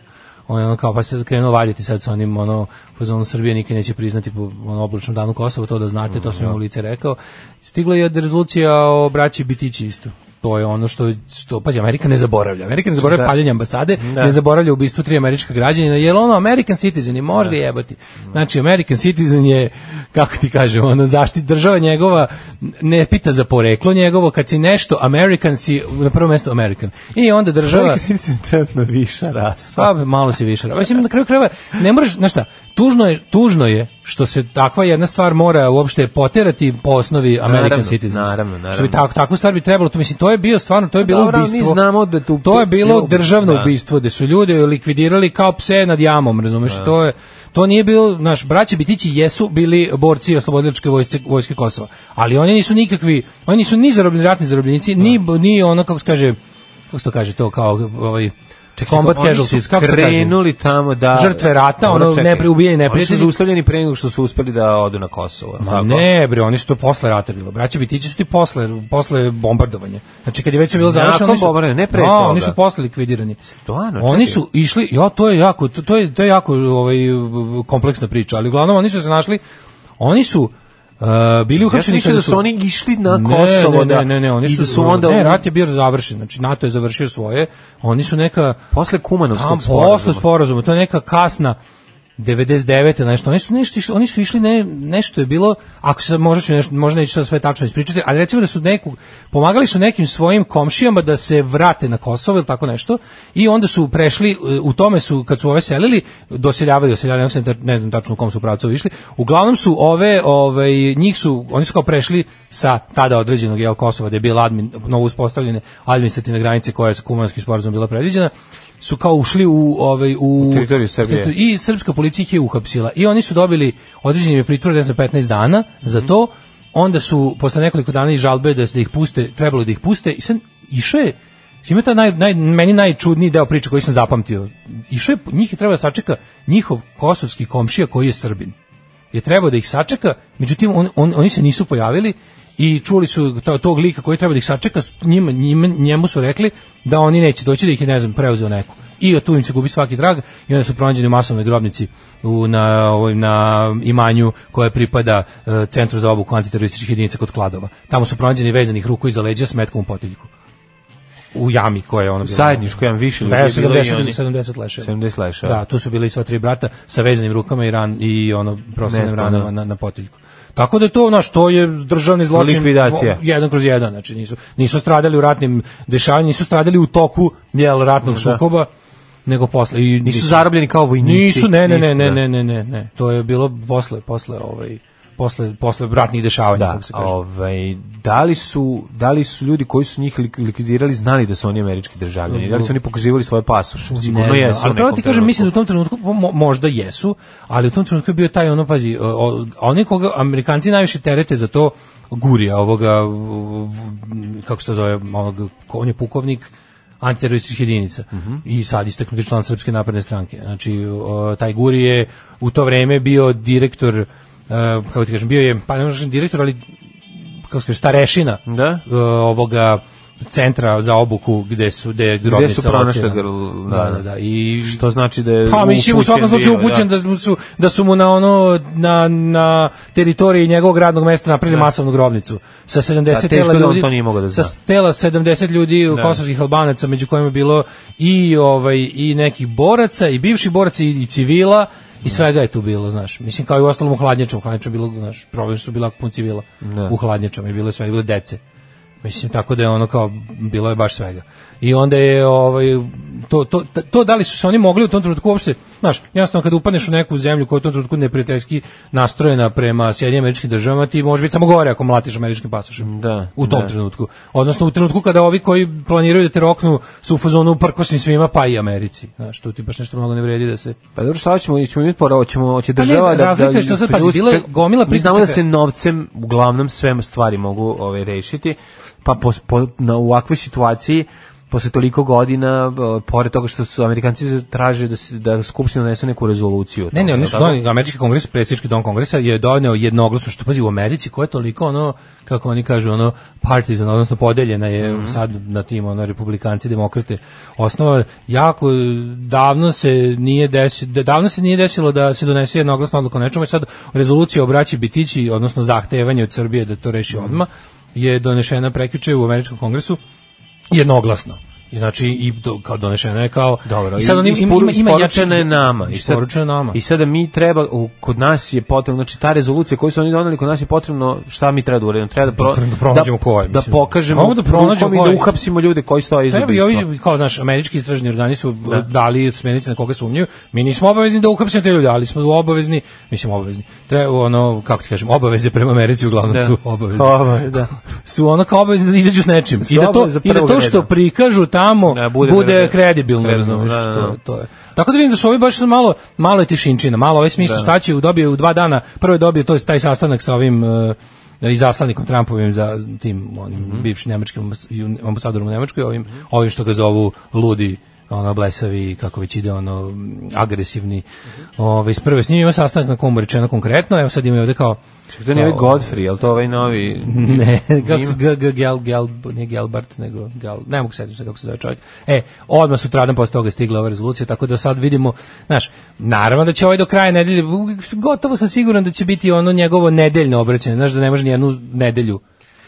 E: On je ono kao, pa se krenuo valjati sad sa onim, ono, fazonu Srbije nikad neće priznati po ono, oblačnom danu Kosovo, to da znate, to sam im u lice rekao. Stigla je da rezolucija o braći Bitići isto. To je ono što, što pazi, Amerika ne zaboravlja. Amerika ne zaboravlja
F: Da.
E: paljenje ambasade,
F: Da.
E: ne zaboravlja ubistvo tri američka građanina, jer ono American citizen i može ga jebati. Znači, American citizen je, kako ti kažem, ono, zaštit država njegova ne pita za poreklo njegovo, kad si nešto American si, na prvo mesto American. I onda država...
F: Velika silica je trenutno viša rasa.
E: Da. Pa malo si više. Mislim na kraju krajeva ne moraš, znaš šta, tužno je, tužno je što se takva jedna stvar mora uopšte poterati po osnovi American
F: Naravno,
E: citizens.
F: naravno, naravno.
E: Što bi tako takvu stvar bi trebalo, to mislim to je bio stvarno, to je bilo
F: Dobro, ali mi
E: ubistvo.
F: znamo da tu-
E: to je bilo
F: tu-
E: državno
F: da.
E: ubistvo gde su ljude likvidirali kao pse nad jamom, razumeš?
F: Da.
E: To je To nije bilo, naš braća Bitići jesu bili borci oslobodilačke vojske, vojske Kosova, ali oni nisu nikakvi, oni nisu ni zarobljeni ratni zarobljenici, ni,
F: Da.
E: ni ono, kako se kaže, kako se to kaže to, kao ovaj, combat
F: Znači, Oni su
E: casualties, kako se to kaže?
F: krenuli tamo da
E: Žrtve rata,
F: Dobro,
E: ono,
F: čekaj.
E: nepri- ubijeni neprijatelji.
F: Oni su zaustavljeni pre nego što su uspeli da odu na Kosovo.
E: Ma
F: tako?
E: ne, bre, oni su to posle rata bilo. Braća Bitići su ti posle, posle bombardovanja. Znači, kad je već sve bilo
F: Nakon
E: završeno, oni su,
F: bombardovanja, ne pre
E: Da,
F: toga.
E: oni su posle likvidirani.
F: Stvarno,
E: Oni
F: čekaj.
E: su išli, ja, to je jako, to, to je, to je jako ovaj, kompleksna priča, ali uglavnom oni su se našli, oni su Uh, bili
F: Ja sam
E: uhapšeni
F: mislio
E: kada
F: da
E: su
F: su oni išli na Kosovo
E: ne, ne,
F: da-
E: ne, ne, oni
F: i
E: su,
F: da su onda
E: ne,
F: u-
E: rat je bio završen znači NATO je završio svoje oni su neka
F: Posle Kumanovskog
E: Tam,
F: sporazuma.
E: Posle sporazuma, to je neka kasna 99. nešto, oni su, nešto, išli- oni su išli ne, nešto je bilo, ako se možda ću nešto, možda neću sad sve tačno ispričati, ali recimo da su neku, pomagali su nekim svojim komšijama da se vrate na Kosovo ili tako nešto i onda su prešli, e, u tome su, kad su ove selili, doseljavali, doseljavali, ne znam, tač- ne znam tačno u kom su pravcu išli, uglavnom su ove, ovaj, njih su, oni su kao prešli sa tada određenog jel, Kosova, da je bila admin, novo uspostavljene administrativne granice koja je sa kumanskim sporazumom bila predviđena, su kao ušli u ovaj u
F: teritoriju Srbije.
E: teritoriju- i srpska policija ih je uhapsila i oni su dobili određeni je pritvor ne znam 15 dana
F: Mhm.
E: za to onda su posle nekoliko dana i žalbe da, se- da ih puste trebalo da ih puste i sad išao je Ima ta naj, naj, meni najčudniji deo priče koji sam zapamtio. Išao je, njih je trebao da sačeka njihov kosovski komšija koji je Srbin je trebao da ih sačeka, međutim on, on, oni se nisu pojavili i čuli su to, tog lika koji treba da ih sačeka, njima, njima, njemu su rekli da oni neće doći da ih je, ne znam, preuzeo neko. I od tu im se gubi svaki drag i onda su pronađeni u masovnoj grobnici u, na, ovoj- na imanju koja pripada e, Centru za obuku antiterorističkih jedinica kod Kladova. Tamo su pronađeni vezanih ruku iza leđa s metkom u potiljku. U jami koja je ono bila.
F: Zajedničko, jedan više ljudi je
E: Da,
F: bilo i
E: 70,
F: oni.
E: 70 leševa.
F: 70 leševa.
E: Da, tu su bili sva tri brata sa vezanim rukama i ran i ono prostranim
F: Metkom,
E: ranama
F: da.
E: na, na potiljku. Tako da je to, znaš, to je državni zločin.
F: Likvidacija.
E: o, Jedan kroz jedan, znači nisu, nisu stradali u ratnim dešavanjima, nisu stradali u toku jel, ratnog sukoba, nego posle. I,
F: Da. Nisu
E: mislim,
F: zarobljeni kao vojnici.
E: Nisu, ne, ne, ne,
F: ništa,
E: ne,
F: da.
E: ne, ne, ne, ne. To je bilo posle, posle, ovaj, posle, posle ratnih dešavanja,
F: Da,
E: kako se kaže.
F: ovaj, da, li su, da li su ljudi koji su njih lik- likvidirali znali da su oni američki državljani? Da li su oni pokazivali svoje pasoše? Sigurno
E: Ne znam,
F: jesu u
E: ali pravo
F: nekom
E: ti kažem, mislim da u
F: trenutku.
E: tom trenutku mo- mo- možda jesu, ali u tom trenutku je bio taj ono, pazi, o- o- oni koga Amerikanci najviše terete za to gurija ovoga, v- v- kako se to zove, onog, ko- on je pukovnik antiterorističkih jedinica
F: Mhm.
E: i sad istaknuti član Srpske napredne stranke. Znači, o, taj guri je u to vreme bio direktor, e, kako ti kažem, bio je, pa ne možeš direktor, ali kako se kaže, starešina
F: Da?
E: e, ovoga centra za obuku gde su gde je grobnica
F: su pronašle
E: locirana.
F: grl- da,
E: da, da,
F: da.
E: da, i
F: Što znači da je
E: pa mislim u svakom
F: upućen
E: slučaju
F: bio,
E: upućen da. mu su da su mu na ono na na teritoriji njegovog radnog mesta napravili
F: Da.
E: masovnu grobnicu sa 70
F: Da, teško
E: tela
F: da on
E: ljudi
F: to nije mogao da zna.
E: sa tela 70 ljudi
F: Da.
E: kosovskih Albanaca među kojima je bilo i ovaj i nekih boraca i bivši boraca i, i civila i svega je tu bilo, znaš. Mislim kao i u ostalom u hladnjačama, u hladnjačama je bilo, znaš, problem su bila pun civila.
F: Da.
E: U hladnjačama je bilo sve, bilo je dece. Mislim tako da je ono kao bilo je baš svega. I onda je ovaj to, to, to da li su se oni mogli u tom trenutku uopšte, znaš, jednostavno kada upadneš u neku zemlju koja je u tom trenutku neprijateljski nastrojena prema Sjedinjenim američkim državama, ti možeš biti samo gore ako mlatiš američkim pasošem.
F: Da,
E: u tom
F: da.
E: trenutku. Odnosno u trenutku kada ovi koji planiraju da te roknu su u fazonu prkosim svima pa i Americi. Znaš, tu ti baš nešto mnogo ne vredi da se
F: Pa dobro, šta ćemo, ćemo imati pora, ćemo, će
E: Pa ne,
F: država da...
E: razlika
F: da-
E: je što sad, pazi, bila je gomila
F: Mi znamo da
E: pritisaka.
F: se novcem, uglavnom, sve stvari mogu ove, rešiti, pa po, po, na, u ovakvoj situaciji, posle toliko godina, e, pored toga što su Amerikanci traže da, se, da Skupština donese neku rezoluciju. o
E: Ne, ne,
F: tome,
E: oni
F: jel
E: su
F: tako?
E: doneli, američki kongres, predsjednički dom kongresa je doneo jednoglasno, što pazi, u Americi koja je toliko ono, kako oni kažu, ono partizan, odnosno podeljena je
F: Mhm.
E: sad na tim, ono, republikanci, demokrate osnova, jako davno se nije desilo, davno se nije desilo da se donese jednoglasna odluka o nečemu i sad rezolucija o braći Bitići, odnosno zahtevanje od Srbije da to
F: Mhm.
E: reši odmah, je donešena prekjuče u američkom kongresu jednoglasno. I znači i do, kao donešena je kao
F: Dobro,
E: i sad oni ima ima ima jače
F: isporučena je nama. I sad-
E: isporučena je nama.
F: I sada mi treba, u, kod nas je potrebno, znači ta rezolucija koju su oni doneli, kod nas je potrebno, šta mi treba da uradimo? Treba da, pro,
E: Da pronađemo
F: da,
E: ko je,
F: Da
E: mislim.
F: pokažemo,
E: Samo da pronađemo
F: rukom i
E: ko je.
F: da uhapsimo ljude koji stoje iz
E: Treba i
F: ubistva.
E: ovi, kao naš, američki istražni organi su
F: Da.
E: e, dali smernice na koga sumnjaju. Mi nismo obavezni da uhapsimo te ljude, ali smo obavezni, mislim obavezni. Treba, ono, kako ti kažem, obaveze prema Americi uglavnom
F: Da.
E: su obavezni.
F: Obave- da.
E: Su ono kao obavezni da izađu s nečim.
F: Su
E: I da to,
F: obaveze
E: i da
F: prvog
E: to što
F: reda.
E: prikažu tamo
F: Da, bude
E: bude,
F: kredibilno.
E: kredibilno,
F: Kredibilno,
E: razumeš,
F: da, da, da.
E: to je- to je. Tako da vidim da su ovi baš sad malo, malo je tišinčina, malo ovaj smisli
F: Da.
E: šta će u dobije u dva dana, prvo je dobio to je taj sastanak sa ovim e, izaslanikom Trumpovim za tim onim
F: Mhm.
E: bivšim nemačkim ambas- ju- ambasadorom u Nemačkoj, ovim, ovim što ga zovu ludi ono blesavi kako već ide ono m, agresivni.
F: Mhm.
E: Ovaj prvo s njim ima sastanak na komu je rečeno konkretno, evo sad imaju ovde kao
F: To nije ovaj
E: kao-
F: Godfrey, je li to ovaj novi?
E: ne, kako se
F: Ima?
E: G, G, Gel, Gel, ne Gelbart, nego Gel, ne mogu setiti se kako se zove čovjek. E, odmah sutradan posle toga je stigla ova rezolucija, tako da sad vidimo, znaš, naravno da će ovaj do kraja nedelje, gotovo sam siguran da će biti ono njegovo nedeljno obraćanje, znaš, da ne može ni jednu nedelju,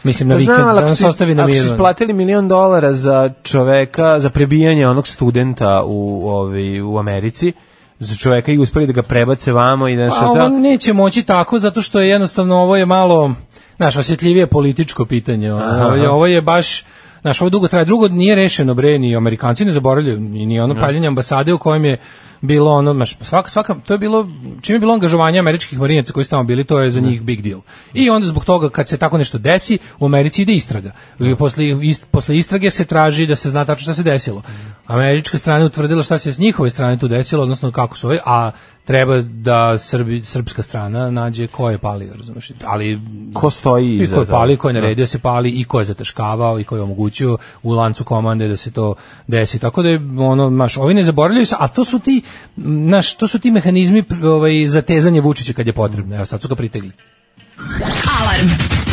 E: mislim na
F: Pa
E: vikend,
F: znam, ali
E: da
F: ako
E: nas
F: si-
E: ostavi na
F: ako
E: miru.
F: su isplatili milion dolara za čoveka, za prebijanje onog studenta u, ovi, u Americi, za čoveka i uspeli da ga prebace vamo i da
E: Pa,
F: nešto
E: ovo
F: da...
E: neće moći tako, zato što je jednostavno ovo je malo, znaš, osjetljivije političko pitanje. Ono,
F: Aha.
E: Ovo je, ovo je baš, znaš, ovo dugo traje. Drugo, nije rešeno, bre, ni Amerikanci ne zaboravljaju, ni, ni ono paljenje ambasade u kojem je bilo ono, znaš, svaka, svaka, to je bilo, čim je bilo angažovanje američkih marinaca koji su tamo bili, to je za njih big deal. I onda zbog toga, kad se tako nešto desi, u Americi ide istraga. I posle, ist, posle istrage se traži da se zna tačno šta se desilo. Američka strana je utvrdila šta se s njihove strane tu desilo, odnosno kako su ove, a treba da Srbi, srpska strana nađe ko je palio, razumeš? Ali
F: Ko stoji
E: i
F: iza
E: ko je
F: da.
E: palio, ko je naredio da se pali i ko je zataškavao i ko je omogućio u lancu komande da se to desi. Tako da je ono, maš, ovi ne zaboravljaju se, a to su ti, m, znaš, to su ti mehanizmi pr- ovaj, za tezanje Vučića kad je potrebno. Evo, sad su ga pritegli.
D: Alarm.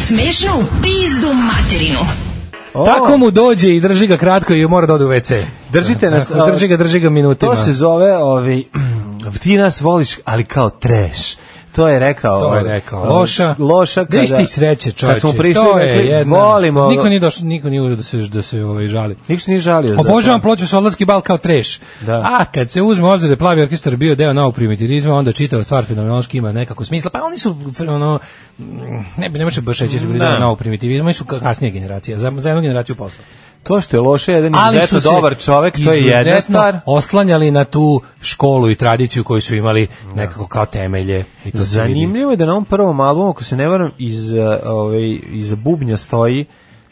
D: Smešno u pizdu materinu.
F: O,
E: Tako mu dođe i drži ga kratko i mora da ode u WC.
F: Držite nas,
E: Tako, Da, drži ga, drži ga minutima.
F: Da. To se zove, ovi, ti nas voliš, ali kao trash. To je rekao.
E: To je
F: ovi,
E: rekao.
F: ovi,
E: Loša.
F: Da. Loša kada...
E: Vidiš ti sreće, čoveče.
F: Kad smo prišli, znači,
E: to
F: rekli,
E: je jedna.
F: volimo.
E: Niko nije došao, niko nije uđeo da se da se ovaj žali.
F: Niko se nije žalio. za to.
E: Obožavam ploču Solarski bal kao treš.
F: Da.
E: A kad se uzme u obzir da je plavi orkestar bio deo novog primitivizma, onda čitava stvar fenomenološki ima nekako smisla. Pa oni su f- ono mm, ne bi ne može baš reći da su bili
F: Da.
E: deo novog primitivizma, oni su ka- kasnija generacija, za, za jednu generaciju posla.
F: To što je loše, jedan
E: Ali
F: izuzetno
E: su se
F: dobar čovek, to je jedna
E: izuzetno
F: stvar.
E: oslanjali na tu školu i tradiciju koju su imali nekako kao temelje. I to se vidi.
F: Zanimljivo je da na ovom prvom albumu, ako se ne varam, iz, eh, ovaj, iz bubnja stoji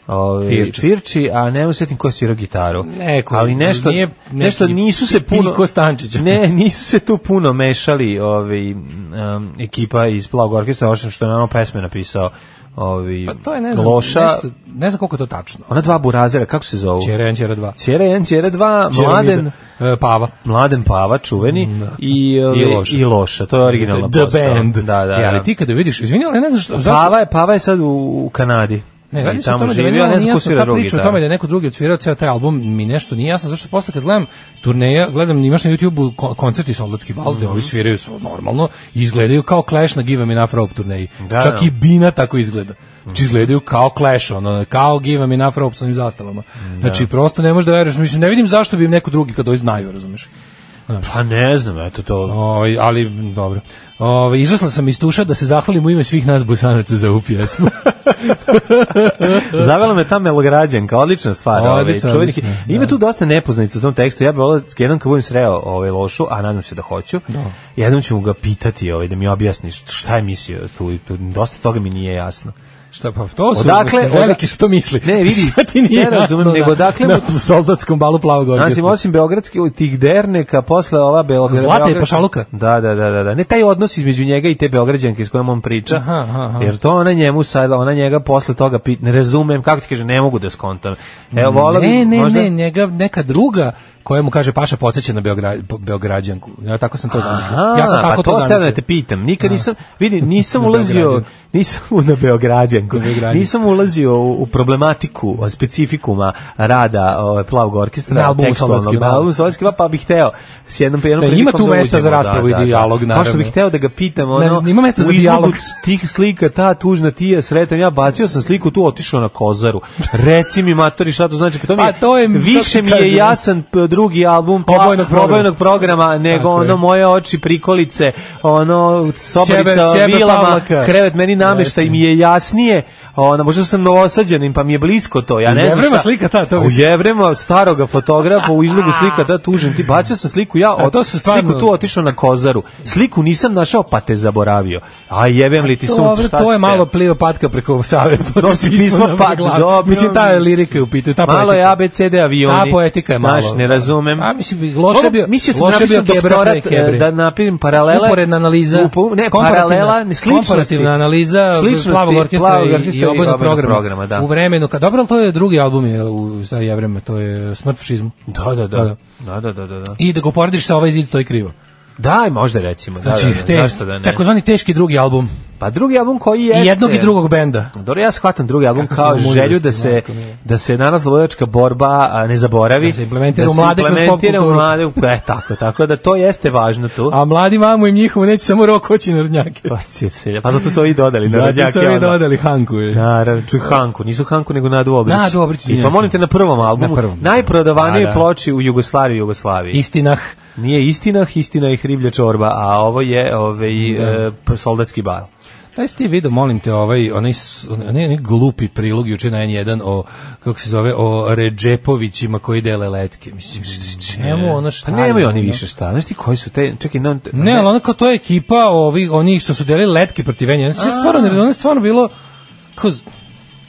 F: ovaj,
E: Firči.
F: Firči. a ne usetim ko je svirao gitaru.
E: Neko,
F: Ali nešto,
E: nije neki
F: nešto nisu se puno...
E: Piko Stančić.
F: Ne, nisu se tu puno mešali ovaj, um, ekipa iz Plavog orkestra, osim što je na ono pesme napisao ovaj,
E: Pa to je ne znam,
F: Loša.
E: nešto, ne znam koliko je to tačno.
F: Ona dva burazera, kako se zovu?
E: Čera 1, Čera 2.
F: Čera 1, Čera 2,
E: da-
F: Mladen...
E: e, Pava.
F: Mladen Pava, čuveni, i, ovaj,
E: Da. Loša.
F: i Loša, to je originalna
E: The
F: postava.
E: Band.
F: Da, da,
E: E, ali
F: da.
E: ti kada vidiš, izvini, ali ne znam što, zašto,
F: Pava je, Pava je sad u, u Kanadi.
E: Ne,
F: i
E: radi se o
F: tamo
E: tome da
F: živio,
E: meni
F: a
E: malo nije
F: ne znam ko
E: jasno
F: svira
E: ta
F: drugi,
E: priča o
F: da.
E: tome da je neko drugi odsvirao ceo taj album, mi nešto nije jasno, zašto posle kad gledam turneja, gledam imaš na YouTube koncerti Soldatski bal,
F: Mhm.
E: gde ovi sviraju su normalno, i izgledaju kao Clash na Give Me Enough Rope turneji.
F: Da,
E: Čak
F: da. Mhm.
E: i Bina tako izgleda. Znači izgledaju kao Clash, ono, kao Give Me Enough Rope sa onim zastavama. Znači prosto ne možeš da veruješ, mislim, ne vidim zašto bi im neko drugi kad ovi znaju, razumeš?
F: Pa ne znam, eto to.
E: Ovaj, ali m, dobro. Ovaj izašla sam iz tuša da se zahvalim u ime svih nas bosanaca za ovu pjesmu.
F: Zavela me ta melograđanka, odlična stvar. Ovaj,
E: e, Odlična,
F: čuveni
E: odlična, da.
F: hit. Ima tu dosta nepoznanica u tom tekstu. Ja bih volao jednom kad budem sreo ovaj lošu, a nadam se da hoću.
E: Da.
F: Jednom ćemo ga pitati, ovaj da mi objasniš šta je mislio tu, i tu dosta toga mi nije jasno.
E: Šta pa to su
F: Odakle-
E: mislim, veliki su to misli.
F: Ne, vidi,
E: Šta ti nije
F: sve razumem,
E: jasno
F: nego
E: na-
F: dakle
E: na,
F: mu-
E: soldatskom balu plavog
F: Znači,
E: orkestra.
F: osim beogradske tih derneka, posle ova beogradska...
E: Zlata i pašaluka?
F: Da, da, da, da, da. Ne taj odnos između njega i te beograđanke s kojom on priča.
E: Aha, aha, aha.
F: Jer to ona njemu sad, ona njega posle toga pit, ne razumem, kako ti kaže, ne mogu da skontam. Evo, vola
E: ne,
F: bi,
E: ne,
F: možda...
E: ne, njega neka druga koja mu kaže Paša podsjeća na Beogra- Beograđanku. Ja tako sam to zamislio.
F: Aha,
E: ja sam tako
F: pa to sad da
E: zamislio.
F: te pitam. Nikad
E: Da.
F: nisam, vidi, nisam
E: Na
F: ulazio,
E: Beograđanku.
F: nisam u- na Beograđanku,
E: Na Beograđanku.
F: nisam ulazio u, u problematiku, o specifikuma rada ovaj, Plavog orkestra,
E: Na albumu
F: tekstualnog,
E: Soldatski
F: na
E: bal.
F: albumu Soldatski bal, pa bih hteo s jednom, jednom
E: Da, ima
F: prilikom
E: tu
F: da
E: mesta za
F: uđemo,
E: raspravu i dijalog,
F: Kao što
E: naravno.
F: bih hteo da ga pitam, ono,
E: Ne, ima mesta
F: u
E: za
F: izlogu
E: dijalog.
F: tih slika, ta tužna tija, sretan, ja bacio sam sliku tu, otišao na kozaru. Reci mi, matori, šta to znači? Pa to mi je,
E: Pa to je,
F: više
E: kako
F: mi je
E: kažem,
F: jasan p- drugi album Pla-
E: Obojnog programa.
F: obojnog programa nego
E: Tako je.
F: ono moje oči prikolice, ono sobarica
E: Ćebe- ćebe
F: vilama,
E: Pavlaka.
F: krevet meni nameštaj mi je jasnije. Ona možda sam novosađanin, pa mi je blisko to. Ja
E: U
F: ne znam.
E: Jevrema
F: šta-
E: slika ta, to
F: U
E: misliš?
F: Jevrema staroga fotografa u izlogu slika ta tužen ti bacio sam sliku ja,
E: A
F: od,
E: to su
F: sliku
E: stvarno-
F: tu otišao na Kozaru. Sliku nisam našao, pa te zaboravio. A jebem li ti sunce,
E: Dobro,
F: šta
E: to
F: si
E: je
F: te?
E: malo plio patka preko da Save. To
F: To
E: su
F: si
E: pismo
F: pismo
E: na
F: pa-
E: glavi.
F: dobro.
E: Mislim, ta je lirika je u pitanju. Ta
F: Malo je
E: poetika.
F: ABCD avioni.
E: Ta poetika je malo. da.
F: Znaš, ne razumem.
E: A mislim, loše
F: Ono,
E: bio-
F: mislio sam
E: loše
F: da
E: bio
F: napišem
E: Gebra
F: doktorat,
E: pre Gebre.
F: e, da napišem paralele.
E: Uporedna analiza,
F: Upo- ne,
E: komparativna-
F: paralela, ne, sličnosti.
E: komparativna analiza
F: Sličnosti
E: plavog orkestra,
F: Plavog
E: i, i obojnog programa.
F: programa, da.
E: U vremenu, kad, dobro, ali to je drugi album je u taj je vreme, to je Smrt fašizmu.
F: Da, da, da.
E: Da, da.
F: Da, da, da, da. da.
E: I da ga uporediš sa ovaj zid, to je krivo.
F: Daj, možda recimo.
E: Znači,
F: da, da, da,
E: te-
F: zašto da ne?
E: takozvani teški drugi album.
F: Pa drugi album koji je...
E: I jednog i drugog benda.
F: Dobro, ja shvatam drugi album
E: Kako
F: kao
E: smo mudrosti,
F: želju da se
E: majko mila.
F: da se danas slobodačka borba a, ne zaboravi.
E: Da se implementira u mlade kroz pop
F: implementira u
E: kulturu.
F: mlade, u- e, tako, tako da to jeste važno tu.
E: A mladi mamu im njihovu neće samo rok hoći narodnjake.
F: Pa, će se- pa zato su ovi dodali.
E: Zato
F: narodnjake,
E: su ovi
F: ono.
E: dodali Hanku. je.
F: Naravno, čuj Hanku, nisu Hanku nego Nadu Obrić.
E: Nadu Obrić,
F: I pa
E: izvinjam se.
F: molim te na prvom albumu,
E: Na prvom.
F: najprodavanije
E: Da, da.
F: ploči u Jugoslaviji, i Jugoslaviji.
E: Istinah.
F: Nije istina, istina i hriblja čorba, a ovo je ovaj
E: Da.
F: e, p- soldatski bal.
E: Pa Taj si ti vidio, molim te, ovaj, onaj, s- onaj, onaj glupi prilog juče na N1 o, kako se zove, o Ređepovićima koji dele letke. Mislim, š- čemu ono šta?
F: Pa nemaju
E: je,
F: oni
E: ono?
F: više šta. Znaš ti koji su te, čekaj, non,
E: Ne, ali ono kao to je ekipa ovi, oni što su delili letke protiv N1. Znači, stvarno, ne, ono je stvarno bilo, kao, z-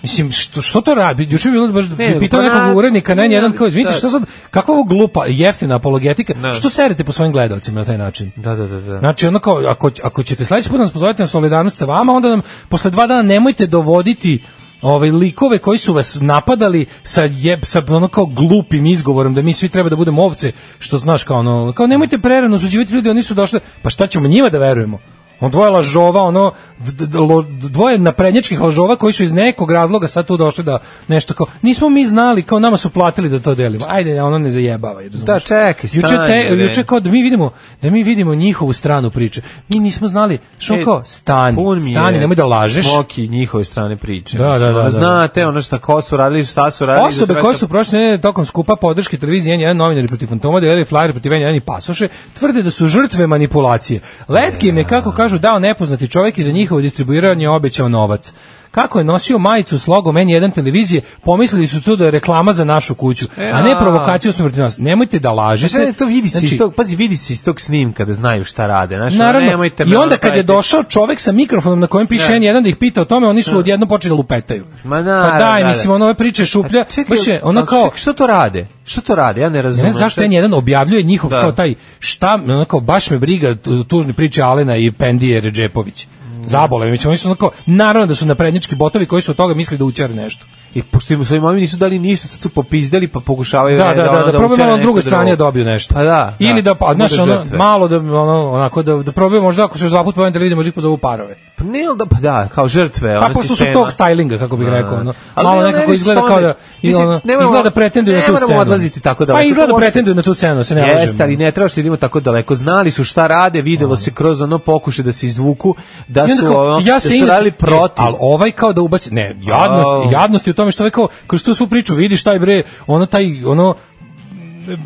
E: Mislim, što, što to radi? Juče je bilo baš,
F: Ne,
E: pitao
F: pa na-
E: nekog urednika na N1, kao, izvinite,
F: da.
E: što sad, kako ovo glupa, jeftina apologetika,
F: Da.
E: što serete po svojim gledalcima na taj način?
F: Da, da, da, da.
E: Znači, ono kao, ako, ako ćete sledeći put nas pozovete na solidarnost sa vama, onda nam posle dva dana nemojte dovoditi ovaj likove koji su vas napadali sa jeb sa ono kao glupim izgovorom da mi svi treba da budemo ovce što znaš kao ono kao nemojte prerano osuđivati ljudi oni su došli pa šta ćemo njima da verujemo on dvoje lažova ono d- d- d- lo- dvoje naprednjačkih lažova koji su iz nekog razloga sad tu došli da nešto kao nismo mi znali kao nama su platili da to delimo ajde ono ne zajebavaj razumeš?
F: Da, čekaj,
E: Juče,
F: stani,
E: te,
F: bre.
E: juče kao da mi vidimo da mi vidimo njihovu stranu priče. Mi nismo znali što
F: E,
E: kao stani,
F: pun mi je
E: stani, nemoj da lažeš.
F: Smoki njihove strane priče.
E: Da,
F: Mislim,
E: da, da,
F: ono,
E: da.
F: Znate ono šta, ko su radili, šta su radili. da
E: Osobe
F: se
E: koje
F: vratim-
E: su prošle nedelje tokom skupa podrške televizije N1 novinari protiv Fantoma, delili flyer protiv N1 i pasoše, tvrde da su žrtve manipulacije. Letke im je, kako kažu, dao nepoznati čovjek i za njihovo distribuiranje obećao novac. Kako je nosio majicu s logom N1 televizije, pomislili su to da je reklama za našu kuću, a ne
F: E, a.
E: provokacija usmrti nas. Nemojte da lažete.
F: Znači, to vidi se
E: Znači,
F: iz tog, pazi, vidi se iz tog snimka da znaju šta rade. Znaš, ono,
E: Naravno,
F: nemojte
E: i
F: me
E: onda kad je
F: napraviti-
E: došao čovek sa mikrofonom na kojem piše
F: Da.
E: N1 da ih pita o tome, oni su odjedno počeli da lupetaju.
F: Ma
E: Pa
F: naravno,
E: daj,
F: da,
E: mislim,
F: da.
E: ono ove priče šuplja,
F: A čekaj,
E: baš je ono
F: ali
E: kao,
F: čekaj, Što to rade? Što to rade? Ja ne
E: ne
F: razumem.
E: znam zašto
F: Šta-
E: N1 objavljuje njihov
F: Da.
E: kao taj šta, ono kao, baš me briga tu- tužne priče Alena i Pendije Ređepović. Zabole, mi oni su onako, naravno da su naprednički botovi koji su od toga misli da učare nešto.
F: I pošto im svojim mami nisu dali ništa, sad su popizdali pa pokušavaju
E: da,
F: ne,
E: da, da,
F: ono
E: da, probaj
F: učine
E: malo na
F: nešto
E: drugoj
F: drugo.
E: strani da dobiju nešto.
F: Pa da.
E: Ili da, pa, znaš,
F: Bude
E: ono,
F: žrtve.
E: malo da, ono, onako, da, da probaju možda ako se još dva puta povijem televiziju, možda ih pozovu parove.
F: Pa ne, ali da, pa da, kao žrtve.
E: Pa
F: ono,
E: pošto su
F: sistema.
E: tog stylinga, kako bih
F: Da.
E: rekao, ono,
F: Ali
E: malo
F: ne, ne,
E: nekako
F: ne,
E: izgleda kao da, i
F: mislim,
E: ono,
F: ne moramo-
E: izgleda da pretenduju na tu scenu.
F: Ne moramo odlaziti tako daleko.
E: Pa izgleda
F: To
E: da
F: uopšte-
E: pretenduju na tu scenu, se ne lažemo.
F: Jeste, ali ne trebaš da idemo tako daleko. Znali su šta rade, videlo se kroz ono pokušaj da se izvuku, da
E: I onda
F: su
E: kao,
F: ono,
E: ja
F: da
E: se
F: su
E: inače-
F: radili
E: e,
F: protiv.
E: ali ovaj kao da ubaci, ne,
F: Au.
E: jadnost, jadnost je u tome što ovaj kao, kroz tu svu priču vidiš taj bre, ono taj, ono,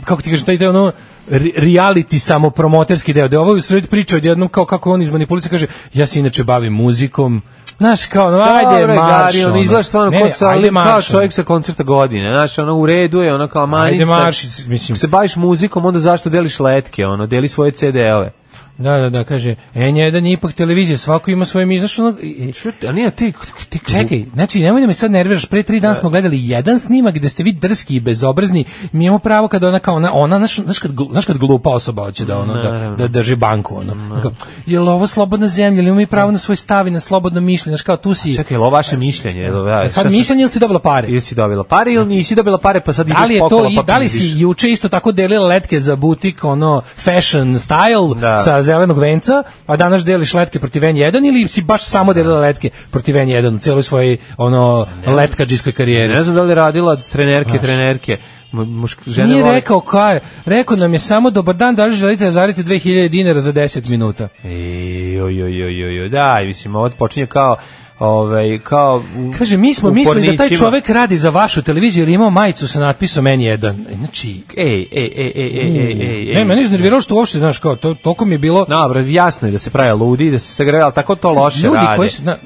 E: kako ti kažem, taj, taj ono, re- reality samopromoterski deo, da je ovo u sred priče odjednom kao kako on iz manipulice kaže, ja se inače bavim muzikom, Znaš, kao, no, ajde,
F: Dobro,
E: ovaj da marš,
F: Gari, on
E: ono.
F: izlaš stvarno
E: Ne,
F: ko
E: ne,
F: sa
E: ajde,
F: ali kao
E: marš, ono.
F: čovjek sa koncerta godine, znaš, ono u redu je, ono kao manić.
E: Ajde,
F: sad-
E: marš, mislim.
F: Ako se baviš muzikom, onda zašto deliš letke, ono, deli svoje CD-ove.
E: Da, da, da, kaže, N1 je ipak televizija, svako ima svoje mi, znaš, ono... i- i-
F: A nije ti, ti
E: Čekaj, znači, nemoj da me sad nerviraš, pre tri dana smo gledali jedan snimak gde ste vi drski i bezobrazni, mi imamo pravo kada ona kao, ona, ona znaš, znaš, kad, glu- znaš kad glupa osoba hoće da, ono, da,
F: Naravno.
E: da drži banku, ono, Kao, je li ovo slobodna zemlja, ili imamo mi pravo na svoj stav i na slobodno mišljenje, znaš, kao tu si...
F: Čekaj, je li ovo vaše mišljenje? Je li ovo-
E: E,
F: šta
E: sad
F: sam-
E: mišljenje ili si dobila pare?
F: Ili si dobila pare ili nisi dobila pare, pa sad ideš
E: Da li je to
F: pokola,
E: i
F: pa
E: da li si
F: pizdiš.
E: juče isto tako delila letke za butik ono fashion style
F: Da.
E: sa zelenog venca, a danas deliš letke protiv N1 ili si baš samo delila letke protiv N1 u celoj svojoj ono letkadžijskoj karijeri?
F: Ne znam da li je radila od trenerke, trenerke. Mu- Mušk, žene
E: Nije
F: vole-
E: rekao ka je, rekao nam je samo dobar dan, da li želite da zaradite 2000 dinara za 10 minuta?
F: Ej, joj, joj, joj, joj, joj, da, i mislim, ovo počinje kao, ovaj, kao... u-
E: Kaže, mi smo
F: u
E: mislili da taj
F: pornićima.
E: čovek radi za vašu televiziju jer je imao majicu sa natpisom N1. Znači,
F: Ej, ej, ej, ej, ej, ej, ej, ej.
E: ne, meni je iznerviralo što uopšte, znaš, kao, to, toliko mi je bilo...
F: Dobro, jasno je da se prave ludi, da se sagrava, ali tako to loše
E: ljudi
F: rade.
E: koji su, na,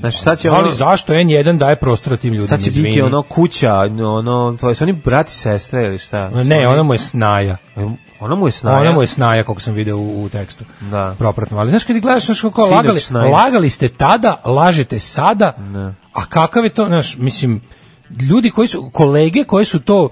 F: Znači, sad će ono...
E: ali zašto N1 daje prostor tim ljudima?
F: Sad će
E: izvini?
F: biti ono kuća, ono, to su oni brati sestre ili šta?
E: Ne, ona mu je snaja.
F: Ona mu je snaja.
E: Ona mu je snaja, kako sam video u, u tekstu.
F: Da.
E: Propratno. Ali znaš, kad gledaš, znaš kako
F: Sinoć
E: lagali,
F: snaja.
E: lagali ste tada, lažete sada,
F: Ne.
E: a kakav je to, znaš, mislim, ljudi koji su, kolege koji su to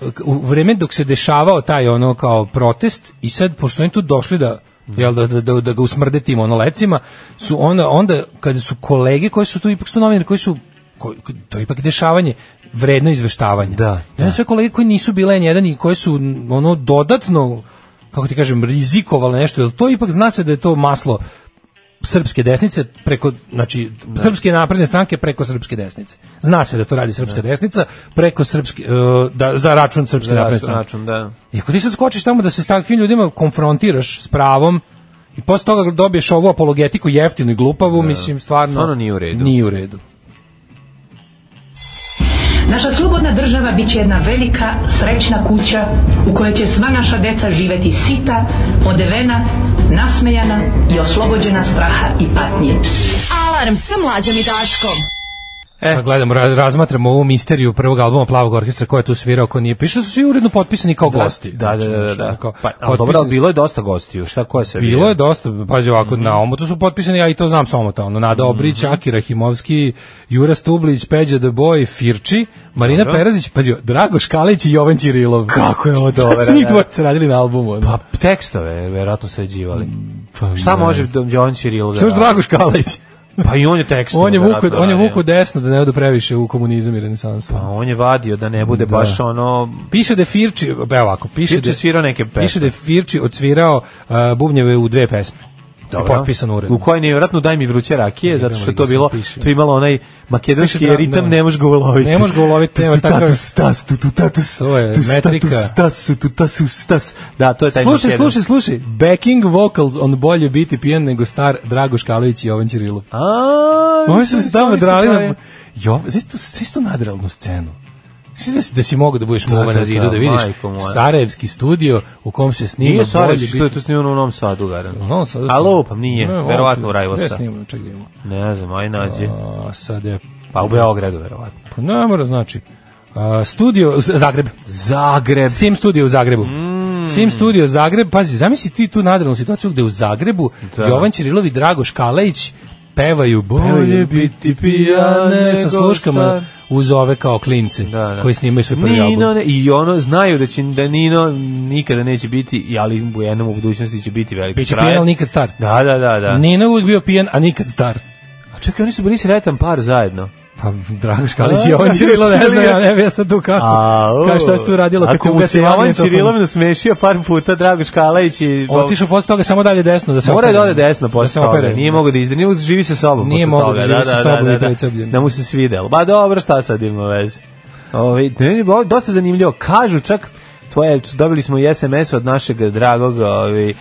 E: eh, u vreme dok se dešavao taj ono kao protest i sad, pošto su oni tu došli da jel, da, da, da, da ga usmrde tim ono lecima, su onda, onda kada su kolege koji su tu, ipak su to novinari koji su koji, koji- to je ipak dešavanje vredno izveštavanje.
F: Da,
E: I onda sve kolege koji nisu bile N1 i koje su m, ono dodatno kako ti kažem rizikovale nešto, jer to ipak zna se da je to maslo srpske desnice preko znači srpske napredne stranke preko srpske desnice. Zna se da to radi srpska desnica preko srpske e, da za račun srpske napredne
F: Da,
E: stranke.
F: račun, da.
E: I ako ti sad skočiš tamo da se s takvim ljudima konfrontiraš s pravom i posle toga dobiješ ovu apologetiku jeftinu i glupavu, mislim stvarno
F: Da. Stvarno nije u redu.
E: Nije u redu.
M: Naša slobodna država bit će jedna velika, srećna kuća u kojoj će sva naša deca živeti sita, odevena, nasmejana i oslobođena straha i patnje.
D: Alarm sa mlađom i Daškom.
E: Sad Pa gledamo, raz- razmatramo ovu misteriju prvog albuma Plavog orkestra, ko je tu svirao, ko nije. Piše da su svi uredno potpisani kao gosti.
F: Da, da, da, da.
E: Znači,
F: da.
E: onako,
F: Pa, ali dobro,
E: potpisani
F: ali bilo je dosta gostiju, šta ko je sve
E: Bilo je dosta, pazi
F: Mhm.
E: ovako, na omotu su potpisani, ja i to znam sa omota, ono, Nada Obrić, Aki Rahimovski, Jura Stublić, Peđa The Boy, Firči, Marina
F: Dobro.
E: Perazić, pazi, Drago Škalić i Jovan Ćirilov.
F: Kako je ovo
E: Šta
F: dobro,
E: su njih
F: da.
E: dvojica radili na albumu? ono?
F: Pa da. tekstove, verovatno sređivali.
E: Pa,
F: Šta
E: ne.
F: može Don Jovan Ćirilo da
E: Što još
F: radi?
E: Drago Škalić?
F: Pa i on je tekstove.
E: On je vuku,
F: verovatno
E: on je
F: radio.
E: vuku desno da ne odu previše u komunizam i renesansu.
F: Pa on je vadio da ne bude
E: Da.
F: baš ono...
E: Piše da je Firči, evo ovako, piše
F: Firči
E: da-
F: svirao neke pesme.
E: Piše da je Firči odsvirao uh, bubnjeve u dve pesme. Dobro. Potpisan uredno.
F: U kojoj je vjerojatno daj mi vruće rakije, zato što je to bilo,
E: da piše.
F: to je imalo onaj makedonski
E: Piše da-
F: ritam,
E: da.
F: ne možeš ga uloviti.
E: Ne možeš ga uloviti, nema takav-
F: Tatus, tas, tu, tu, tatus,
E: To je
F: tu, status,
E: metrika.
F: tas, tu, tasus, tas. Da, to je taj
E: Slušaj,
F: makedonski.
E: slušaj, slušaj. Backing vocals on bolje biti pijen nego star Drago Škalić i Jovan Ćirilov.
F: A,
E: Oni da su se tamo
F: oni
E: drali
F: pravi-
E: na... Jo, znaš tu- znaš tu nadrealnu scenu? Znaš da si, da si mogao da budeš
F: Da,
E: muva
F: da,
E: na zidu,
F: da,
E: da vidiš
F: majko moja.
E: Sarajevski studio u kom se snima
F: Nije Sarajevo,
E: Bolje
F: što je
E: biti-
F: to snimano u Novom Sadu, garan.
E: Novom Sadu
F: A
E: snima.
F: lupam, nije,
E: Ne, ovo
F: verovatno
E: su-
F: u Rajvosa.
E: gde snimano, čekaj da vidimo.
F: Ne znam, aj nađi.
E: A, sad je...
F: Pa u Beogradu, verovatno.
E: Pa ne mora znači. A, studio, Z- Zagreb.
F: Zagreb.
E: Sim studio u Zagrebu. Sim studio Zagreb, pazi, zamisli ti tu nadrealnu situaciju gde u Zagrebu
F: Da.
E: Jovan Ćirilov i Drago Škalejić pevaju bolje biti pijane sa
F: nego
E: sluškama
F: star.
E: uz ove kao klince
F: Da, da.
E: koji snimaju svoj prvi album.
F: Nino, ne, I ono, znaju da, će, da Nino nikada neće biti, ali u jednom u budućnosti će biti veliki
E: Biće
F: frajer.
E: pijan, ali nikad star.
F: Da, da, da, da.
E: Nino je uvijek bio pijan, a nikad star.
F: A čekaj, oni su bili sretan par zajedno.
E: Pa, Drago Škalić je on Ćirilo, ne znam, ja ne bi ja sad tu kako. Kao šta se tu radilo kad se
F: Ako mu se Jovan Ćirilov nasmešio par puta, Drago Škalić i...
E: Otišao posle toga samo dalje desno da se
F: Mora je
E: opere.
F: dole desno
E: Da se
F: posle toga.
E: opere.
F: Nije mogo da izdrije, živi se sobom.
E: Nije
F: posle
E: mogao
F: toga,
E: da živi sa sobom i Vidović obljen.
F: Da mu se svidelo. Ba dobro, šta sad ima veze. Ove, ne, ne, ovo je dosta zanimljivo. Kažu čak, tvoje, dobili smo i SMS od našeg dragog ovaj,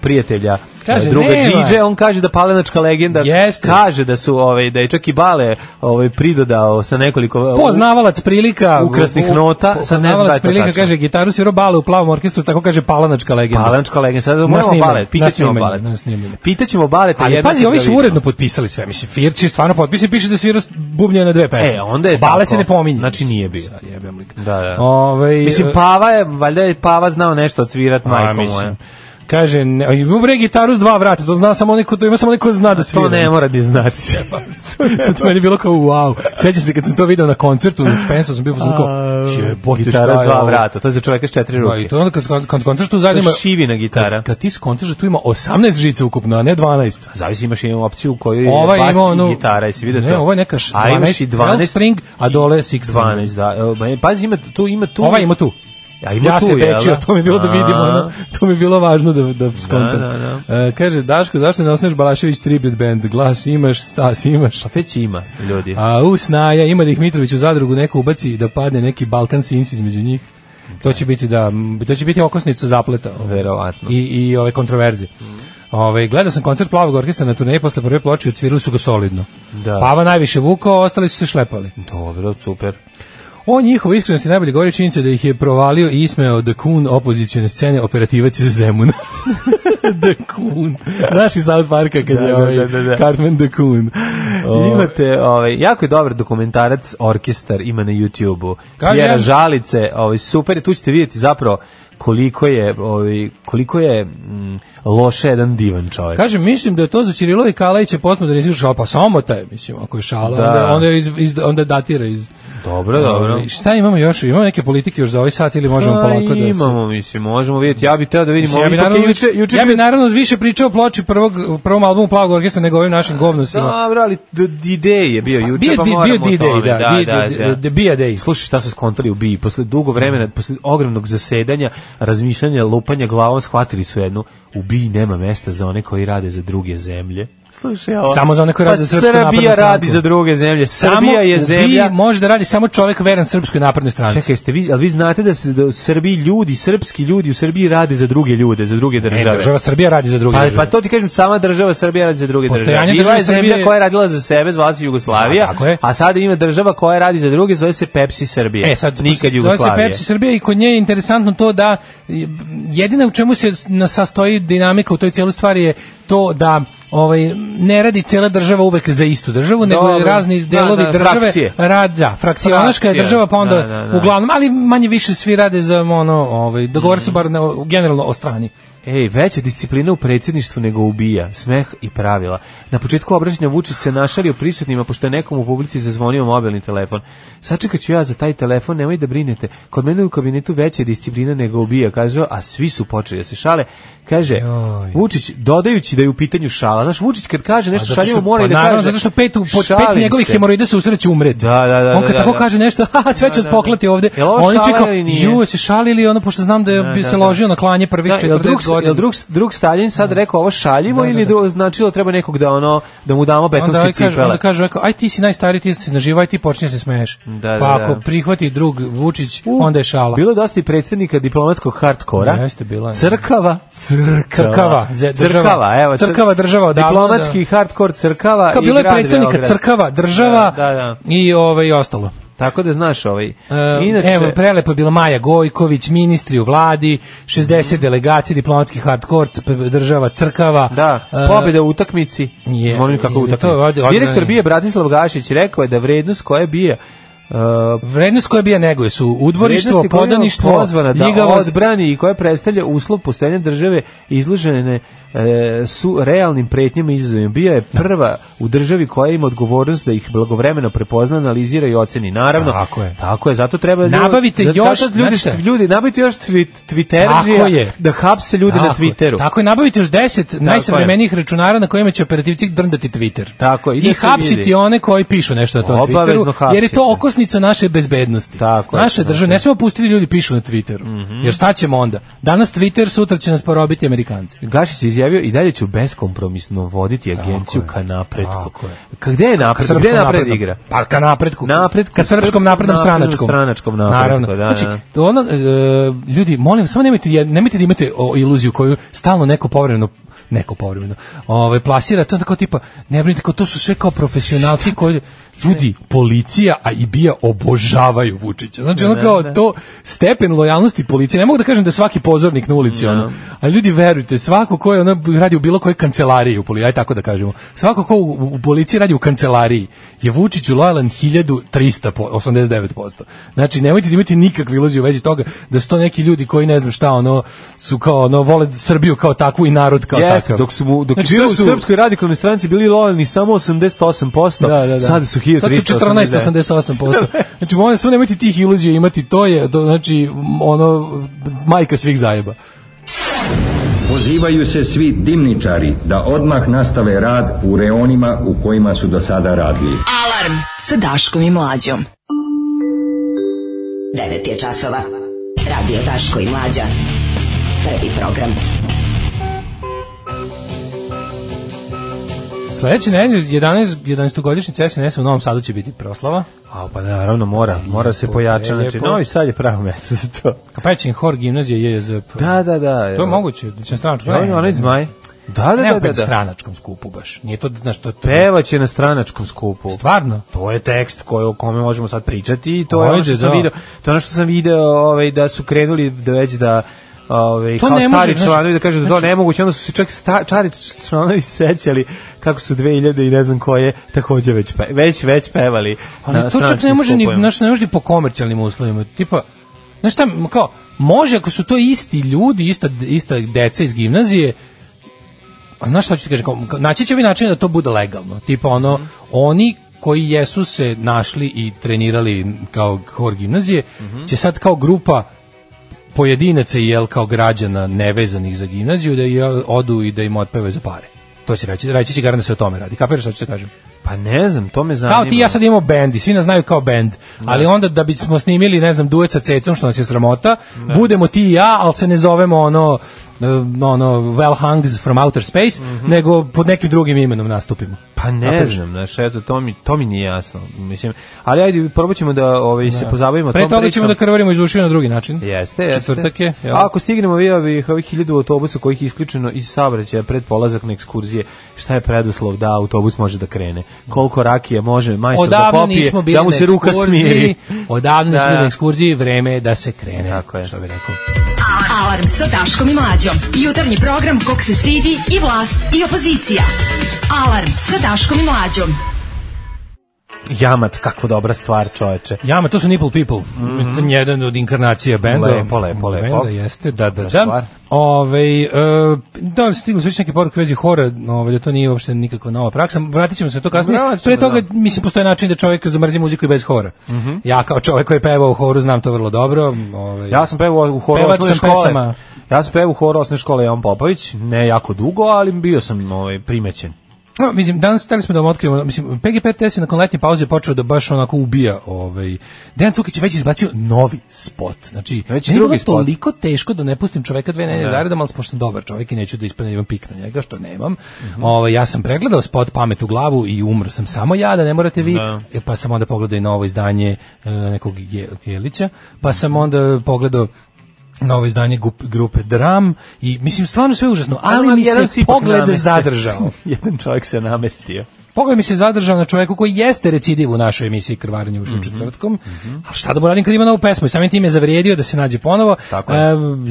F: prijatelja e,
E: Kaže,
F: druga
E: nema.
F: Điđe, on kaže da palenačka legenda
E: Jeste.
F: kaže da su ovaj da je čak i Bale ovaj pridodao sa nekoliko
E: Poznavalac prilika
F: Ukrasnih nota, sad ne znam da
E: Poznavalac
F: je to
E: prilika
F: tačno.
E: kaže gitaru svirao bale u plavom orkestru, tako kaže palanačka legenda.
F: Palanačka legenda, sad
E: Na
F: moramo
E: snimanju,
F: Bale,
E: na
F: pitaćemo
E: snimanju,
F: Bale.
E: na snimanju.
F: Pitaćemo Bale, te
E: Ali
F: jedno
E: pazi,
F: sam
E: ovi
F: ga
E: su
F: vidio.
E: uredno potpisali sve, mislim, Firči stvarno potpisi, piše da svira bubnje na dve pesme.
F: E, onda je
E: Bale
F: tako.
E: se ne pominje.
F: Znači nije bio.
E: Jebem lik.
F: Da, da.
E: Ovaj,
F: mislim,
E: e,
F: Pava je, valjda je Pava znao nešto od svirat
E: a,
F: majkom.
E: mislim, Kaže, ne, ima bre gitaru s dva vrata, to zna samo neko, to ima samo neko ko zna da svira.
F: To ne mora znači. ni znati.
E: Sad to meni bilo kao wow. Sjećam se kad sam to video na koncertu u Spensu, sam bio u fazonu kao jebote šta je
F: Gitara s dva
E: ovo?
F: vrata, to je za čoveka s četiri ruke.
E: Da, i to onda kad, kad, kad skontaš tu zajedno...
F: To je šivina gitara.
E: Kad, kad ti skontaš da tu ima 18 žica ukupno, a ne 12.
F: Zavisi imaš jednu opciju u kojoj je
E: Ova
F: bas
E: Ovaj ima onu...
F: i E, gitara, jesi vidio to?
E: Ne, ovo je neka š-
F: A imaš i
E: 12, 12
F: 12,
E: string, a dole je 6 string.
F: 12, da. Evo, ma, Pazi, ima tu, ima tu.
E: Ova ima tu.
F: Ja, ima
E: ja
F: tu,
E: se
F: jel da?
E: večio, to mi je bilo da vidimo,
F: A.
E: ono, to mi je bilo važno da, da skontam.
F: Da, da,
E: E, kaže, Daško, zašto ne osnoviš Balašević tribute band? Glas imaš, stas imaš.
F: Pa već ima, ljudi.
E: A u snaja, ima da ih Mitrović u zadrugu neko ubaci i da padne neki Balkan sins između njih. To će biti da m, to će biti okosnica zapleta. ovaj,
F: Verovatno.
E: I i ove kontroverze. Ovaj gledao sam koncert Plavog orkestra na turneji posle prve ploče i odsvirali su ga solidno.
F: Da.
E: Pava najviše vukao, ostali su se šlepali.
F: Dobro, super.
E: O njihovoj iskrenosti najbolje govori činjenica da ih je provalio i ismeo The Kun opozicione scene operativac iz Zemuna. The Kun. Znaš iz South Parka kad
F: Da,
E: je
F: da,
E: ovaj
F: da, da, da.
E: Cartman The Kun. O,
F: Imate, ovaj, jako je dobar dokumentarac Orkestar ima na YouTube-u.
E: Kaže,
F: Pjera
E: ja-
F: Žalice, ovaj, super je, tu ćete vidjeti zapravo koliko je, ovaj, koliko je mm, loše jedan divan čovjek.
E: Kaže, mislim da je to za Ćirilo i Kalajića postmodernizam šala, pa samota je, mislim, ako je šala,
F: Da.
E: onda, onda, je iz, iz, onda datira iz...
F: dobro, dobro.
E: Ovaj, Šta imamo još? Imamo neke politike još za ovaj sat ili možemo
F: Pa
E: polako da se...
F: imamo, mislim, možemo vidjeti. Ja bih teo da vidim
E: Mislim, ja, bi
F: ovaj, ipak je
E: naravno,
F: juče, juče
E: ja
F: bio-
E: bi naravno više pričao o ploči prvog, prvom albumu Plavog orkestra nego ovim našim govnostima.
F: Dobro, ali D-Day je bio Da, juče,
E: Bio,
F: pa
E: di-
F: moramo
E: bio
F: o tome.
E: D-Day, da, di- di- di- bija Day.
F: Slušaj šta su skontali u BI. Posle dugo vremena, posle ogromnog zasedanja, razmišljanja, lupanja glavom, shvatili su jednu, u BI nema mesta za one koji rade za druge zemlje. Slušaj, ovo.
E: Samo za one koji
F: Pa
E: rade za Srpsku naprednu
F: Srbija radi
E: stranku.
F: za druge zemlje.
E: Samo
F: Srbija je
E: u BIA
F: zemlja...
E: može da radi samo čovjek veran srpskoj naprednoj stranci.
F: Čekaj, ste vi, ali vi znate da se da u Srbiji ljudi, srpski ljudi u Srbiji rade za druge ljude, za druge
E: Ne,
F: države.
E: država Srbija radi za druge
F: Pa,
E: države.
F: pa to ti kažem, sama država Srbija radi za druge
E: Postojanje
F: države. Bila je
E: države
F: zemlja
E: Srbije-
F: koja je radila za sebe, zvala se Jugoslavija,
E: Da, tako je.
F: a sada ima država koja radi za druge, zove se Pepsi Srbija.
E: E sad,
F: Nikad
E: zove se
F: Jugoslavija.
E: Pepsi Srbija i kod nje je interesantno to da e, jedina u čemu se na- sastoji dinamika u toj cijeloj stvari je to da ovaj ne radi cijela država uvek za istu državu, nego
F: Dobro.
E: razni
F: Da,
E: delovi
F: da,
E: države
F: frakcije.
E: rad, da, frakcionaška je
F: Frakcija,
E: država, pa onda
F: da, da, da.
E: uglavnom, ali manje više svi rade za ono, ovaj, dogovore
F: Mm.
E: se bar na, generalno o strani.
F: Ej, veća disciplina u predsjedništvu nego ubija. Smeh i pravila. Na početku obraćanja Vučić se našalio prisutnima pošto je nekom u publici zazvonio mobilni telefon. Sačekat ću ja za taj telefon, nemoj da brinete. Kod mene u kabinetu veća je disciplina nego ubija, kaže, a svi su počeli da se šale. Kaže,
E: Joj.
F: Vučić, dodajući da je u pitanju šala. Znaš, Vučić kad kaže nešto
E: zato
F: šaljivo
E: što,
F: mora
E: pa
F: i da
E: naravno,
F: kaže.
E: zato što pet, u- po, pet
F: "Šalim
E: njegovih
F: se."
E: hemoroida se usred će umreti.
F: Da, da, da,
E: On kad
F: da,
E: tako
F: da.
E: kaže nešto, ha, sve će vas poklati ovde.
F: Jel ovo
E: Oni svi
F: šala
E: kao,
F: ili nije?
E: ju, se šali ili ono, pošto znam da je,
F: Da,
E: bi
F: da,
E: se
F: da.
E: ložio na klanje prvih
F: Da, jel
E: 40
F: drug,
E: godina. Da,
F: jel drug, drug Stalin sad rekao ovo šaljivo ili dru- značilo treba nekog da ono da mu damo
E: onda
F: betonske
E: ovaj kaže,
F: cipele.
E: onda kaže, ovako, aj ti si najstariji, ti si naživa, aj ti počinje se smeješ.
F: Da,
E: pa
F: da,
E: ako
F: da.
E: prihvati drug Vučić, onda je šala.
F: Bilo je dosta i predsjednika diplomatskog hardkora.
E: Jeste, bila je.
F: Crkava, crkava.
E: Crkava, ze- država.
F: Crkava, evo. cr-
E: Crkava, država odavno, da.
F: Diplomatski hardkor crkava
E: Kao
F: i
E: bilo je
F: grad
E: predsednika
F: Beograd.
E: crkava, država
F: Da, da, da.
E: i ovaj i ostalo.
F: Tako da znaš ovaj.
E: E,
F: Inače,
E: Evo, prelepo je bila Maja Gojković, ministri u vladi, 60 delegacija, diplomatski hardkor, c- država, crkava.
F: Da,
E: E,
F: pobjeda u utakmici.
E: je,
F: Molim kako
E: je, to je
F: utakmica.
E: od- od-
F: Direktor bije Bratislav Gašić rekao je da vrednost koja bije
E: Vrednost koja bija neguje su udvorištvo,
F: Vrednosti koje je
E: podaništvo,
F: pozvana da
E: ljigavost,
F: odbrani i koja predstavlja uslov postojanja države izložene e, su realnim pretnjama i izazovima. Bija je
E: Da.
F: prva u državi koja ima odgovornost da ih blagovremeno prepozna, analizira i oceni. Naravno,
E: Tako je.
F: Tako je, zato treba ljudi-
E: Nabavite
F: zato
E: još-
F: zato ljudi,
E: znate šta?
F: ljudi nabavite još twit, Twitterđija
E: Tako je.
F: da hapse ljude na
E: Tako je.
F: Twitteru.
E: Tako je, nabavite još 10 najsavremenijih računara na kojima će operativci drndati Twitter.
F: Tako, i da
E: I
F: se
E: hapsiti
F: vidi.
E: one koji pišu nešto na tom
F: Obavezno
E: Twitteru,
F: hapsiti.
E: jer je to okosnica naše bezbednosti.
F: Tako je, Mhm.
E: Naše
F: tako
E: države, ne smemo pustiti da ljudi pišu na Twitteru, jer šta ćemo onda? Danas Twitter, sutra će nas porobiti Amerikanci.
F: Gašić je izjavio i dalje ću beskompromisno voditi agenciju ka napretku.
E: Tako je.
F: Ka gde je napred,
E: srpskom
F: gde je napred
E: naprednom.
F: igra?
E: Pa ka napretku.
F: Napretku,
E: ka srpskom
F: srpskom
E: naprednom
F: naprednom
E: stranačkom.
F: stranačkom napretku,
E: Naravno.
F: da,
E: znači,
F: da.
E: to ono, e, ljudi, molim, samo nemojte, jed- nemojte da imate o, iluziju koju stalno neko povremeno neko povremeno, ovaj, plasira, to je onda kao tipa, ne brinite, kao to su sve kao profesionalci koji, ljudi, policija, a i bija obožavaju Vučića. Znači, ono
F: Da,
E: kao
F: da.
E: to stepen lojalnosti policije. Ne mogu da kažem da je svaki pozornik na ulici, ono,
F: Da.
E: ali ljudi, verujte, svako ko je, ono, radi u bilo kojoj kancelariji u policiji, aj tako da kažemo, svako ko u, u policiji radi u kancelariji, je Vučiću lojalan 1389%. Znači, nemojte da imati nikakve iluzije u vezi toga da su to neki ljudi koji, ne znam šta, ono, su kao, ono, vole Srbiju kao takvu i narod kao
F: Jeste,
E: takav.
F: dok su mu dok
E: Znači,
F: je bio
E: to
F: u
E: su-
F: srpskoj radikalnoj stranci bili lojalni samo 88%,
E: Da, da, da.
F: sada su
E: Sad
F: 1389.
E: su 14,88%. Znači, molim, samo nemojte tih iluzija imati, to je, to, znači, ono, majka svih zajeba.
N: Pozivaju se svi dimničari da odmah nastave rad u reonima u kojima su do sada radili.
D: Alarm sa Daškom i Mlađom.
K: 9 je časova. Radio Daško i Mlađa. Prvi program.
E: Sledeće nedelje 11 11-godišnjica SNS u Novom Sadu će biti proslava.
F: A pa naravno mora, mora se
E: Lijepo,
F: pojačati. Znači,
E: prelijepo.
F: Novi Sad je pravo mesto za to.
E: Kapećin hor gimnazije JJZP.
F: Da, da, da.
E: To je moguće, da će na stranačkom.
F: Da, onaj zmaj. Da, da,
E: Ne
F: da, da,
E: opet
F: da.
E: stranačkom skupu baš. Nije to, znaš, to, to
F: Pevaće na stranačkom skupu.
E: Stvarno?
F: To je tekst koji o kome možemo sad pričati i to je
E: Ajde,
F: ono što sam
E: da.
F: video. To je ono što sam video, ovaj da su krenuli da već da ovaj
E: To
F: kao
E: ne može,
F: stari
E: znači-
F: članovi da kažu da to
E: znači-
F: nemoguće, onda su se čak sta, čari članovi sećali kako su 2000 i ne znam koje takođe već pe, već već pevali. na
E: Ali to čak Pa ne
F: stranačkim
E: može ni,
F: skupovima.
E: znaš, ne može ni po komercijalnim uslovima. Tipa, znaš šta, m, kao, može ako su to isti ljudi, ista, ista deca iz gimnazije, a znaš šta ću ti kažem, kao, kao, naći će vi način da to bude legalno. Tipa ono, oni koji jesu se našli i trenirali kao hor gimnazije,
F: Mhm.
E: će sad kao grupa pojedinaca i jel kao građana nevezanih za gimnaziju da i odu i da im otpeve za pare. To se reći, reći će garant da se o tome radi. Kapiraš šta ću se kažem?
F: Pa ne znam, to me zanima.
E: Kao ti i ja sad imamo bend i svi nas znaju kao bend, ali onda da bismo snimili, ne znam, duet sa Cecom, što nas je sramota,
F: Da.
E: budemo ti i ja, ali se ne zovemo ono, eh, ono Well Hungs from Outer Space,
F: Mhm.
E: nego pod nekim drugim imenom nastupimo.
F: Pa ne
E: Kapiraš?
F: znam, znaš, eto, to mi, to mi nije jasno. Mislim, ali ajde, probat ćemo da ovaj, se pozabavimo
E: Pre
F: tom
E: toga
F: pričom.
E: ćemo da krvarimo iz ušiju na drugi način.
F: Jeste, jeste.
E: Četvrtak je, jel?
F: A ako stignemo vi ovih, ovih hiljadu autobusa kojih je isključeno iz saobraćaja pred polazak na ekskurzije, šta je preduslov da autobus može da krene? Koliko rakije može majstor da
E: Odavno
F: popije,
E: nismo bili
F: da mu
E: na
F: se ruka
E: ekskurziji,
F: smiri?
E: Odavno
F: Da,
E: nismo bili
F: da.
E: na ekskurziji, vreme je da se krene.
F: Tako je.
E: Što bi rekao.
D: Alarm sa Daškom i Mlađom. Jutarnji program kog se stidi i vlast i opozicija. Alarm sa Daškom i Mlađom.
F: Jamat, kakva dobra stvar, čoveče.
E: Jama, to su Nipple People. To je jedan od inkarnacija benda.
F: Mhm. Lepo, lepo, lepo.
E: Benda jeste, da, da,
F: Dobra stvar.
E: da. Ove, e, da, stigli su već neke poruke u vezi hora, ovaj, da to nije uopšte nikakva nova praksa. Vratit ćemo se na to kasnije.
F: Vratit ćemo,
E: Pre toga,
F: da. Mhm.
E: mislim, postoje način da čovjek zamrzi muziku i bez hora. Ja kao čovjek koji peva u horu znam to vrlo dobro. Ovaj,
F: Ja sam pevao u horu
E: Pevač
F: osnovne
E: sam
F: škole.
E: pesama.
F: Ja sam pevao u horu osnovne škole Jovan Popović, ne jako dugo, ali bio sam ovaj, primećen.
E: No, mislim, danas hteli smo da vam otkrivamo, mislim, PGPTS je nakon letnje pauze počeo da baš onako ubija, ovaj, Dejan Cukić je već izbacio novi spot, znači,
F: Već
E: meni je
F: drugi
E: bilo
F: spot.
E: toliko teško da ne pustim čoveka dve nedelje
F: Da.
E: zaredom, ali pošto sam dobar čovek i neću da ispadne da imam pik na njega, što nemam,
F: Mhm.
E: ovaj, ja sam pregledao spot pamet u glavu i umro sam samo ja, da ne morate vi,
F: Da.
E: E, pa sam onda pogledao i novo izdanje e, nekog Je- Jelića, pa sam onda pogledao novo izdanje gup- grupe Dram i mislim stvarno sve užasno, ali,
F: Ali
E: mi
F: jedan
E: se
F: si ipak
E: pogled
F: namestio.
E: zadržao.
F: Jedan čovjek se namestio.
E: Pogled mi se zadržao na čoveku koji jeste recidiv u našoj emisiji Krvarenje uši
F: Mhm,
E: četvrtkom, ali šta da mu radim kad ima novu pesmu i samim tim je zavrijedio da se nađe ponovo. Tako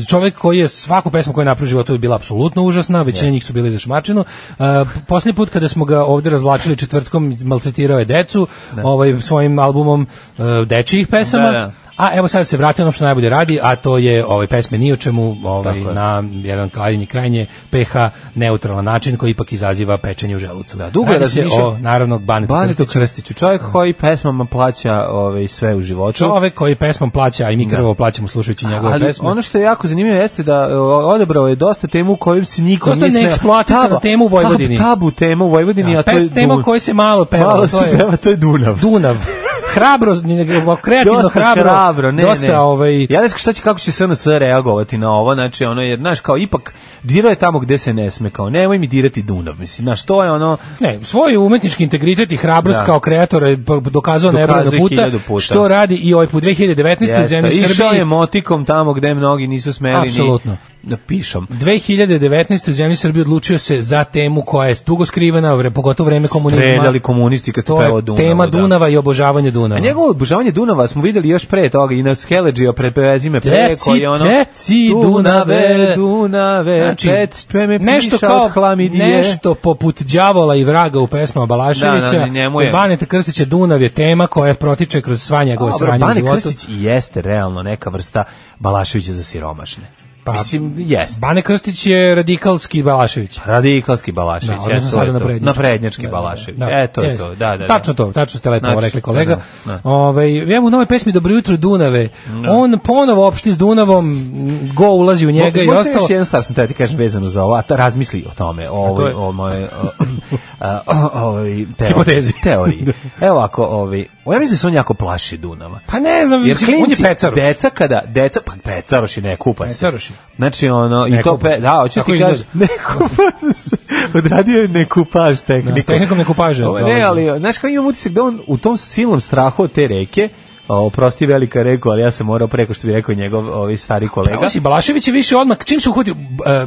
E: čovek koji je svaku pesmu koju je napravio u životu je bila apsolutno užasna, većina njih su bili za šmačinu. E, Posljednji put kada smo ga ovdje razvlačili četvrtkom, maltretirao je decu ovaj, svojim albumom e, dečijih pesama.
F: Da, da.
E: A evo sad se vrati ono što najbolje radi, a to je ovaj pesme ni o čemu, ovaj
F: Tako je.
E: na jedan krajnji krajnje pH neutralan način koji ipak izaziva pečenje u želucu. Da,
F: dugo je
E: radi se
F: razmišljao-
E: o naravno Banetu
F: Banetu
E: Krstiću.
F: Krstiću, Mm. čovjek koji pesmama plaća ovaj, sve u životu.
E: Čovek koji pesmom plaća, a i mi krvo plaćamo slušajući njegove
F: Da. Ali
E: pesme.
F: ono što je jako zanimljivo jeste da e, odabrao je dosta temu u kojim se niko
E: Dosta
F: nije smeo.
E: neeksploatisana
F: Tabu-
E: tema u Vojvodini.
F: Tabu, tabu tema u Vojvodini,
E: Da,
F: a to je
E: pes- tema
F: Dun-
E: koja se malo pevala,
F: Malo
E: to
F: se
E: je-
F: peva, to je Dunav.
E: Dunav. Hrabro, kreativno
F: dosta
E: hrabro.
F: ne,
E: dosta
F: ne.
E: ovaj
F: Ja ne znam šta će kako će SNS reagovati na ovo, znači ono je, znaš, kao ipak dirao je tamo gde se ne sme, kao nemoj mi dirati Dunav, mislim, znaš, to je ono
E: Ne, svoj umetnički integritet i hrabrost
F: Da.
E: kao kreatora je po- dokazao nebrojeno
F: Dokazuje
E: puta,
F: hiljadu puta.
E: što radi i ovaj put 2019. u
F: Jeste,
E: zemlji
F: Išao
E: Srbije.
F: je motikom tamo gde mnogi nisu smeli
E: Apsolutno.
F: ni da pišom.
E: 2019. u zemlji Srbije odlučio se za temu koja je dugo skrivena, vre- pogotovo vreme komunizma.
F: Predali komunisti kad se
E: to
F: pevao
E: je
F: Dunav.
E: tema Dunava i obožavanje Dunava.
F: da. A njegovo obožavanje Dunava smo videli još pre toga i na Skeleđio pre prezime pre
E: Teci,
F: koji je ono
E: teci, Dunave.
F: Dunave
E: Znači,
F: tec, pre me
E: nešto
F: piša
E: kao
F: od hlamidije.
E: nešto poput đavola i vraga u pesmama Balaševića.
F: Da, da, njemu je.
E: kod Baneta Krstića Dunav je tema koja protiče kroz sva njegova
F: Dobro,
E: sranja u
F: Bane
E: životu.
F: Krstić i jeste realno neka vrsta Balaševića za siromašne.
E: Pa,
F: Mislim, Pa, jeste.
E: Bane Krstić je radikalski Balašević.
F: Radikalski Balašević,
E: Da,
F: e,
E: odnosno
F: to
E: sada
F: je to.
E: naprednjački.
F: Naprednjački
E: Da, da, da.
F: Balašević,
E: Da,
F: e, to je
E: jest.
F: to, da, da, da.
E: Tačno to, tačno ste lepo
F: Znači,
E: rekli kolega.
F: da, da, da.
E: Ovaj, ja mu u novoj pesmi Dobro jutro Dunave, on ponovo opšti s Dunavom, go ulazi u njega
F: Mo-
E: i
F: možda
E: ostalo.
F: Još jednu stvar sam teo da ti kažem vezano za ovo, a ta razmisli o tome, o ovoj, o moje, o, a, o, ovoj teoriji.
E: Hipotezi.
F: teoriji. Evo ako, ovi, ja mislim da se on jako plaši Dunava.
E: Pa ne znam,
F: Jer
E: mislim, on je
F: klinci,
E: pecaroš.
F: deca kada, deca, pa pecaroš i ne kupa se.
E: Pecaroš je.
F: Znači ono,
E: Ne
F: i to,
E: kupa
F: pe,
E: se.
F: da, hoću
E: Tako
F: ti
E: izgleda.
F: kažem, ne kupa se. Odradio je ne kupaš tehnikom.
E: Da, tehnikom ne kupaže,
F: Ovo, Ne,
E: dobro.
F: ali, znaš kao imam utisak da on u tom silnom strahu od te reke, o, oprosti velika reku, ali ja sam morao preko što bi rekao njegov ovi
E: Pa,
F: stari kolega.
E: Osim Balašević je više odmah, čim se uhvati, e,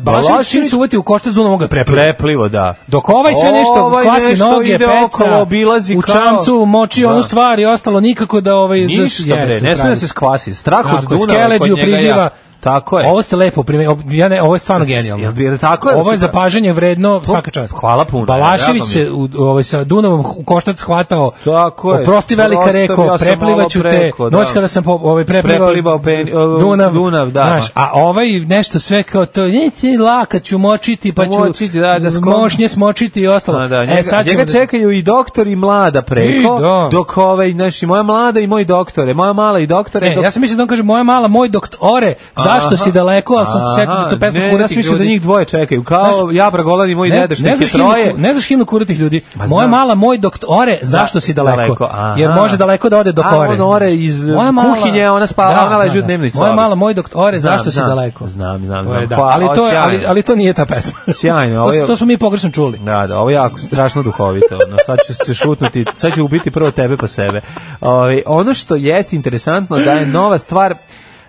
E: Balašević čim
F: Balašević-
E: se uhvati u koštac Dunava, on ga prepliva.
F: Preplivo, da.
E: Dok ovaj sve nešto
F: Ovaj
E: kvasi
F: nešto
E: noge,
F: ide
E: peca,
F: okolo, obilazi
E: u
F: kao-
E: čamcu, moči onu
F: Da.
E: stvar i ostalo nikako da ovaj... da-
F: Ništa, bre,
E: jeste,
F: ne smije da
E: pravi
F: se
E: ste.
F: skvasi. Strah od
E: Tako je,
F: Dunava je kod
E: Skeleđiju
F: njega
E: priziva.
F: jak. Tako je.
E: Ovo ste lepo primenili. Ob- Ja ne, ovo je stvarno
F: Jel-
E: genijalno.
F: jel- jel tako je? da
E: Ovo je
F: Super.
E: zapažanje vredno
F: To-
E: svaka čast.
F: hvala puno,
E: Balašević
F: drago mi je.
E: se u, ovaj, sa Dunavom u koštac hvatao.
F: Tako je.
E: Oprosti velika
F: Ostavio
E: reko,
F: sam
E: preplivaću
F: malo
E: te.
F: preko, da.
E: Noć kada sam po, ovaj, preplivao,
F: Preplivao pen- o,
E: Dunav,
F: Dunav, da.
E: Znaš, a ovaj nešto sve kao to, neće laka ću močiti, pa ću
F: Močiti, da, da skom-
E: mošnje smočiti i ostalo.
F: A, da, njega,
E: e, sad
F: njega
E: ćemo da-
F: čekaju i doktor i mlada preko,
E: I da.
F: dok ovaj, znaš, i moja mlada i moj doktore, moja mala i doktore.
E: Ne,
F: dok-
E: ja sam mislio da on kaže moja mala, moj doktore, zašto
F: Aha.
E: si daleko, ali sam se setio da
F: Aha,
E: to pesma
F: ne, ja
E: kuratih
F: sam mislio da
E: ljudi.
F: njih dvoje čekaju, kao
E: Znaš,
F: ja Bragolan i moj deda što
E: ne,
F: ih je
E: znaš himnu,
F: troje.
E: ku- ne znaš himnu kuratih ljudi.
F: Ma,
E: Moja
F: znam. Da,
E: mala, moj doktore, zašto si daleko?
F: daleko, aha.
E: Jer može daleko da ode do
F: A,
E: kore.
F: on ore iz, eh, kuhinje, ona spava, ona leži u dnevnoj
E: Da, Moja
F: sobi.
E: mala, moj doktore,
F: Znam,
E: zašto si
F: znam.
E: daleko?
F: Znam, znam,
E: To je,
F: znam.
E: da.
F: Hvala,
E: ali, to je,
F: sjajno.
E: ali, ali to nije ta pesma.
F: Sjajno,
E: to,
F: ovo
E: su-
F: je-
E: to smo mi pogrešno čuli.
F: Da, da, ovo je jako strašno duhovito. No, sad ću se šutnuti, sad ću ubiti prvo tebe pa sebe. Ovaj, ono što jest interesantno da je nova stvar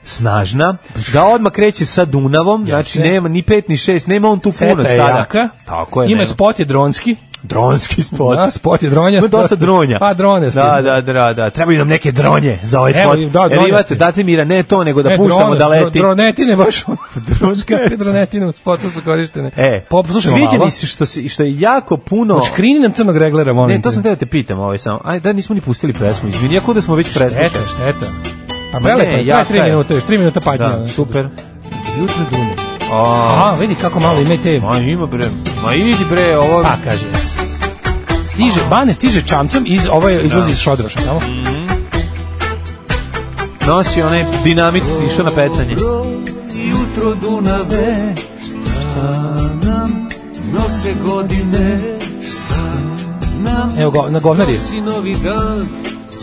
F: snažna, da odmah kreće sa Dunavom, znači nema ni pet ni šest, nema on tu puno
E: Seta je
F: sada.
E: jaka.
F: Tako je.
E: Ima
F: nema.
E: spot je dronski.
F: dronski spot.
E: Da, spot je dronjast.
F: Ima dosta dronja.
E: Pa dronjast je,
F: Da, da, da, da. Trebaju nam neke dronje za ovaj
E: Evo,
F: spot.
E: da, dronjast
F: Jel
E: je.
F: imate, Dacimira, ne to, nego da
E: E,
F: puštamo
E: drone,
F: da leti.
E: dro- Dronetine baš ono. Skape dronetine u spotu su korištene.
F: E,
E: Pop, slušamo
F: sviđa
E: Pa, malo.
F: mi se što, se- što je jako puno...
E: Odškrini nam crnog reglera, molim
F: Ne, to
E: te.
F: sam te da te pitam ovaj samo. Aj, da nismo ni pustili pesmu. Izvini, jako da smo već
E: Šteta,
F: preslušali.
E: šteta. Pa
F: Ma
E: prelepo
F: ne,
E: je, traje
F: jaka
E: 3
F: je.
E: minuta, još 3 minuta patnja.
F: Da, super.
E: Jutro dune.
F: A,
E: A, vidi kako malo ima i te...
F: ma ima bre. Ma idi bre, ovo.
E: Pa, kaže. Stiže, bane stiže čamcom, iz, ovo je izlazi
F: Da.
E: iz šodroša, tamo.
F: Nosi onaj dinamit, išao na pecanje.
H: Jutro Dunave, šta nam nose godine, šta nam
E: Evo, go, na govnari.
H: nosi novi dan,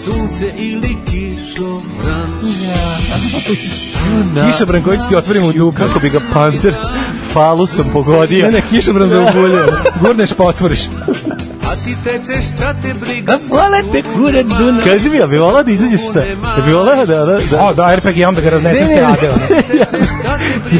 H: sunce ili kišobran.
F: Da.
E: Kiša Branković ti otvorimo u dupe.
F: Kako bi ga pancer falusom pogodio.
E: Ne, ne, kiša Branković za ubulje. Gurneš pa otvoriš.
H: A
O: ti teče, šta te briga?
F: Da vole te kurac Dunav. Kaži mi, ja bi volao da izađeš sa... Ja bi volao da... da, da.
E: O, da, RPG, onda ga raznesem
F: Ne, ne,
E: te
F: ne.
E: rade. Ono.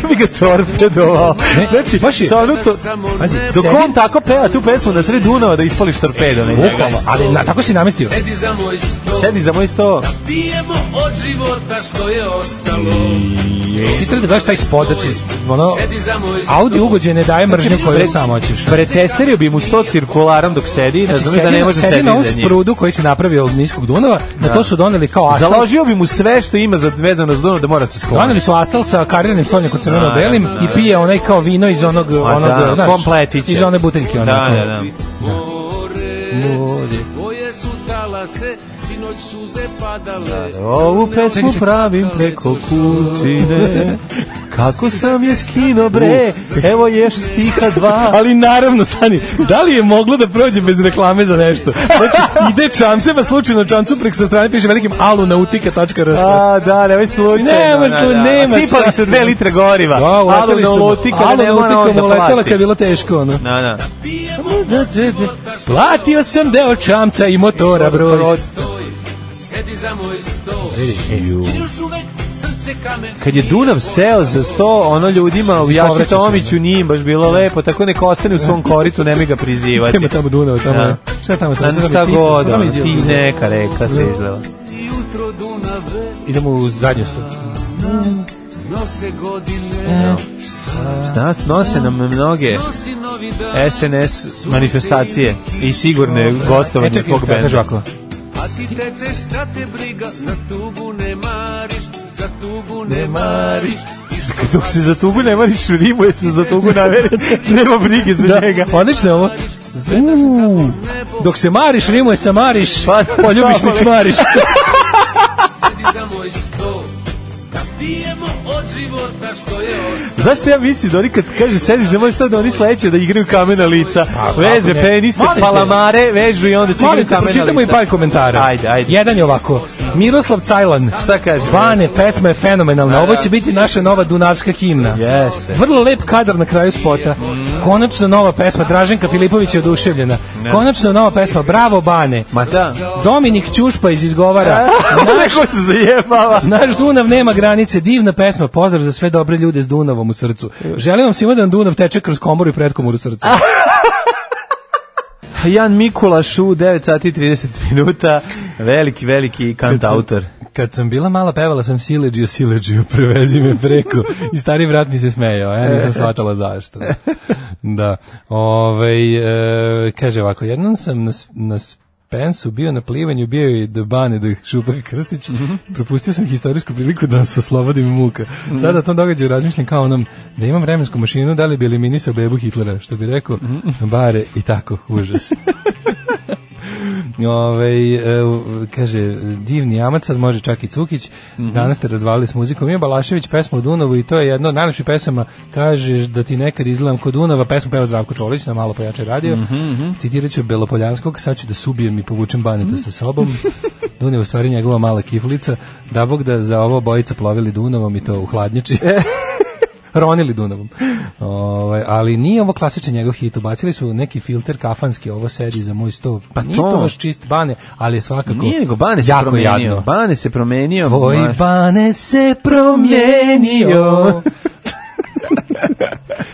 F: Ja bi ga torpedovao. Znači, baš je... Sa ono to...
E: Pazi,
F: Dok
E: sedim-
F: on tako peva tu pesmu na sred Dunava da ispališ torpedo. Ne?
E: Bukvalno, ali na, tako si namestio.
O: Sedi za moj sto.
F: Sedi za moj sto.
O: Pijemo od života što je ostalo.
E: Ti treba da gledaš taj spot, znači, ono, Audi ugođe ne daje mržnju
F: Znači,
E: koju sam hoćeš.
F: Pretesterio bi mu sto cirkularom dok sedi, znači,
E: Znači, sedi,
F: razumiješ da ne
E: na-
F: može
E: sedi
F: sedi
E: na ovu
F: za njim.
E: sprudu koji se napravio od niskog Dunava, na
F: Da.
E: to su doneli kao asfalt.
F: Založio bi mu sve što ima za vezano za Dunav da mora se skloniti.
E: Doneli su astal sa kariranim stolnikom crveno-belim
F: Da, da, da,
E: i pije onaj kao vino iz onog,
F: Pa
E: onog
F: da,
E: znaš,
F: kompletiće.
E: iz one buteljke.
F: Da,
E: onako.
F: da, da.
E: More.
O: Tvoje su talase, sinoć suze padale.
F: Da, Ovu pesmu pravim preko kućine Kako sam je skino bre Evo ješ stiha dva
E: Ali naravno, stani, da li je moglo da prođe bez reklame za nešto? Znači, ide čamcema, slučajno čamcu preko sa strane piše velikim alunautika.rs
F: A, da, nemoj slučajno.
E: Nemaš
F: da,
E: tu,
F: da.
E: nema
F: Sipali
E: šanse.
F: su dve litre goriva.
E: Da, uleteli su.
F: Alunautika, da ne mora on
E: Alunautika
F: da
E: mu letela
F: plati.
E: kad je bilo teško, ono.
F: Da, da.
E: Platio sam deo čamca i motora, broj.
O: Sedi za moj sto.
F: Vidi, ju.
O: I još uvek srce kamen.
F: Kad je Dunav seo za sto, ono ljudima u Jaši
E: Povraća se,
F: Tomiću nije im baš bilo lepo, tako neka ostane u svom koritu, nemoj ga prizivati.
E: Nema tamo Dunava, tamo je. Šta je tamo?
F: pa Znam
E: Sada mi
F: šta
E: tisa, šta
F: god,
E: mi
F: ono,
E: izjela?
F: ti neka reka se izgleda.
O: Jutro Dunave
E: Idemo u zadnju stupu.
O: nose godine.
F: S nas nose nam mnoge
O: Nosi novi dan.
F: SNS manifestacije i sigurne
E: E,
F: gostovanje
E: čekaj,
F: tvog
E: ja kažem
F: benda.
E: ovako.
O: A ti teče šta te briga, za tugu ne mariš, za tugu ne mariš.
F: Dok se za tugu ne mariš, rimuje se za tugu naveri, nema brige za
E: Da,
F: njega.
E: odlično je ovo. Uuu, dok se mariš, rimuje se mariš,
F: Pa,
E: Pa, poljubiš mi čmariš.
O: Sedi za moj sto, da pijemo od života što je ostalo.
F: Zašto ja mislim da oni kad kaže sedi za moj stav da oni sledeće da igraju kamena lica,
E: Pa, kako
F: veže
E: ne?
F: penise,
E: Molim te.
F: palamare, vežu i onda se
E: Molim
F: igraju
E: te,
F: kamena lica.
E: pročitamo i par komentara.
F: Ajde, ajde.
E: Jedan je ovako. Miroslav Cajlan.
F: Šta kaže?
E: Vane, pesma je fenomenalna. Ovo će biti naša nova dunavska himna.
F: Jeste.
E: Vrlo lep kadar na kraju spota. Konačno nova pesma. Draženka Filipović je oduševljena. Konačno nova pesma. Bravo, Bane.
F: Ma da.
E: Dominik Ćušpa iz Izgovara. Naš,
F: Neko se zajebava.
E: naš Dunav nema granice. Divna pesma. Pozdrav za sve dobre ljude s Dunavom u srcu. Želim vam svima da vam Dunav teče kroz komoru i pretkomoru srca.
F: Jan Mikulaš u 9 sati i 30 minuta, veliki, veliki kantautor.
E: Kad sam bila mala, pevala sam Sileđio, Sileđio, prevezi me preko. I stari vrat mi se smejao, ja nisam shvatala zašto. Da. Ove, e, kaže ovako, jednom sam na, s- na Spensu bio na plivanju, bio je do Bane, do Šupaka Krstić, propustio sam historijsku priliku da se oslobodim muka. Sada o tom događaju razmišljam kao onom, da imam vremensku mašinu, da li bi eliminisao bebu Hitlera, što bi rekao, bare i tako, užas. Ove, e, u- kaže, divni jamac, sad može čak i Cukić, danas ste razvalili s muzikom, ima Balašević pesmu o Dunavu i to je jedna od najlepših pesama, kažeš da ti nekad izgledam kod Dunava, pesmu peva Zdravko Čolić na malo pojače radio, citirat ću Belopoljanskog, sad ću da subijem i povučem baneta sa sobom, Dunav je u stvari njegova mala kiflica, da bog da za ovo bojica plovili Dunavom i to u hladnjači. Ronili Dunavom. Ovaj, ali nije ovo klasičan njegov hit. Ubacili su neki filter kafanski ovo sedi za moj sto. Pa nije to
F: to.
E: baš čist Bane, ali je svakako
F: Nije nego Bane se
E: jako
F: promenio.
E: jadno.
F: Bane se promenio.
E: Tvoj
F: ma-
E: Bane se promijenio.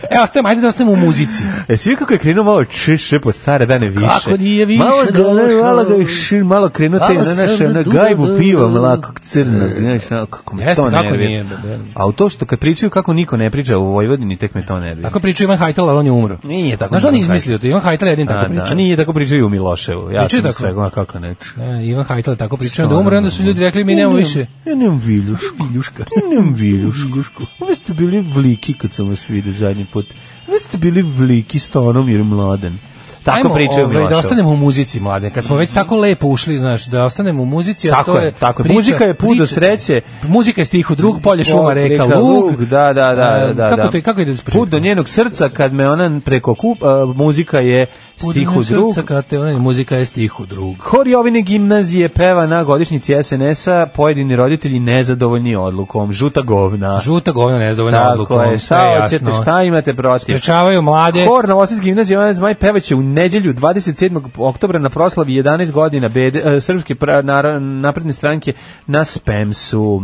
E: Evo, ostajem, ajde da ostanemo u muzici.
F: Jesi vidio E, kako je krenuo malo češe pod stare dane više?
E: Kako nije više
F: Malo ga,
E: došlo?
F: malo ga je šir, malo krenuo te
E: Malo
F: na naše
E: sam
F: na
E: za
F: gajbu
E: dugo
F: piva
E: vrlo
F: mlako crno. Znaš, ono, kako me
E: Jeste,
F: to
E: kako
F: nervira.
E: nije, bre, da.
F: A u to što kad pričaju kako niko ne priča u Vojvodini, tek me to nervira.
E: Tako priča Ivan Hajtal, ali on je umro.
F: Nije tako.
E: Znaš, on je izmislio to. Ivan Hajtal je jedin tako
F: A,
E: pričao.
F: da, nije tako pričao i u Miloševu. Ja
E: Pričaju
F: sam
E: tako?
F: svega, ma kako ne.
E: E, Ivan Hajtal je tako pričao da umre, onda su ljudi rekli mi
F: Ja
E: nemamo
F: nemam-
E: više.
F: Ja nemam viljušku. Viljuška. Ja nemam viljušku. Vi ste bili vliki kad sam vas vidio zadnji put. Vi ste bili vliki stanom jer mladen. Tako
E: Ajmo,
F: pričaju
E: ovaj, da
F: Miloševu.
E: ostanemo u muzici, mlade. Kad smo već tako lepo ušli, znaš, da ostanemo u muzici, a
F: Tako
E: to
F: je,
E: je
F: tako je.
E: priča-
F: Muzika je put do
E: priča-
F: sreće.
E: Muzika je stih u drug, polje šuma, reka, lug.
F: Da, da, da,
E: E,
F: da.
E: Kako
F: da.
E: to je, kako ide iz
F: Put do njenog srca kad me ona preko kup, a, muzika je stih u drug.
E: Srca kad te, onaj, muzika je stih u drug.
F: Hor Jovine gimnazije peva na godišnjici SNS-a pojedini roditelji nezadovoljni odlukom. Žuta govna.
E: Žuta govna nezadovoljna
F: Tako
E: odlukom.
F: je,
E: sve je
F: šta hoćete,
E: jasno.
F: šta imate protiv?
E: Sprečavaju mlade.
F: Hor na Osijek gimnazije, ona zmaj pevaće u neđelju 27. oktobra na proslavi 11 godina bede, e, srpske pra, nara- napredne stranke na Spemsu.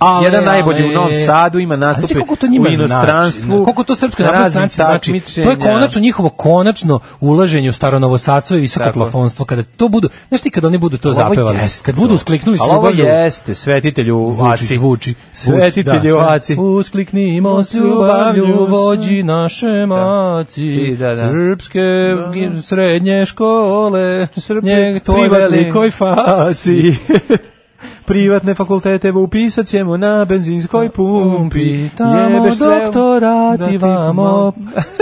E: Ale,
F: Jedan najbolji
E: ale.
F: u Novom Sadu ima
E: A znaš
F: nastupe
E: koliko to njima
F: u inostranstvu.
E: Znači, koliko to srpska
F: na
E: napredna
F: raznim
E: stranci znači? To je
F: takmičenja.
E: konačno njihovo konačno ulaženje u staronovosadstvo i visoko
F: Tako.
E: plafonstvo. Kada to budu, znaš ti kada oni budu to
F: Ali ovo
E: zapevali,
F: jeste
E: kad budu
F: to.
E: uskliknuli s
F: Ali ovo
E: ljubavlju.
F: jeste, svetitelju
E: Vuči,
F: Vaci.
E: vuči.
F: Svetitelju
E: Da, sve.
F: Vaci.
E: Uskliknimo s ljubavlju, vođi naše maci,
F: Da. Si, da, da.
E: srpske gi- srednje škole, njeg tvoj
F: privatne-
E: velikoj faci.
F: Privatne fakultete upisat ćemo na benzinskoj pumpi.
E: Tamo
F: Jebeš sve-
E: doktorati
F: da ti-
E: vamo,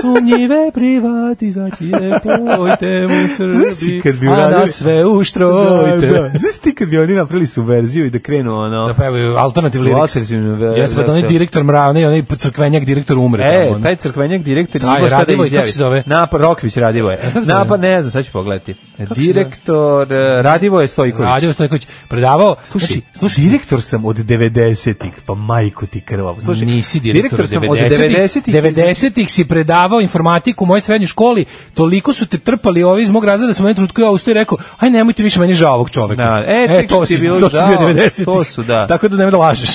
E: sumnjive privatizacije, pojte mu
F: Znaš ti
E: Srbi,
F: kad bi
E: a
F: uradili-
E: nas sve uštrojte.
F: Da, da. Znaš ti kad bi oni napravili subverziju i da krenu ono...
E: Da pevaju alternativ
F: u
E: lirik.
F: alternativnu ver-
E: Jesi pa da onaj
F: verziju.
E: direktor mravne i onaj crkvenjak direktor umre.
F: E,
E: tamo, ono.
F: taj crkvenjak direktor
E: Taj
F: ima šta da
E: Radivoj, kako
F: izjavi.
E: se zove? E,
F: Napa, Rokvić Radivo je.
E: kako se zove? E,
F: Napa, ne znam, sad ću pogledati.
E: se zove?
F: Direktor eh, Radivo je Stojković.
E: Rađevo Stojković predavao,
F: Slušaj,
E: znači,
F: slušaj, direktor sam od 90-ih, pa majku ti krvavu. Slušaj,
E: nisi direktor,
F: direktor sam od
E: 90-ih.
F: 90-ih.
E: 90-ih si predavao informatiku u mojoj srednjoj školi, toliko su te trpali ovi iz mog razreda, da sam u jednom trenutku ja ustao i rekao, aj nemojte više meni žao ovog čoveka.
F: Da, e, tek
E: to
F: ti je bilo
E: to si
F: žao,
E: bio 90-ih.
F: to su, da.
E: Tako da nemoj da lažeš.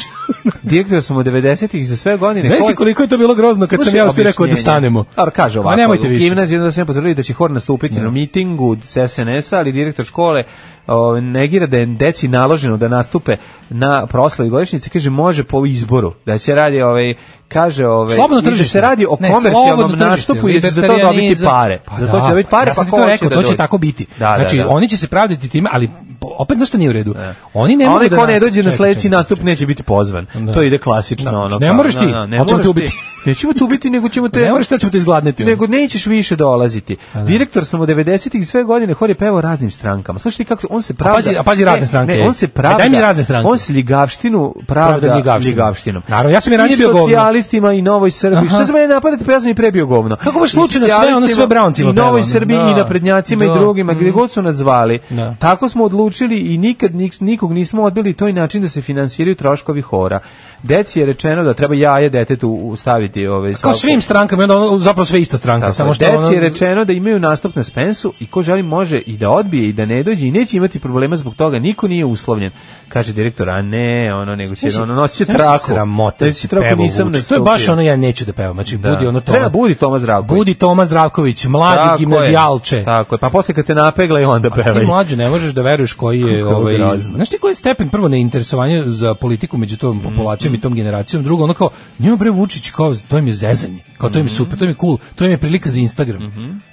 F: Direktor sam od 90-ih za sve godine.
E: Znaš si
F: Koji-
E: koliko je to bilo grozno kad sam
F: Slušaj,
E: ja ustao i rekao da
F: objašnjenje.
E: stanemo.
F: Dobro, kaže
E: Pa
F: ovako.
E: nemojte
F: u
E: više.
F: Gimnaziju onda sam potvrdili da će hor nastupiti na mitingu s SNS-a, ali direktor škole o, negira da je deci naloženo da nastupe na proslavi godišnjice, kaže može po izboru, da se radi ovaj kaže ovaj
E: Slobodno
F: i da
E: tržište.
F: se radi o
E: Ne,
F: komercijalnom
E: slobodno tržište,
F: nastupu i da će za to dobiti
E: libertarianizam.
F: pare. za to će dobiti pare,
E: ja
F: pa
E: sam ti
F: ko
E: to
F: hoće
E: rekao,
F: da
E: to će
F: dođe.
E: tako biti.
F: Da, da,
E: znači,
F: da.
E: oni će se pravdati time, ali po- opet zašto nije u redu? Oni ne
F: A
E: mogu
F: onaj
E: da
F: ko ne
E: nas-
F: dođe na
E: Čekaj,
F: sledeći
E: čekaj.
F: nastup neće biti pozvan.
E: Da.
F: To ide klasično.
E: Da.
F: ono,
E: Ne
F: kao,
E: moraš ti,
F: da, da, ne
E: ali ćemo
F: moraš
E: te ubiti.
F: Nećemo te ubiti, nego ćemo te...
E: Pa Ne moraš, te, ćemo te izgladniti. ono.
F: Nego nećeš više dolaziti.
E: da.
F: Direktor sam od 90-ih sve godine hor je pevao raznim strankama. Slušaj ti kako on se pravda.
E: pazi- a pazi razne
F: Ne,
E: stranke,
F: Ne,
E: ej.
F: on se
E: E,
F: pravda.
E: daj mi razne stranke.
F: On se ljigavštinu pravda,
E: Pravda ljigavštinom.
F: ljigavštinom.
E: Naravno, ja sam i ranije bio govno.
F: socijalistima i Novoj Srbiji.
E: Aha.
F: Šta za mene napadate, pa ja sam i prebio govno.
E: Kako baš
F: I
E: slučajno sve, ono, sve
F: socijalistima
E: Browncima
F: I Novoj
E: peva, ono.
F: Srbiji
E: Da.
F: i naprednjacima
E: Da.
F: i drugima, gdje
E: Mm.
F: god su nas zvali.
E: Da.
F: Tako smo odlučili i nikad nik- nikog nismo odbili to je način da se finansiraju troškovi hora. Deci je rečeno da treba jaje detetu u- staviti ovaj
E: Kao
F: svako-
E: svim strankama, i onda ono, zapravo sve ista stranka.
F: Tako,
E: samo što
F: deci
E: ono-
F: je rečeno da imaju nastup na Spensu i ko želi može i da odbije i da ne dođe i neće imati problema zbog toga, niko nije uslovljen. Kaže direktor, a ne, ono, nego će,
E: Mislim,
F: ono, nosit će
E: znaš
F: traku.
E: Sramota,
F: Nosit će
E: si
F: traku,
E: pevao
F: nisam
E: Vučić. To je baš
F: nastupio.
E: ono, ja neću da pevam. Znači,
F: Da.
E: budi ono Toma.
F: Treba budi Toma Zdravković.
E: Budi Toma Zdravković, mladi
F: Tako je,
E: gimnazijalče.
F: Tako je, pa posle kad se napegla i onda
E: A ti
F: pevaj.
E: mlađe ne možeš da veruješ koji je
F: Kako
E: ovaj
F: grozno. Mhm.
E: znaš ti koji je stepen prvo neinteresovanja za politiku među tom populacijom i tom generacijom drugo ono kao njima bre Vučić kao to im je zezanje kao to im je
F: Mhm.
E: super to im je cool to im je prilika za Instagram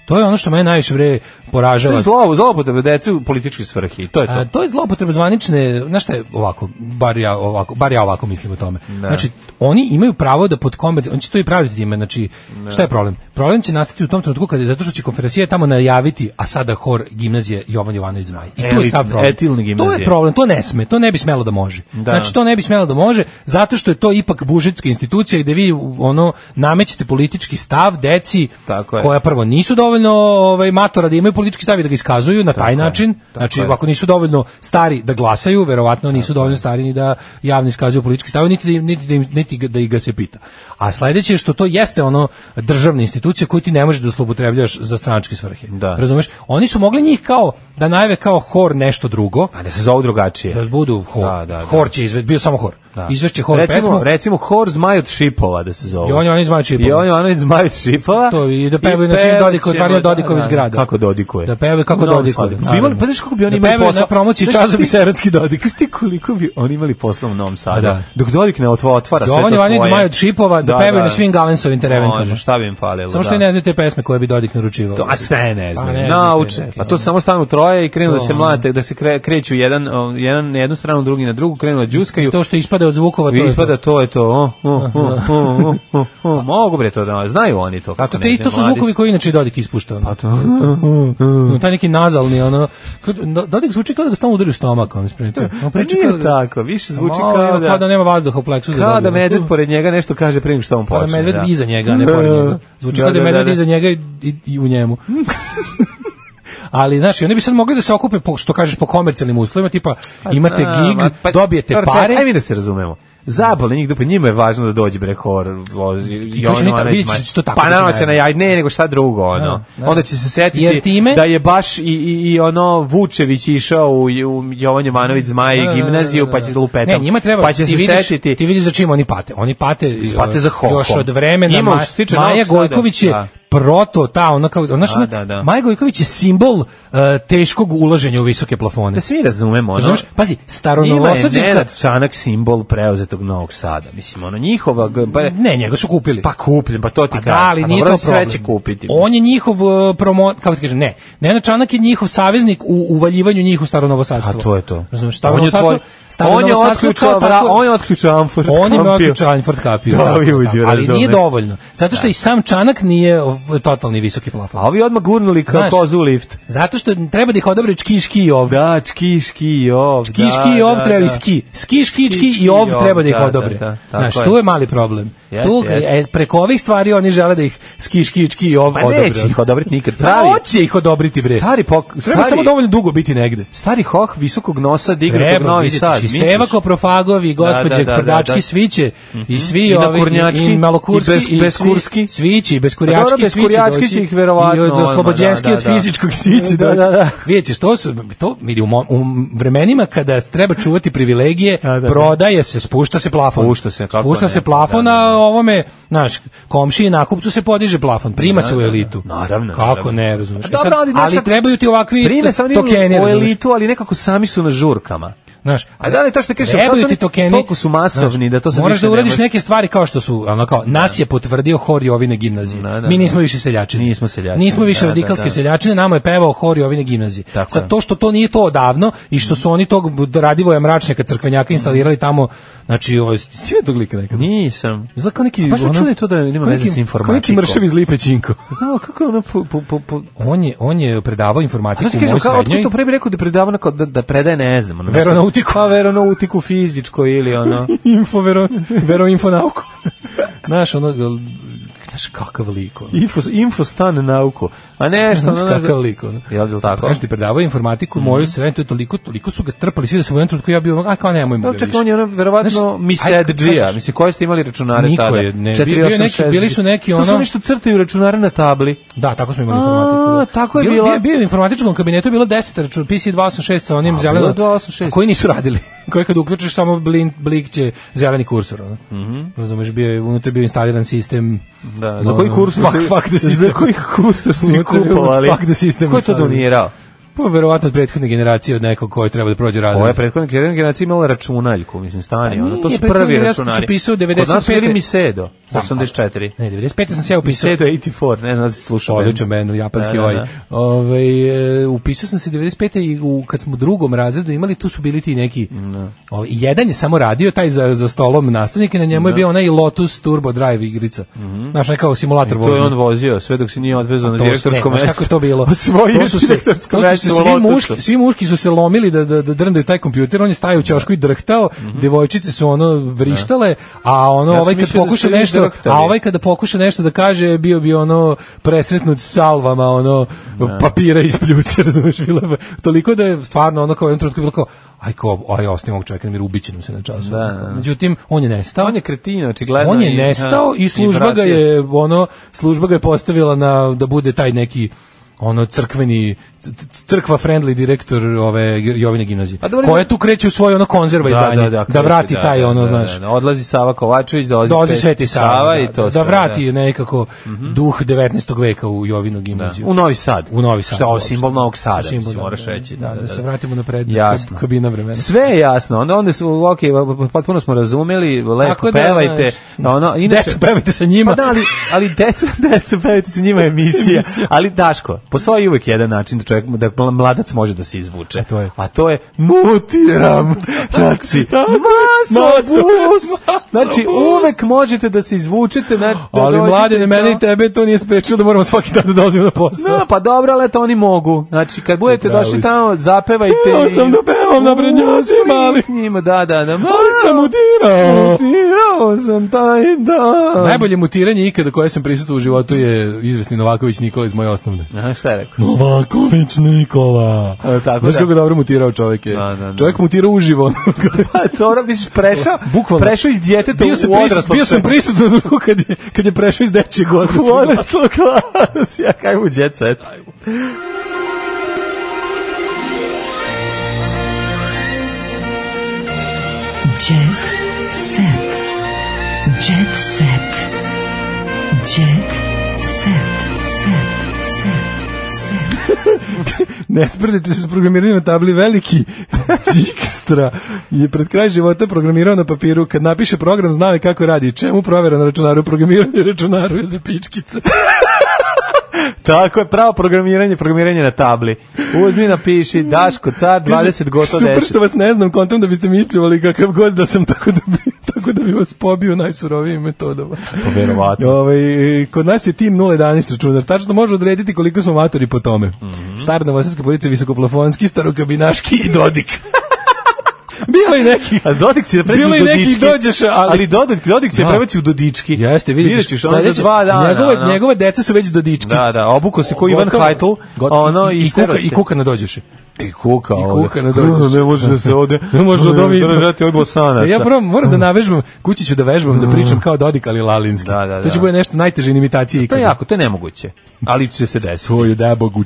E: to je ono što mene najviše bre
F: To je
E: poražava
F: zlo, zloupotrebe dece u političke svrhe, i to je to.
E: A, to je zloupotreba zvanične, znaš šta je ovako, bar ja ovako, bar ja ovako mislim o tome. Znači, oni imaju pravo da pod komer, on će to i praviti time, znači, šta je problem? Problem će nastati u tom trenutku kada, zato što će konferencija tamo najaviti, a sada hor gimnazije Jovan Jovanović Zmaj. I tu je
F: Elitne,
E: sav problem.
F: etilne
E: To
F: gimnazije.
E: je problem, to ne sme, to ne bi smelo da može.
F: Da.
E: Znači, to ne bi smelo da može, zato što je to ipak bužetska institucija gde vi ono, namećete politički stav deci
F: Tako je.
E: koja prvo nisu dovoljno ovaj, matora da imaju politički stav i da ga iskazuju na taj
F: je,
E: način,
F: tako
E: znači
F: je.
E: ako nisu dovoljno stari da glasaju, verovatno nisu dovoljno stari ni da javno iskazuju politički stav, niti da, im- niti, da im- niti ga- da ih ga se pita. A sledeće je što to jeste ono državna institucija koju ti ne možeš da zloupotrebljavaš za stranačke svrhe.
F: Da.
E: Razumeš? Oni su mogli njih kao da najave kao hor nešto drugo,
F: A da se zove drugačije.
E: da budu hor.
F: Da, da, da.
E: Hor će izvesti, bio samo hor.
F: Da.
E: Izvešće hor
F: recimo,
E: pesmu.
F: Recimo Hor Zmaj od Šipova da se zove.
E: Jovan Jovanović Zmaj od Šipova.
F: Jovan Jovanović Zmaj od Šipova.
E: To, i da pevaju na svim
F: pevat
E: Dodikovi-
F: ćemo,
E: otvaranju Dodikovih
F: da, da,
E: zgrada.
F: Kako Dodikuje.
E: Da pevaju kako
F: U Novom
E: Dodikuje,
F: Sadu.
E: naravno.
F: Bi imali, pa znaš kako bi oni
E: Da
F: imali
E: pevaju
F: posla?
E: na promociji
F: Znaš ti-
E: časopisa Erotski Dodik.
F: Znaš ti koliko bi oni imali posla u Novom Sadu?
E: da.
F: Dok Dodik ne otvara, otvara sve to
E: Jovan
F: svoje.
E: Jovanović Zmaj od Šipova da, pevaju na svim Galensovim terenkama.
F: Može, šta bi im falilo,
E: Samo što
F: da.
E: i ne znaju te pesme koje bi Dodik naručivao.
F: To, a sve ne
E: Pa ne
F: znaju.
E: znaju
F: Nauče.
E: te neke,
F: Pa to
E: ono.
F: samo stanu troje i krenu da se
E: To,
F: mlate, da se kre- kreću jedan, o, jedan na jednu stranu, drugi na drugu, krenu da đuskaju.
E: To što ispada od zvukova, Pa to
F: Vi
E: je to.
F: ispada to je to. O, o, o, o, o, o. Mogu bre to da znaju oni to. Kako
E: To,
F: ne
E: te isto
F: znaju
E: su
F: mladi
E: zvukovi koji inače i Dodik ispušta. ono. No, Mm. taj neki nazalni, ono, kad- Do- Dodik zvuči kao da ga stalno udari u stomak, ono, spremite. On
F: Pa
E: priča
F: nije
E: kao da-
F: tako, više zvuči
E: Malo
F: kao
E: ima
F: da-
E: Kao da nema vazduha u pleksu. za
F: Kao da
E: Dodika.
F: medved pored njega nešto kaže prije nego što on
E: Kao da
F: počne.
E: medved
F: da.
E: iza njega, a ne pored njega. Zvuči kao da je medved iza njega i, i, i u njemu. Ali, znaš, i oni bi sad mogli da se okupe, po, što kažeš, po komercijalnim uslovima, tipa, imate
F: A,
E: gig,
F: ma, pa-
E: dobijete
F: Dobro, čekaj,
E: pare,
F: Ajde mi da se razumemo. Zabole njih dupe, njima je važno da dođe bre horor. vozi,
E: kaže,
F: ono,
E: "Nita,
F: onaj
E: vidjet
F: zmaj."
E: ćeš što tako
F: Pa
E: da
F: naravno
E: ti
F: se na
E: najde.
F: jaj, ne, nego šta drugo, ono.
E: Da, da.
F: Onda će se setiti
E: Jer time-
F: da je baš i, i, i ono Vučević išao u, u Jovan Jovanović Zmaj
E: Da, da, da,
F: gimnaziju,
E: da, da,
F: pa
E: da.
F: će lupetam.
E: Ne, njima treba,
F: pa će
E: ti
F: se
E: vidiš,
F: setiti.
E: Ti vidiš za čim oni pate. Oni pate,
F: Pate za
E: e,
F: hohom.
E: još od vremena.
F: Ima,
E: Ma,
F: što se tiče
E: Maja
F: Novog Sada,
E: Gojković je
F: da.
E: proto ta ona kao ona što
F: Da, da, da.
E: Maja Gojković je simbol e, teškog ulaženja u visoke plafone.
F: Da svi razumemo, ono.
E: Razumeš? Pazi, staro
F: Njima je
E: novosađenka
F: Nenad Čanak simbol preuzetog Novog Sada. Mislim, ono, njihova... g- Pa,
E: Ne, njega su kupili.
F: Pa kupljen, pa to ti
E: Pa
F: kažem.
E: da, ali
F: Pa
E: nije
F: dobro,
E: to
F: sve
E: problem.
F: će kupiti.
E: On je njihov uh, promo, kako ti kažem, ne. Nenad Čanak je njihov saveznik u uvaljivanju njih u staro novosadstvo.
F: A Pa to je to.
E: Razumeš, staro
F: on je,
E: novosadstvo,
F: tvoj,
E: staro
F: on je
E: novosadstvo
F: otključao,
E: kao
F: vra,
E: takvo-
F: on je otključao Anford
E: on je
F: kampio.
E: otključao Anford kapiju.
F: Da,
E: tako,
F: ovi Da.
E: tako.
F: uđu,
E: ali nije
F: razumeš.
E: dovoljno. Zato što i sam Čanak nije o, totalni visoki plafon.
F: A ovi odmah gurnuli kao
E: Znaš,
F: kozu u lift.
E: Zato što treba da ih odabri čki, ški i ov.
F: Da, čki, ški i ov.
E: Ski,
F: da,
E: ški i ov
F: da,
E: treba i
F: da.
E: ski. Ski, ški, čki i ov treba da ih
F: da,
E: odobre.
F: da, da, tako
E: Znaš,
F: je.
E: tu je mali problem.
F: Jeste,
E: Tu,
F: jeste.
E: e, preko ovih stvari oni žele da ih ski, ški, čki i ov
F: Pa
E: odobre.
F: neće ih odobriti nikad.
E: Pa
F: Pravi,
E: hoće ih odobriti bre.
F: Stari pok-
E: Treba
F: stari-
E: samo dovoljno dugo biti negde.
F: stari hoh visokog nosa dignutog
E: Treba,
F: novi
E: vidjet
F: sad.
E: ćeš, i Steva Koprofagovi, gospođe,
F: da, da,
E: Prdački,
F: da.
E: svi će, i svi
F: I na
E: ovi,
F: Kornjački,
E: i, i Malokurski,
F: i bez- beskurski.
E: svi, svi će, i
F: Pa dobro,
E: Beskurjački, svi će
F: Beskurjački
E: doći,
F: će ih verovatno,
E: i od
F: odmah,
E: Oslobođenski,
F: da,
E: od
F: da, da.
E: fizičkog svi će
F: Da,
E: doći.
F: da, da.
E: Vidjet ćeš, to su, to, vidi, u, mo- u vremenima kada treba čuvati privilegije,
F: da.
E: prodaje se, spušta se plafon.
F: Spušta se, kako
E: Spušta
F: ne. Da,
E: se plafon, a ovome, znaš, komšiji i nakupcu se podiže plafon, prima se u elitu.
F: Da, Naravno,
E: Kako
F: naravno.
E: ne, razumiješ.
F: A dobro, ali znaš kako-
E: trebaju ti ovakvi
F: Prime sam
E: tokeni,
F: o
E: razumeš.
F: elitu, ali nekako sami su na žurkama.
E: Znaš,
F: A da li to što kažeš, sad su
E: Trebaju
F: oni
E: ti tokeni.
F: toliko su masovni
E: Znaš,
F: da to sad
E: Moraš
F: više
E: da
F: ne
E: uradiš
F: možeš-
E: neke stvari kao što su, ono kao, nas je potvrdio hor Jovine gimnazije.
F: Da, da,
E: Mi
F: da.
E: nismo više seljačine.
F: Nismo seljačine,
E: Nismo više
F: da, da,
E: radikalske
F: da.
E: seljačine, nama je pevao hor Jovine gimnazije.
F: Tako
E: Sad
F: je.
E: to što to nije to odavno i što su oni tog radivoja mračnjaka crkvenjaka instalirali tamo, znači, ovo, svi tog lika nekad.
F: Nisam.
E: Izgleda kao neki...
F: A baš mi
E: ono-
F: čudi to da nema
E: kao
F: veze
E: neki-
F: s
E: Kao neki
F: informatikom.
E: mršav iz Lipe Činko.
F: Znao kako je ono po, po, po, po...
E: On je, on je predavao
F: A
E: informatiku
F: to ti
E: u
F: kažem,
E: mojoj
F: kao, otkud
E: srednjoj.
F: to pre bi rekao da predavano kao da, da predaje, ne znam. Ono,
E: Veronautiku.
F: Pa veronautiku fizičko ili ono.
E: info vero, vero info nauku. Znaš, ono, l- znaš kakav lik ono.
F: Info, infostan nauku. A nešto,
E: Znaš
F: ono, ne
E: kakav
F: znam.
E: lik ono.
F: Jel bi tako? Mhm.
E: Kažete, predavao je informatiku, mm. moju srednju, to je toliko, toliko su ga trpali, svi da sam u jednom trenutku ja bio, ono, a kao nemoj mu ga
F: Da,
E: više.
F: čak on je ono, verovatno,
E: Znaš,
F: mi
E: ajde,
F: sed džija.
E: kažeš-
F: Mislim, koje ste imali računare
E: Niko
F: tada?
E: je, ne, bio- bio je
F: 486
E: neki- bili su neki,
F: To su
E: ono-
F: oni što crtaju računare na tabli.
E: Da, tako smo imali
F: A,
E: informatiku. Da.
F: tako je
E: Bilo-
F: bila-
E: Bio, bio, je u informatičkom kabinetu je bilo 10 račun, PC 286 sa onim
F: A,
E: zelenom.
F: bilo je 286.
E: Koji nisu radili. Koji kad uključiš samo blink, blink će zeleni kursor. Ono.
F: Mhm.
E: Razumeš, bio je, unutra je bio instaliran sistem.
F: Da, za koji
E: ono,
F: kurs?
E: Fuck, fuck the system.
F: Za koji kurs su ih
E: Unutra je
F: kupovali?
E: fuck the system
F: Ko je to
E: stavili.
F: donirao?
E: Pa verovatno od prethodne generacije od nekog koji treba da prođe razred.
F: Ovo je prethodnik, jedna generacija imala računaljku, mislim, stani.
E: A
F: Ono, to
E: Pa nije,
F: su
E: prethodni
F: prvi
E: generacija su
F: računari.
E: pisao
F: Kod nas su bili
E: 95..
F: Misedo,
E: Znam,
F: 84.
E: Ne, 95. sam se ja upisao.
F: Misedo 84, ne znam da si slušao.
E: Odličan bend, japanski
F: Da, da,
E: ovaj.
F: da.
E: Ovaj, e, upisao sam se 95. i u, kad smo u drugom razredu imali, tu su bili ti neki...
F: Da.
E: Ovaj, jedan je samo radio, taj za, za stolom nastavnik i na
F: Da.
E: njemu je bio onaj Lotus Turbo Drive igrica. Znaš, onaj kao simulator
F: Mhm. To je
E: vožnje.
F: on vozio, sve dok se nije odvezao na
E: To su-
F: direktorsko
E: ne, znaš
F: mesto.
E: Kako je to bilo?
F: Osvojio
E: to su se,
F: direktorsko
E: to su se
F: mesto u
E: svi,
F: Lotusu.
E: muški, svi muški su se lomili da, da, da drndaju taj kompjuter, on je stajao u čošku i drhtao, devojčice su ono vrištale, a ono
F: Mhm. Ja sam
E: ovaj kad
F: mislio da
E: pokuša
F: ste vi
E: nešto,
F: drhtali.
E: a ovaj kada pokuša nešto da kaže, bio bi ono presretnut salvama, ono
F: Da.
E: papira iz pljuce, razumeš, bilo je toliko da je stvarno ono kao u jednom trenutku bilo kao aj ko, aj ostavimo ovog čovjeka na miru, ubiće nam se na času.
F: Da, da, da.
E: Međutim, on je nestao.
F: On je kretin, očigledno.
E: On
F: Pa da, i-
E: je nestao
F: ha,
E: i služba ga
F: vratio se.
E: je ono služba ga je postavila na da bude taj neki ono crkveni c- c- crkva friendly direktor ove Jovine gimnazije.
F: A Pa dobro,
E: Koja
F: ima-
E: tu kreće u svoje ono konzerva izdanje da,
F: kreće,
E: vrati taj ono znaš. da
F: da, da. odlazi Sava Kovačević, dolazi,
E: Dozi Sveti Sava, da,
F: i to
E: da,
F: sve, Mhm.
E: vrati nekako duh 19. veka u Jovinu
F: Da.
E: gimnaziju.
F: U Novi Sad.
E: U Novi Sad.
F: Šta, ovo je
E: uopšte.
F: simbol Novog Sada,
E: Simbol
F: mislim,
E: Novog
F: moraš
E: Sada.
F: reći.
E: Da, da, se vratimo na pred
F: Jasno.
E: kabina vremena.
F: Sve je jasno. Onda onda su okej, potpuno smo razumeli, lepo
E: Tako da,
F: pevajte.
E: znaš,
F: ono, inače
E: deco, pevajte sa njima.
F: Pa da, ali ali deca, deca pevajte sa njima je emisija. ali Daško, postoji uvek jedan način da čovjek da mladac može da se izvuče. A
E: to je?
F: A to je mutiram. Znači,
E: Tako je,
F: maso
E: maso,
F: bus.
E: maso
F: Znači,
E: bus.
F: uvek možete da se izvučete. Na, da
E: Ali
F: dođete
E: mlade,
F: sa-
E: mene i tebe to nije sprečilo da moramo svaki dan da dolazimo na posao.
F: No, pa dobro, ali eto, oni mogu. Znači, kad budete
E: Upravo
F: došli
E: si.
F: tamo, zapevajte.
E: Pevao
F: i-
E: sam da pevam na prednjacima, ali-
F: Njima, da, da, da.
E: Ali sam udirao.
F: Udirao Znao sam taj dan.
E: Najbolje mutiranje ikada koje sam prisutuo u životu je izvesni Novaković Nikola iz moje osnovne.
F: Aha, šta je rekao?
E: Novaković Nikola.
F: A, tako
E: Znaš
F: da.
E: kako dobro mutirao čovjek je.
F: Da, da, da.
E: Čovjek mutirao uživo.
F: Pa, dobro, misliš, prešao,
E: Bukvalno.
F: prešao iz djeteta
E: bio sam
F: u
E: prisut-
F: odraslog.
E: Bio sam
F: čovjeka.
E: prisutan kad je, kad je prešao iz dečijeg
F: U
E: odraslog.
F: odraslog klas. Ja, kaj mu djet set.
D: Jet set. Jet set. Jet set. Set.
E: Ne sprdite se s programiranjem na tabli veliki. Dijkstra je pred kraj života programirao na papiru. Kad napiše program, znao je kako radi. Čemu provera na računaru? Programiranje računaru je za pičkice.
F: Tako je, pravo programiranje, programiranje na tabli. Uzmi, napiši, Daško, car, 20, gotovo 10.
E: Super što vas ne znam, kontam da biste mi itljivali kakav god da sam tako da bi, tako da bi vas pobio najsurovijim metodama.
F: Pa, verovatno.
E: Ovaj, e, kod nas je tim 011 računar, tačno da može odrediti koliko smo matori po tome. Mm
F: Mhm.
E: -hmm. Stara novosadska policija, visokoplafonski, starokabinaški i Dodik. Bilo je neki.
F: A Dodik će da preći
E: Bilo
F: u
E: i neki
F: Dodički.
E: dođeš, ali-
F: ali Dodik, Dodik će
E: Da.
F: da. preći u Dodički.
E: Jeste, vidjet ćeš.
F: Vidjet ćeš, ono za
E: Sledeće-
F: dva dana.
E: Njegove,
F: ono.
E: njegove deca su već dodički.
F: Da, da, obuko se ko Ivan
E: Gotovo.
F: Hajtl,
E: Got-
F: ono,
E: i,
F: i,
E: i, kuka,
F: stero
E: i
F: se.
E: kuka nadođeše.
F: I kuka,
E: I
F: ovde.
E: kuka na dođeš.
F: Ne može da se ode.
E: Ne može da ovi-
F: Da ne vrati od Bosanaca.
E: Ja moram, moram da navežbam, kući ću da vežbam, da pričam kao Dodik ali Lalinski.
F: Mhm. Da, da,
E: To će
F: da.
E: bude nešto najteže imitacije
F: To
E: ikada.
F: je jako, to je nemoguće. Ali će se desiti.
E: Tvoju debogu.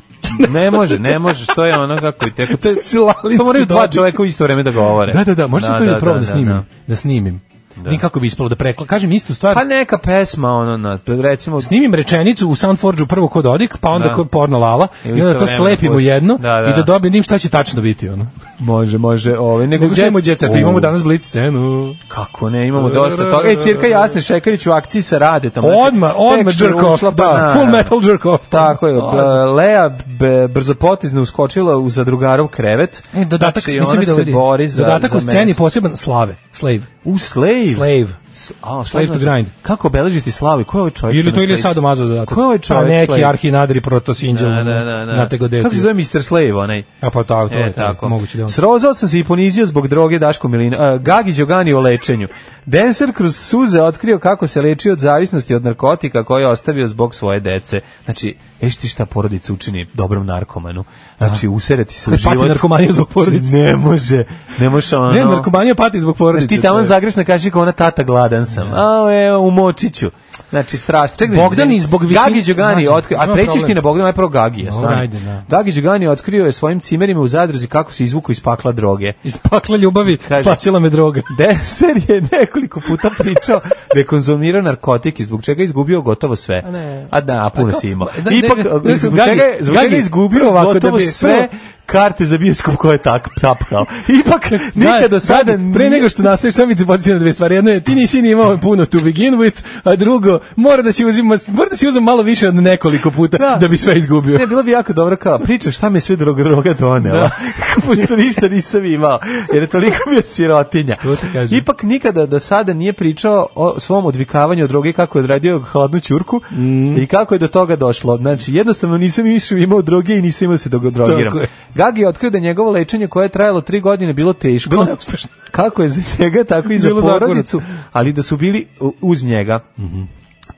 F: Ne može, ne može, što je ono kako i teko. To,
E: Si Lalinski
F: to moraju dva
E: Dodik.
F: čoveka u isto vreme da govore.
E: Da, da, da, možda to da, probam da snimim. Da,
F: da.
E: snimim. Nikako bi ispalo da prekla. Kažem istu stvar.
F: Pa neka pesma, ono, na, pa recimo,
E: snimim rečenicu u Soundforgeu prvo kod Dodik, pa onda
F: Da.
E: kod porno Lala
F: I
E: i onda to
F: istovremeno
E: slepimo
F: puš.
E: jedno
F: Da, da.
E: i da dobijem šta će tačno biti ono.
F: Može, može, ovaj nego
E: Nego snimimo
F: Jet-
E: djeca,
F: O,
E: imamo danas blic scenu.
F: Kako ne, imamo dosta toga. Ej, Cirka Jasne Šekarić u akciji sa Radetom. Znači,
E: Odma, odma
F: tek što je
E: jerk off,
F: ušla, pa
E: da,
F: naravno.
E: full metal jerk off.
F: Tako je, pa-
E: Odma.
F: b- Lea b- brzopotizno uskočila u zadrugarov krevet.
E: E, dodatak,
F: znači,
E: nisam
F: ona
E: vidio
F: se
E: ovdje.
F: bori za,
E: Dodatak
F: za
E: u sceni
F: mesto.
E: poseban slave, slave,
F: U slave.
E: slave.
F: S- A, šta
E: Slave to
F: znači?
E: grind.
F: Kako obeležiti slavu? Ko je ovaj čovjek?
E: Ili
F: što
E: to
F: na
E: ili je
F: slavu?
E: sadomazo dodatak.
F: Ko je ovaj čovjek?
E: Pa neki
F: slave?
E: arhinadri protosinđel.
F: Da, da, da, da.
E: Na te godeti.
F: Kako se zove Mr. Slave, onaj?
E: A pa tako, to
F: E,
E: je tako.
F: tako.
E: Moguće da je on.
F: Srozao sam se i ponizio zbog droge Daško Milina. Uh, Gagi Đogani o lečenju. Denser kroz suze otkrio kako se leči od zavisnosti od narkotika koje je ostavio zbog svoje dece. Znači, veš ti šta porodica učini dobrom narkomanu? Znači, usereti se u
E: Da. Pati
F: život.
E: narkomanija zbog porodice.
F: Ne može. Ne može ono.
E: Ne, narkomanija pati zbog porodice.
F: Znači, ti
E: to
F: tamo
E: je. Da.
F: zagreš na kaši kao ona tata gladan sam. A, evo, u močiću. Znači, strašno. Čekaj, da
E: Bogdan
F: izvinim.
E: i zbog visine-
F: Gagi Đogani,
E: Znači,
F: otkrio, a
E: ima
F: prećiš
E: problem.
F: ti na Bogdana, najprvo Gagija.
E: Dobro,
F: stani.
E: ajde, da.
F: Gagi Đogani otkrio je svojim cimerima u zadruzi kako se izvukao iz pakla droge.
E: Iz pakla ljubavi
F: Kaže-
E: spasila me droga.
F: Deser je nekoliko puta pričao da je konzumirao narkotike, zbog čega je izgubio gotovo sve.
E: A ne.
F: A da, a puno
E: A
F: si
E: kao-
F: imao.
E: da,
F: Ipak,
E: ne, ne, ne,
F: zbog
E: Gagi,
F: čega je, zbog čega
E: Gagi,
F: je izgubio
E: prvo ovako da
F: gotovo
E: bi-
F: sve
E: prvo-
F: karte za bioskop koje je tak, tapkao. Ipak, nikada sada...
E: Gagi, Pre nego što nastaviš, samo mi ti podsjećam na dve stvari. Jedno je, ti nisi ni imao puno to begin with, a drugo, mora da si uzima, mora da si uzima malo više od nekoliko puta da,
F: Da.
E: bi sve izgubio. Da.
F: Ne, bilo bi jako dobro kao, priča šta mi je sve droga, droga donela, pošto ništa nisam imao, jer je toliko bio sirotinja.
E: To ti kažem.
F: Ipak nikada do sada nije pričao o svom odvikavanju od droge, kako je odradio hladnu ćurku
E: Mm.
F: i kako je do toga došlo. Znači, jednostavno nisam više imao droge i nisam imao da se dog- drogiram.
E: Tako je.
F: Gagi je otkrio da je njegovo lečenje koje je trajalo tri godine bilo teško.
E: Bilo neuspešno.
F: Kako je za njega, tako i za
E: Bilo zagorno.
F: porodicu, ali da su bili u- uz njega.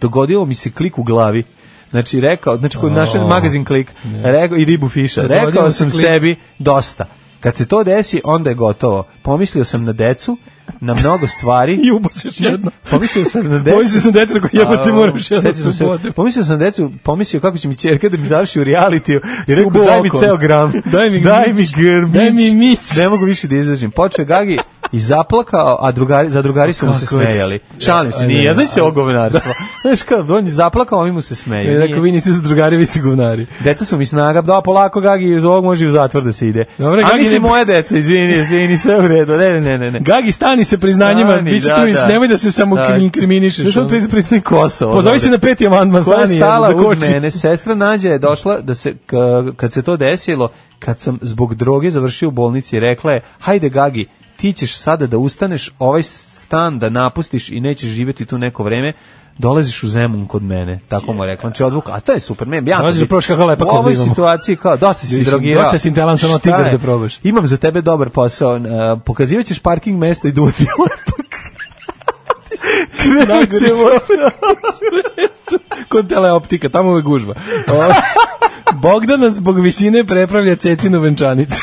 F: Dogodilo mi se klik u glavi. Znači rekao, znači kod našem magazin klik, rekao i ribu fiša.
E: Dogodio
F: Rekao
E: mi se
F: sam
E: klik.
F: sebi dosta. Kad se to desi, onda je gotovo. Pomislio sam na decu, na mnogo stvari.
E: I ubo se još jedno.
F: Pomislio sam na decu.
E: Pomislio sam detetu koji jebate
F: A,
E: moraš jedno
F: setio sam se-
E: subotu.
F: Pomislio sam na decu, pomislio kako će mi ćerka da mi završi u realitiju. I rekao,
E: Subo
F: daj mi
E: oko.
F: ceo gram.
E: Daj mi
F: daj mi
E: mić.
F: grmić.
E: Daj mi mić.
F: Ne mogu više da izdržim. Počeo je Gagi i zaplakao, a drugari, za drugari su mu se
E: Pa Kako je s-
F: smejali. Šalim se,
E: Ajde,
F: nije, da
E: ajde.
F: znaš se ogovinarstvo. Znaš kao, on je zaplakao, a ovi mu se smeju.
E: I
F: E, Nije.
E: Rekao, vi niste za drugari, vi ste govnari.
F: Deca su mi snaga, da polako Gagi iz ovog može i u zatvor da se ide.
E: Dobre,
F: A
E: Gagi,
F: misli
E: ne-
F: moje deca, izvini, izvini, sve u redu. Ne, ne, ne, ne.
E: Gagi, stani se priznanjima,
F: Stani,
E: bit će
F: da,
E: tu, i-
F: da.
E: nemoj da se samo
F: Da.
E: da. inkriminišeš.
F: Da sad
E: ono.
F: priz- priznaj Kosovo.
E: Pozovi se
F: dobro.
E: na peti amandman,
F: Koja je
E: stani,
F: stala
E: za
F: uz mene, sestra Nađa je došla da se, k- kad se to desilo, kad sam zbog droge završio u bolnici, rekla je, hajde Gagi, ti ćeš sada da ustaneš ovaj stan da napustiš i nećeš živjeti tu neko vreme, dolaziš u Zemun kod mene, tako mu je rekla. Znači odvuk, a to je super, meni ja.
E: Dolaziš da probaš kako lepa
F: U
E: kod
F: ovoj
E: imamo.
F: situaciji kao dosta si
E: Vidiš,
F: drogirao.
E: dosta si intelan, samo
F: Šta
E: tigar
F: je?
E: da probaš.
F: Imam za ovaj tebe dobar posao, uh, pokazivaćeš parking mesta i duvati lepak.
E: Krećemo. Kod teleoptika, tamo je gužva. O, Bogdana zbog visine prepravlja cecinu venčanicu.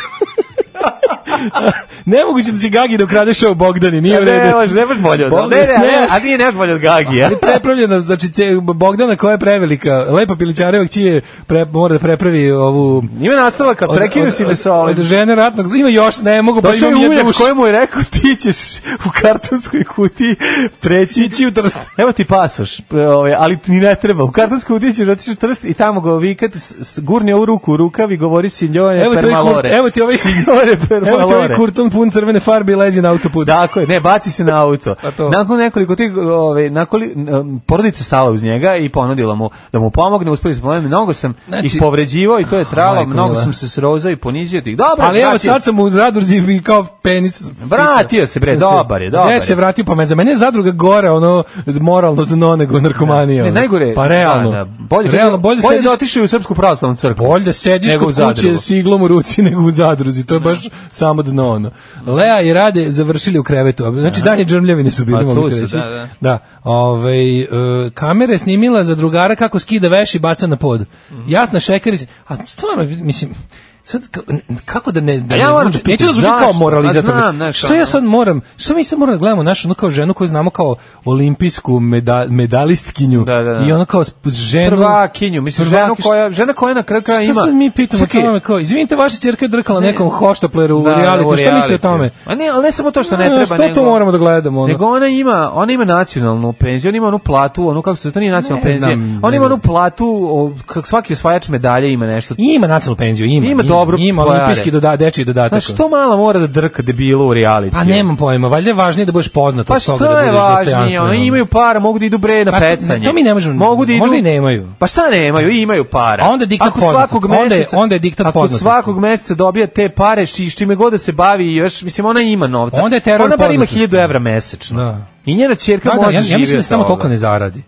E: Nemoguće da će Gagi da ukrade show Bogdani, nije u redu.
F: Ne, može, ne možeš bolje od
E: Bogdan-
F: Ne, ne,
E: ne
F: ne,
E: možeš.
F: a nije nemaš bolje od Gagija.
E: Ali prepravljena, znači ce- Bogdana koja je prevelika, lepa pilićareva čije pre, mora da prepravi ovu...
F: Ima nastavak, kad
E: od-
F: prekinu
E: od-
F: si me sa ovim.
E: Od žene ratnog, zla- ima još, ne mogu, pa
F: Došao
E: imam
F: je
E: jednu
F: uljak
E: uš.
F: kojemu je rekao ti ćeš u kartonskoj kutiji preći
E: Ići u Trst.
F: Evo ti pasoš, pre- ovaj, ali ti ni ne treba. U kartonskoj kutiji ćeš otići u trst i tamo ga vikati, s- s- gurni ovu ruku u rukav i govori signore
E: Evo ti ovaj, kur,
F: permalore.
E: evo ti ovaj,
F: signore permalore.
E: evo ti ovaj kurton pun crvene farbe i lezi na autoput.
F: Tako je, ne, baci se na auto.
E: Pa to.
F: Nakon nekoliko tih, ove, nakoli, em, porodica stala uz njega i ponudila mu da mu pomogne, uspeli smo pomoći, mnogo sam
E: Znači-
F: ih povređivao i to je tralo,
E: Majko
F: mnogo
E: mila.
F: sam se srozao i ponizio tih. Dobro,
E: Ali evo
F: Pa vratio
E: sad sam u Zadruzi i kao penis.
F: Vratio se, bre,
E: Sam se-
F: dobar je, dobar
E: Ne,
F: je.
E: se vratio, pa me- za mene je zadruga gore, ono, moralno dno nego narkomanija.
F: Da. Ne,
E: ono.
F: najgore.
E: Pa realno.
F: Da, da. Bolje,
E: realno, bolje,
F: bolje da
E: sediš,
F: otišao u Srpsku pravoslavnu crkvu.
E: bolje da sediš
F: nego u
E: kod
F: Zadru. Da.
E: kuće s iglom u ruci nego u Zadruzi. To je baš samo dno, ono. Lea i Rade završili u krevetu. a Znači, danje džrmljavine su
F: Pa,
E: bili, mogu
F: tu
E: ti
F: su,
E: reći.
F: da, da.
E: Da, ovaj, e, kamera je snimila za drugara kako skida veš i baca na pod.
F: Mhm.
E: Jasna Šekarić, a stvarno, mislim, sad, ka- kako da ne, da
F: A ja
E: ne
F: moram
E: zvuči,
F: da pitam,
E: neću da zvuči kao
F: zašto?
E: moralizator.
F: Pa znam, znaš,
E: što ja
F: ono.
E: sad moram, što mi sad moram da gledamo našu, ono kao ženu koju znamo kao olimpijsku meda, medalistkinju
F: Da, da, da.
E: i ono kao sp- ženu...
F: Prvakinju, mislim, ženu
E: Prvaki-
F: koja, žena koja na kraju kraja
E: Šta
F: ima...
E: sad mi pitamo o
F: Čekaj,
E: tome kao, izvinite, vaša ćerka je drkala nekom hoštapleru u
F: da, u
E: reality, šta mislite o
F: realitiju.
E: tome?
F: A ne, ali ne samo to što ne
E: E,
F: treba,
E: šta
F: nego...
E: to moramo da gledamo? Ono?
F: Nego ona ima, ona ima nacionalnu penziju, ona ima onu platu, onu kako se zove, to nije nacionalna
E: Ne
F: penzija.
E: znam,
F: Ona
E: ne znam.
F: ima onu platu, o, kak svaki osvajač medalje ima nešto.
E: Ima nacionalnu penziju, ima.
F: Ima dobro
E: Ima
F: pojare.
E: olimpijski doda, dečiji dodatak.
F: Znaš, što mala mora da drka debila u reality?
E: Pa nemam pojma, valjda je važnije da budeš poznat
F: Pa
E: od toga
F: šta
E: da
F: je
E: budeš
F: važnije?
E: dostojanstven.
F: Oni imaju para, mogu da idu bre na
E: Pa,
F: pecanje.
E: to mi ne možemo-
F: Mogu da idu.
E: možda i nemaju. Da.
F: Pa šta nemaju? Imaju para.
E: A onda je diktat
F: ako
E: poznatosti.
F: svakog
E: Onda je-
F: meseca,
E: onda je diktat
F: Ako
E: poznatosti.
F: svakog meseca dobija te pare, či s čime god da se bavi, još mislim ona ima novca.
E: Onda je teror
F: Ona bar ima
E: poznatosti.
F: 1000 evra mesečno.
E: Da.
F: I njena ćerka
E: Da, da,
F: može
E: ja, ja
F: živjeti
E: mislim da se tamo
F: od
E: toliko
F: toga.
E: ne zaradi.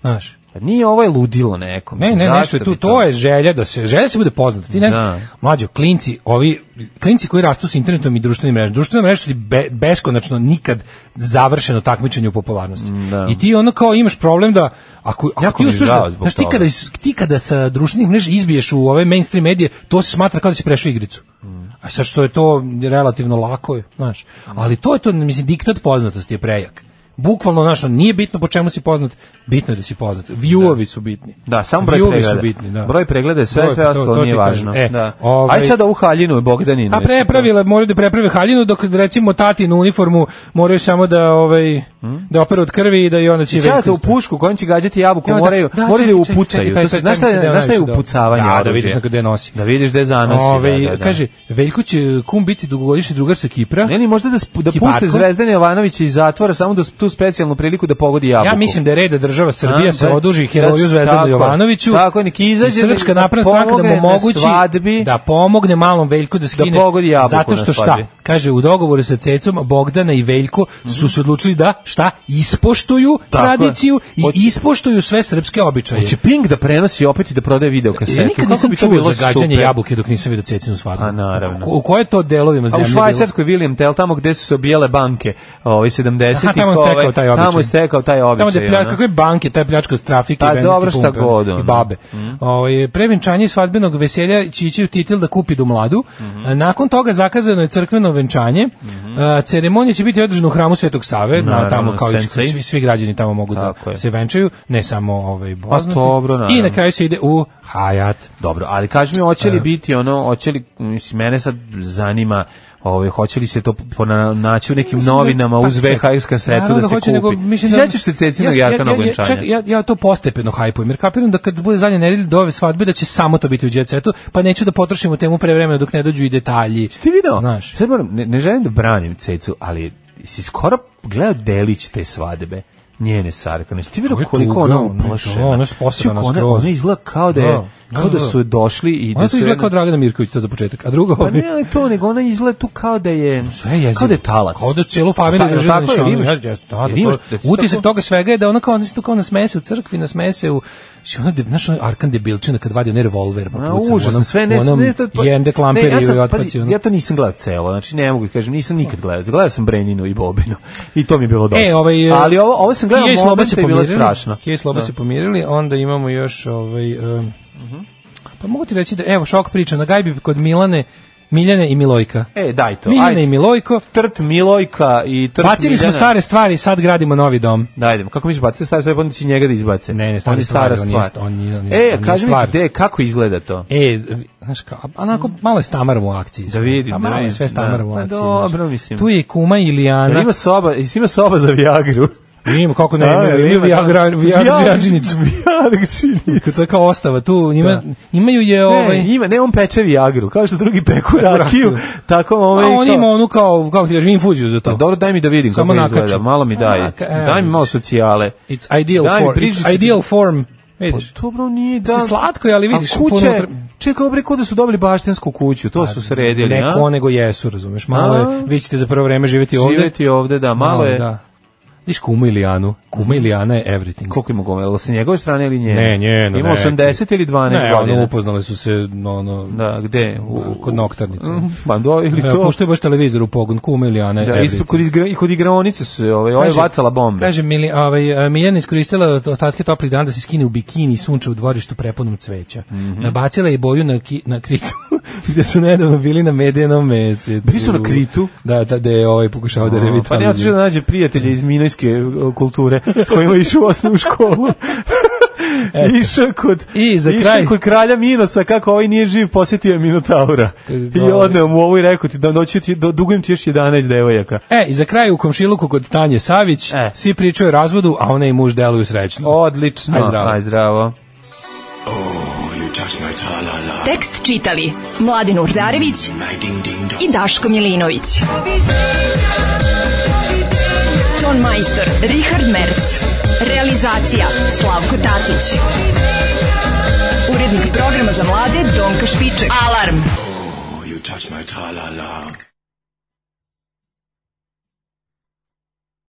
E: Znaš,
F: Pa Nije ovo je ludilo neko.
E: Ne,
F: mislim,
E: ne,
F: zašto
E: nešto je tu,
F: bi
E: to je želja da se, želja da se bude poznat. Ti ne,
F: Da.
E: mlađo, klinci, ovi, klinci koji rastu s internetom i društvenim mrežama, društvene mreže su ti be, beskonačno nikad završeno takmičenje u popularnosti.
F: Da.
E: I ti ono kao imaš problem da, ako, ako
F: Jako
E: ti
F: mi je
E: uspeš
F: žao
E: da,
F: zbog
E: znaš, ti
F: toga.
E: kada, iz- ti kada sa društvenih mreža izbiješ u ove mainstream medije, to se smatra kao da si prešao igricu.
F: Mm.
E: A sad što je to relativno lako, je, znaš. Ali to je to, mislim, diktat poznatosti je prejak. Bukvalno, znaš, ono, nije bitno po čemu si poznat, bitno je da si poznat. Viewovi su bitni.
F: Da, samo broj
E: Viewovi
F: pregleda.
E: su bitni, da.
F: Broj pregleda je sve,
E: Broj,
F: sve
E: to-
F: ostalo
E: to ti
F: nije
E: kažem.
F: važno.
E: E,
F: da.
E: ovaj-
F: Aj sad ovu haljinu Bogdaninu.
E: A prepravila, moraju da preprave haljinu, dok recimo tatinu uniformu moraju samo da ovaj da operu od krvi i da i onda će
F: Čelate Hm? u pušku kojom će gađati jabuku,
E: Ja, da,
F: moraju,
E: da,
F: moraju da je
E: čekaj, čekaj,
F: upucaju.
E: čekaj, taj-
F: To se-
E: taj-
F: Znaš šta
E: taj mi se
F: je-
E: deo
F: znaš šta je
E: najviše dao.
F: upucavanje
E: Da, da
F: oružja?
E: vidiš na gde nosi.
F: Da vidiš gde zanosi.
E: Ovaj,
F: da, da, da.
E: Kaže, Veljko će kum biti dugogodišnji drugar sa Kipra.
F: Ne, ne, možda da, sp- da
E: Kiparko?
F: puste Zvezdane Jovanovića iz zatvora samo da s- tu specijalnu priliku da pogodi jabuku.
E: Ja mislim da je red da država Srbija
F: A,
E: se
F: da-
E: oduži
F: da
E: heroju
F: s-
E: Zvezdanu
F: tako je.
E: Jovanoviću.
F: Tako je, nek izađe
E: i Srpska
F: da-
E: napredna stranka da
F: pomogne
E: mu
F: na
E: omogući
F: svadbi.
E: da pomogne malom Veljku da skine.
F: pogodi jabuku
E: zato što
F: na
E: šta?
F: svadbi.
E: Kaže, u dogovoru sa Cecom, Bogdana i Veljko su se odlučili da šta? Ispoštuju
F: Tako je.
E: tradiciju i
F: Hoće-
E: ispoštuju sve srpske običaje.
F: Hoće Pink da prenosi opet i da prodaje video kasetu.
E: Ja nikad
F: Kako
E: nisam
F: bi to
E: čuo
F: bilo
E: za gađanje
F: super.
E: jabuke dok nisam vidio Cecinu svadbu.
F: A, naravno.
E: U, ko- u koje to delovima
F: A
E: zemlje?
F: u
E: bilo?
F: Švajcarskoj William Tell, tamo gde su se obijele banke, ovaj 70-ih,
E: Aha, tamo je stekao
F: ovaj,
E: taj običaj.
F: tamo je stekao taj
E: Tamo da
F: običaj.
E: je pljačka,
F: ono.
E: kako je banke, taj pljačka od trafike
F: Pa
E: i benzinske
F: dobro, šta
E: pumpe,
F: god,
E: ono,
F: ono. Mm.
E: i babe. Ovaj prevenčanje svadbenog veselja će ići u titil da kupi do mladu.
F: Mhm.
E: A, Nakon toga zakazano je crkveno venčanje. A, Ceremonija će biti održana u hramu Svetog Save, na,
F: Naravno,
E: tamo kao i
F: Sensei.
E: svi, svi građani tamo mogu da
F: Tako je. Pa
E: se venčaju, ne samo ovaj boznati.
F: dobro,
E: I na
F: naravno.
E: kraju se ide u Hayat.
F: Dobro, ali kaži mi, hoće
E: E.
F: li biti ono, hoće li, mislim, mene sad zanima, ovaj, hoće li se to po- na, naći u nekim
E: Mislim da-
F: novinama
E: pa,
F: uz VHS kasetu
E: naravno
F: da se
E: hoće,
F: kupi?
E: nego mislim da-
F: Sjećaš se Cecinog
E: Ja- ja-
F: Jarka
E: ja- ja- čekaj,
F: Nogončanja?
E: Ja, ja to postepeno hajpujem, jer kapiram da kad bude zadnje nedelje do ove svadbe da će samo to biti u jet setu, pa neću da potrošim u temu prevremeno dok ne dođu i detalji.
F: Ti video?
E: Znaš.
F: Sad moram, ne, ne želim da branim Cecu, ali si skoro gledao delić te svadebe njene sarkane. Ti
E: To
F: vidio
E: je
F: koliko
E: tuga,
F: ona
E: ono je to,
F: uplašena?
E: ona je sposrana
F: Ona-
E: skroz.
F: Ona izgleda kao da je
E: Da.
F: Kao da su došli i da
E: Ona to
F: su...
E: izgleda kao
F: jedno-
E: Dragana Mirković, to za početak. A drugo,
F: Pa
E: ovi-
F: ne, ali to, nego ona izgleda tu kao da je...
E: Sve jezivo.
F: Kao da je talac.
E: Kao da celu familiju
F: Pa,
E: drži na
F: tako je,
E: nišanu.
F: ili imaš-
E: Ja, ja, da,
F: ili
E: da,
F: imaš-
E: to-
F: da si
E: Utisak
F: tako-
E: toga svega je da ona kao, ona se tu kao nasmese u crkvi, nasmese u... Znači, ona, de- znaš, ona Arkan debilčina kad vadi onaj revolver, pa
F: Ma,
E: puca. u
F: užasno,
E: onom-
F: sve ne,
E: u onom
F: ne, to, pa-
E: Jende
F: ne, ja
E: klamperiju
F: sam-
E: i
F: pazi,
E: otpaci. ono.
F: Ja to nisam gledao celo, znači ne mogu da kažem, nisam nikad gledao. Gledao sam Breninu i Bobinu i to mi je bilo dosta.
E: E, ovaj,
F: Ali ovo, ovo sam gledao
E: Kija i Sloba
F: moment
E: se
F: i bilo je
E: pomirili.
F: strašno.
E: Kija i Sloba
F: Da.
E: se pomirili, onda imamo još ovaj... um,
F: Mhm.
E: Pa mogu ti reći da, evo, šok priča, na gajbi kod Milane, Miljane i Milojka.
F: E, daj to.
E: Miljane
F: ajde.
E: i Milojko.
F: Trt Milojka i Trt
E: Bacili smo
F: Miljana.
E: stare stvari, sad gradimo novi dom.
F: Da, idemo. Kako misliš, bacili stare stvari, onda će njega da izbace. Ne, ne,
E: stare
F: stara
E: stvari, on
F: stvar.
E: jest- on je- on je-
F: e,
E: on je
F: kaži mi
E: stvar.
F: gde, kako izgleda to?
E: E, znaš kao, a- onako
F: Mhm.
E: malo je Stamar u akciji.
F: Da vidim,
E: A
F: da
E: malo je
F: vidim,
E: sve Stamar
F: da.
E: u
F: Pa
E: akciji.
F: dobro,
E: znaš.
F: mislim.
E: Tu je i kuma Ilijana.
F: Jel Ima soba, jesi ima soba za Viagru.
E: Ima, kako ne,
F: A,
E: ima,
F: jel
E: ima,
F: da, ima?
E: Viagra, Viagra,
F: Viagra-
E: Viagrčinicu. To je kao ostava, tu njima, imaju je ovaj...
F: Da. Ne, ima, ne, on peče Viagru, kao što drugi peku rakiju, tako ovaj...
E: a on
F: kao-
E: ima onu kao, kako ti kažem, infuziju za to.
F: Dobro, daj mi da vidim
E: Samo
F: kako
E: nakači.
F: izgleda, malo mi daj.
E: A, ka- evo.
F: Daj mi malo socijale.
E: It's ideal,
F: Daj mi,
E: form,
F: priđi
E: it's
F: se-
E: ideal form. Vidiš?
F: Pa dobro, nije da...
E: Mislim, slatko je, ali vidiš,
F: A kuće,
E: puno unutra-
F: čekaj, obre, kod da su dobili baštinsku kuću, to su sredili,
E: Pa Ne ko, nego jesu, razumeš. Malo je,
F: A?
E: vi ćete za prvo vreme živjeti ovde.
F: Živeti ovde, da, malo je...
E: Da. Viš kumu Ilijanu. Kuma Ilijana je everything.
F: Koliko ima gomela, jel sa njegove strane ili njene?
E: Ne, njeno,
F: Ima
E: ne.
F: 80 ili 12
E: Ne,
F: godina?
E: ono, upoznali su se, ono,
F: Da, gde?
E: kod noktarnice.
F: Pa do, ili
E: Evo,
F: to...
E: Puštaju baš televizor u pogon, kuma Ilijana je
F: Da,
E: everything.
F: ispred, kod, igra, kod igraonice su, ovaj, ovaj
E: Kaže-
F: vacala bombe.
E: Kaže, Mili, ovaj, a, Miljana iskoristila ostatke toplih dana da se skine u bikini i sunče u dvorištu prepunom cveća.
F: Mhm.
E: Nabacila je boju na, ki, na kritu, gde su nedavno bili na medenom mesecu.
F: Bili su na Kritu?
E: Da, da, da je ovaj pokušao da
F: Pa ne otišao
E: revitalizuje.
F: da nađe prijatelje iz minojske e, kulture s kojima je išao u osnovu školu.
E: Eto.
F: išao kod,
E: I za
F: išao
E: kraj-
F: kod kralja Minosa, kako ovaj nije živ, posjetio je Minotaura. I odneo mu ovo i rekao ti, da noću ti, do, dugujem ti još 11 devojaka.
E: E, i za kraj u komšiluku kod Tanje Savić
F: E.
E: svi pričaju o razvodu, a ona i muž deluju srećno.
F: Odlično.
E: Aj, zdravo.
F: Aj, zdravo.
D: Tekst čitali Mladin Urdarević i Daško Milinović. Ton majstor Richard Merc. Realizacija Slavko Tatić. Urednik programa za mlade Donka Špiček. Alarm!
P: You touch my tra-la-la.